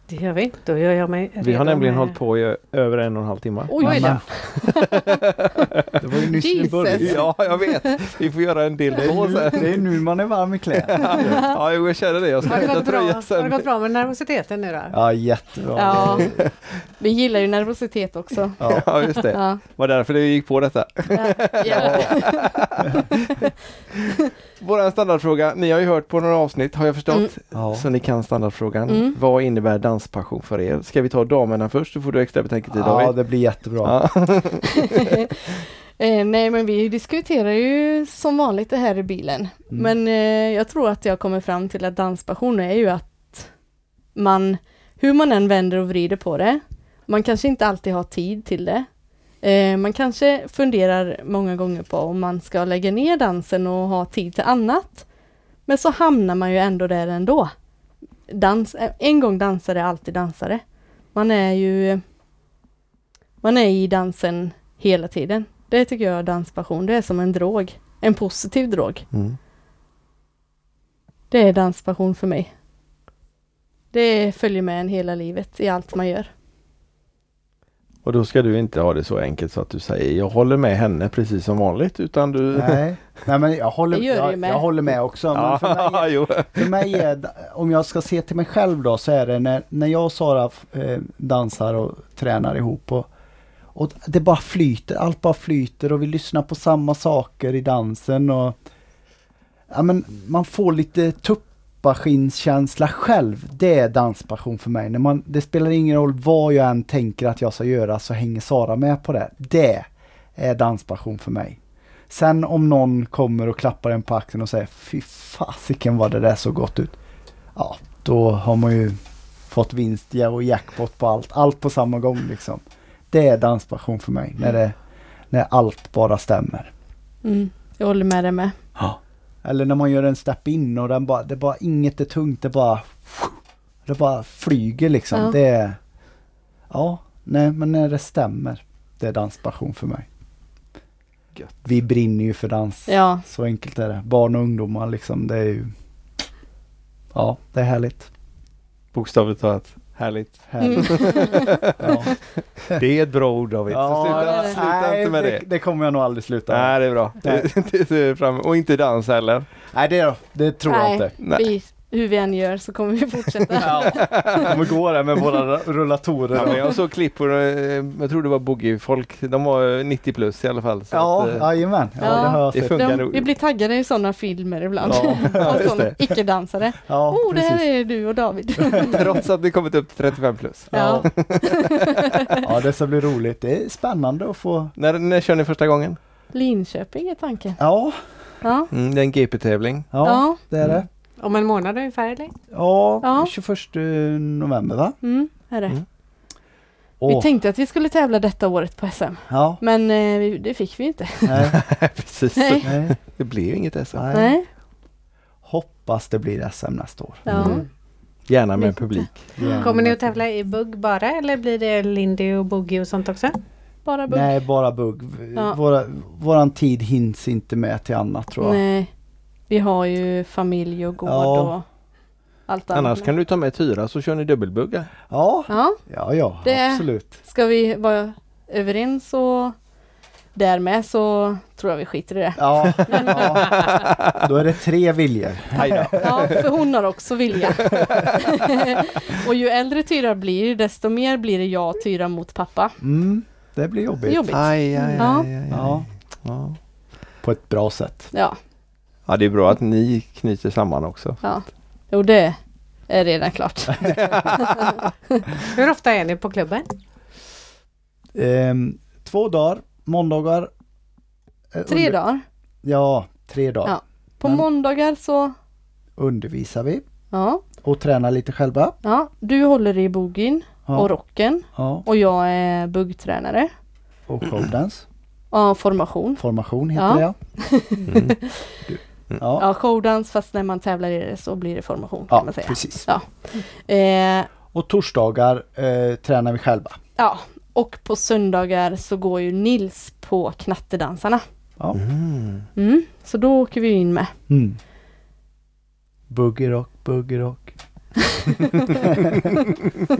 Det gör vi. Då gör jag mig Vi har nämligen med... hållit på i ö- över en och en halv timme. Oj, Oj då. Mamma. Det var ju nyss i Jesus. början. Ja, jag vet. Vi får göra en del Det är, två nu, sen. det är nu man är varm i kläder. Ja, jo, jag känner det. Jag ska Har det, byta gått bra? tröja har det sen. gått bra med nervositeten nu då? Ja, jättebra. Ja, vi gillar ju nervositet också. Ja. Ja, just det. Ja, Var därför det gick på detta. ja, ja. Våran standardfråga. Ni har ju hört på några avsnitt har Mm. jag förstått. Ja. Så ni kan standardfrågan. Mm. Vad innebär danspassion för er? Ska vi ta damerna först? Då får du extra betänketid ja, David. det blir jättebra. Ja. Eh, nej men vi diskuterar ju som vanligt det här i bilen. Mm. Men eh, jag tror att jag kommer fram till att danspassion är ju att man, hur man än vänder och vrider på det, man kanske inte alltid har tid till det. Eh, man kanske funderar många gånger på om man ska lägga ner dansen och ha tid till annat. Men så hamnar man ju ändå där ändå. Dans, eh, en gång dansare, är alltid dansare. Man är ju man är i dansen hela tiden. Det tycker jag är danspassion, det är som en drog. En positiv drog. Mm. Det är danspassion för mig. Det följer med en hela livet i allt man gör. Och då ska du inte ha det så enkelt så att du säger jag håller med henne precis som vanligt utan du... Nej. Nej, men jag håller, Det gör det ju jag, med. jag håller med också. Men för mig Ja, jo. För mig är, om jag ska se till mig själv då, så är det när, när jag och Sara eh, dansar och tränar ihop och, och det bara flyter, allt bara flyter och vi lyssnar på samma saker i dansen och ja, men man får lite tuppaskinskänsla själv. Det är danspassion för mig. När man, det spelar ingen roll vad jag än tänker att jag ska göra så hänger Sara med på det. Det är danspassion för mig. Sen om någon kommer och klappar en på axeln och säger Fy fasiken vad det där såg gott ut. Ja, då har man ju fått vinst ja, och jackpot på allt. Allt på samma gång liksom. Det är danspassion för mig. När, det, när allt bara stämmer. Mm. Jag håller med dig med. Eller när man gör en step in och den bara, det bara, inget är tungt. Det bara, det bara flyger liksom. Ja. Det är, ja, nej men när det stämmer. Det är danspassion för mig. Gött. Vi brinner ju för dans. Ja, Så enkelt är det. Barn och ungdomar liksom, det är ju... Ja, det är härligt. Bokstavligt talat. Härligt. Mm. härligt. ja. Det är ett bra ord David. Så sluta det är det. sluta nej, inte med det. det. kommer jag nog aldrig sluta med. Nej, det är bra. Nej. Det, det ser vi fram emot. Och inte dans heller. Nej, det, det tror jag Nej. inte. Nej. vi, hur vi än gör så kommer vi fortsätta. Ja. Kommer gå där med våra rullatorer. Ja, men Ja, jag såg klipp på, eh, jag tror det var boogie-folk, de var eh, 90 plus i alla fall. Så ja att, eh, jajamän. Ja, Ja. det har jag det sett. funkar De, nog. vi blir taggade i sådana filmer ibland. Ja, Av just sådana det. icke-dansare. Ja, oh, det här precis. är du och David. eh, Trots att det kommit upp till 35 plus. ja. Ja. ja, det ska bli roligt. Det är spännande att få... När, när kör ni första gången? Linköping är tanken. Ja, Ja. Mm, det är en GP-tävling. ja, Ja. det är det. Mm. Om en månad ungefär eller? Ja, Ja. 21 november va? Mm, är det. Mm. Vi Åh, tänkte att vi skulle tävla detta året på SM, ja, men eh, vi- det fick vi inte. nej, Precis. Nej. nej, Det blev inget SM. nej. Nej. Hoppas det blir SM nästa år. Ja. Mm. Gärna med Lite. publik. Kommer ni att tävla i bugg bara eller blir det lindy och boogie och sånt också? Bara bugg. Nej, bara bugg. Ja. Våra, våran tid hinns inte med till annat tror jag. Nej. Vi har ju familj och gård Ja. och allt annat. Annars kan du ta med Tyra så kör ni dubbelbugga. Ja, Ja, ja, ja Det- absolut. ska vi vara överens och därmed så tror jag vi skiter i det. Ja, ja. Då är det tre viljor. Ja, för hon har också vilja. och ju äldre Tyra blir, desto mer blir det jag och Tyra mot pappa. Mm, det blir Det är jobbigt. jobbigt. Aj, aj, Ja. aj, aj, aj. Ja, Ja. på ett bra sätt. Ja, ja, det är bra att ni knyter samman också. ja. Jo, det är redan klart. Hur ofta är ni på klubben? Ehm, två dagar, måndagar. eh, Tre under- dagar. Ja, tre dagar Ja. På Men- måndagar så, undervisar vi ja, och tränar lite själva. ja, du håller i bogin Ja, och rocken ja. och jag är buggtränare. och showdance. Ja, formation. Formation heter Ja. det ja. Mm. Ja, Ja, showdans fast när man tävlar i det så blir det formation kan ja man säga. precis. Ja. Eh, Och torsdagar eh, tränar vi själva. ja, och på söndagar så går ju Nils på knattedansarna. Mm. Mm, så då åker vi in med. Mm. Boogie rock, boogie rock.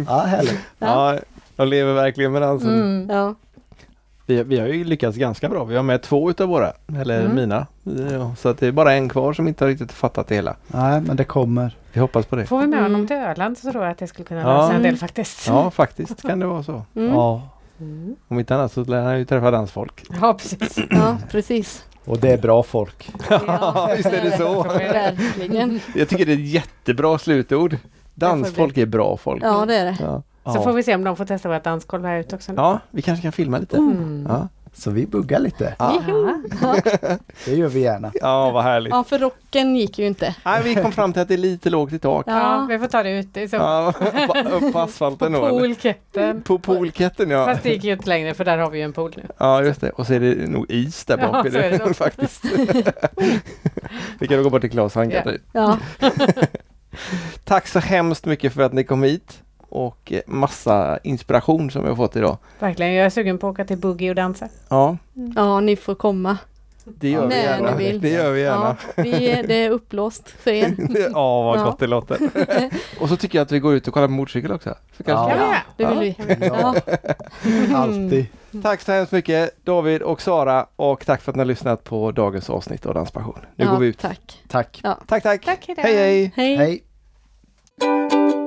ja, härligt. Ja. Ja, jag lever verkligen med dansen. Mm. Ja, Vi, vi har ju lyckats ganska bra. Vi har med två utav våra, eller Mm. mina. Ja, så att det är bara en kvar som inte har riktigt fattat det hela. Nej, men det kommer. Vi hoppas på det. Får vi med honom Mm. till Öland så tror jag att det skulle kunna Ja. lösa en del Mm. faktiskt. Ja, faktiskt kan det vara så. mm, ja. Ja. Mm. Om inte annat så lär han ju träffa dansfolk. Ja, precis. precis. Och det är bra folk. Ja, visst är det så. Verkligen. Jag tycker det är ett jättebra slutord. Dansfolk är bra folk. Ja, det är det. Ja, Så får vi se om de får testa vårt dansgolv här ute också. nu. ja vi kanske kan filma lite. Mm. Ja. Så vi buggar lite. Ja. Ja. Det gör vi gärna. ja, vad härligt. Ja, för rocken gick ju inte. Nej, vi kom fram till att det är lite lågt i tak. ja, vi får ta det ute. Så Ja, på- upp på asfalten då. på eller? poolketten. På poolketten ja. Fast det gick ju inte längre för där har vi ju en pool nu. Ja just det. Och så är det nog is där Ja, bak. i så är det det, nog. faktiskt. vi kan gå bort till Claes och han kan ta ut. Ja, Tack så hemskt mycket för att ni kom hit. Och eh, massa inspiration som vi har fått idag. Verkligen, jag är sugen på att åka till boogie och dansa. Ja, ja ni får komma. det gör vi När gärna. ni vill. Det gör vi gärna. Ja, vi, det är upplåst för er. Ja, vad Ja. gott det låter. och så tycker jag att vi går ut och kollar på motorcykel också. Så kanske Kan Ja. vi göra? Det vill vi. Ja, Ja, alltid. Tack så hemskt mycket David och Sara och tack för att ni har lyssnat på dagens avsnitt av Danspassion. Nu ja, går vi ut. Tack. Tack. Tack, tack. Tack, hejdå. hej, hej. Hej. Hej.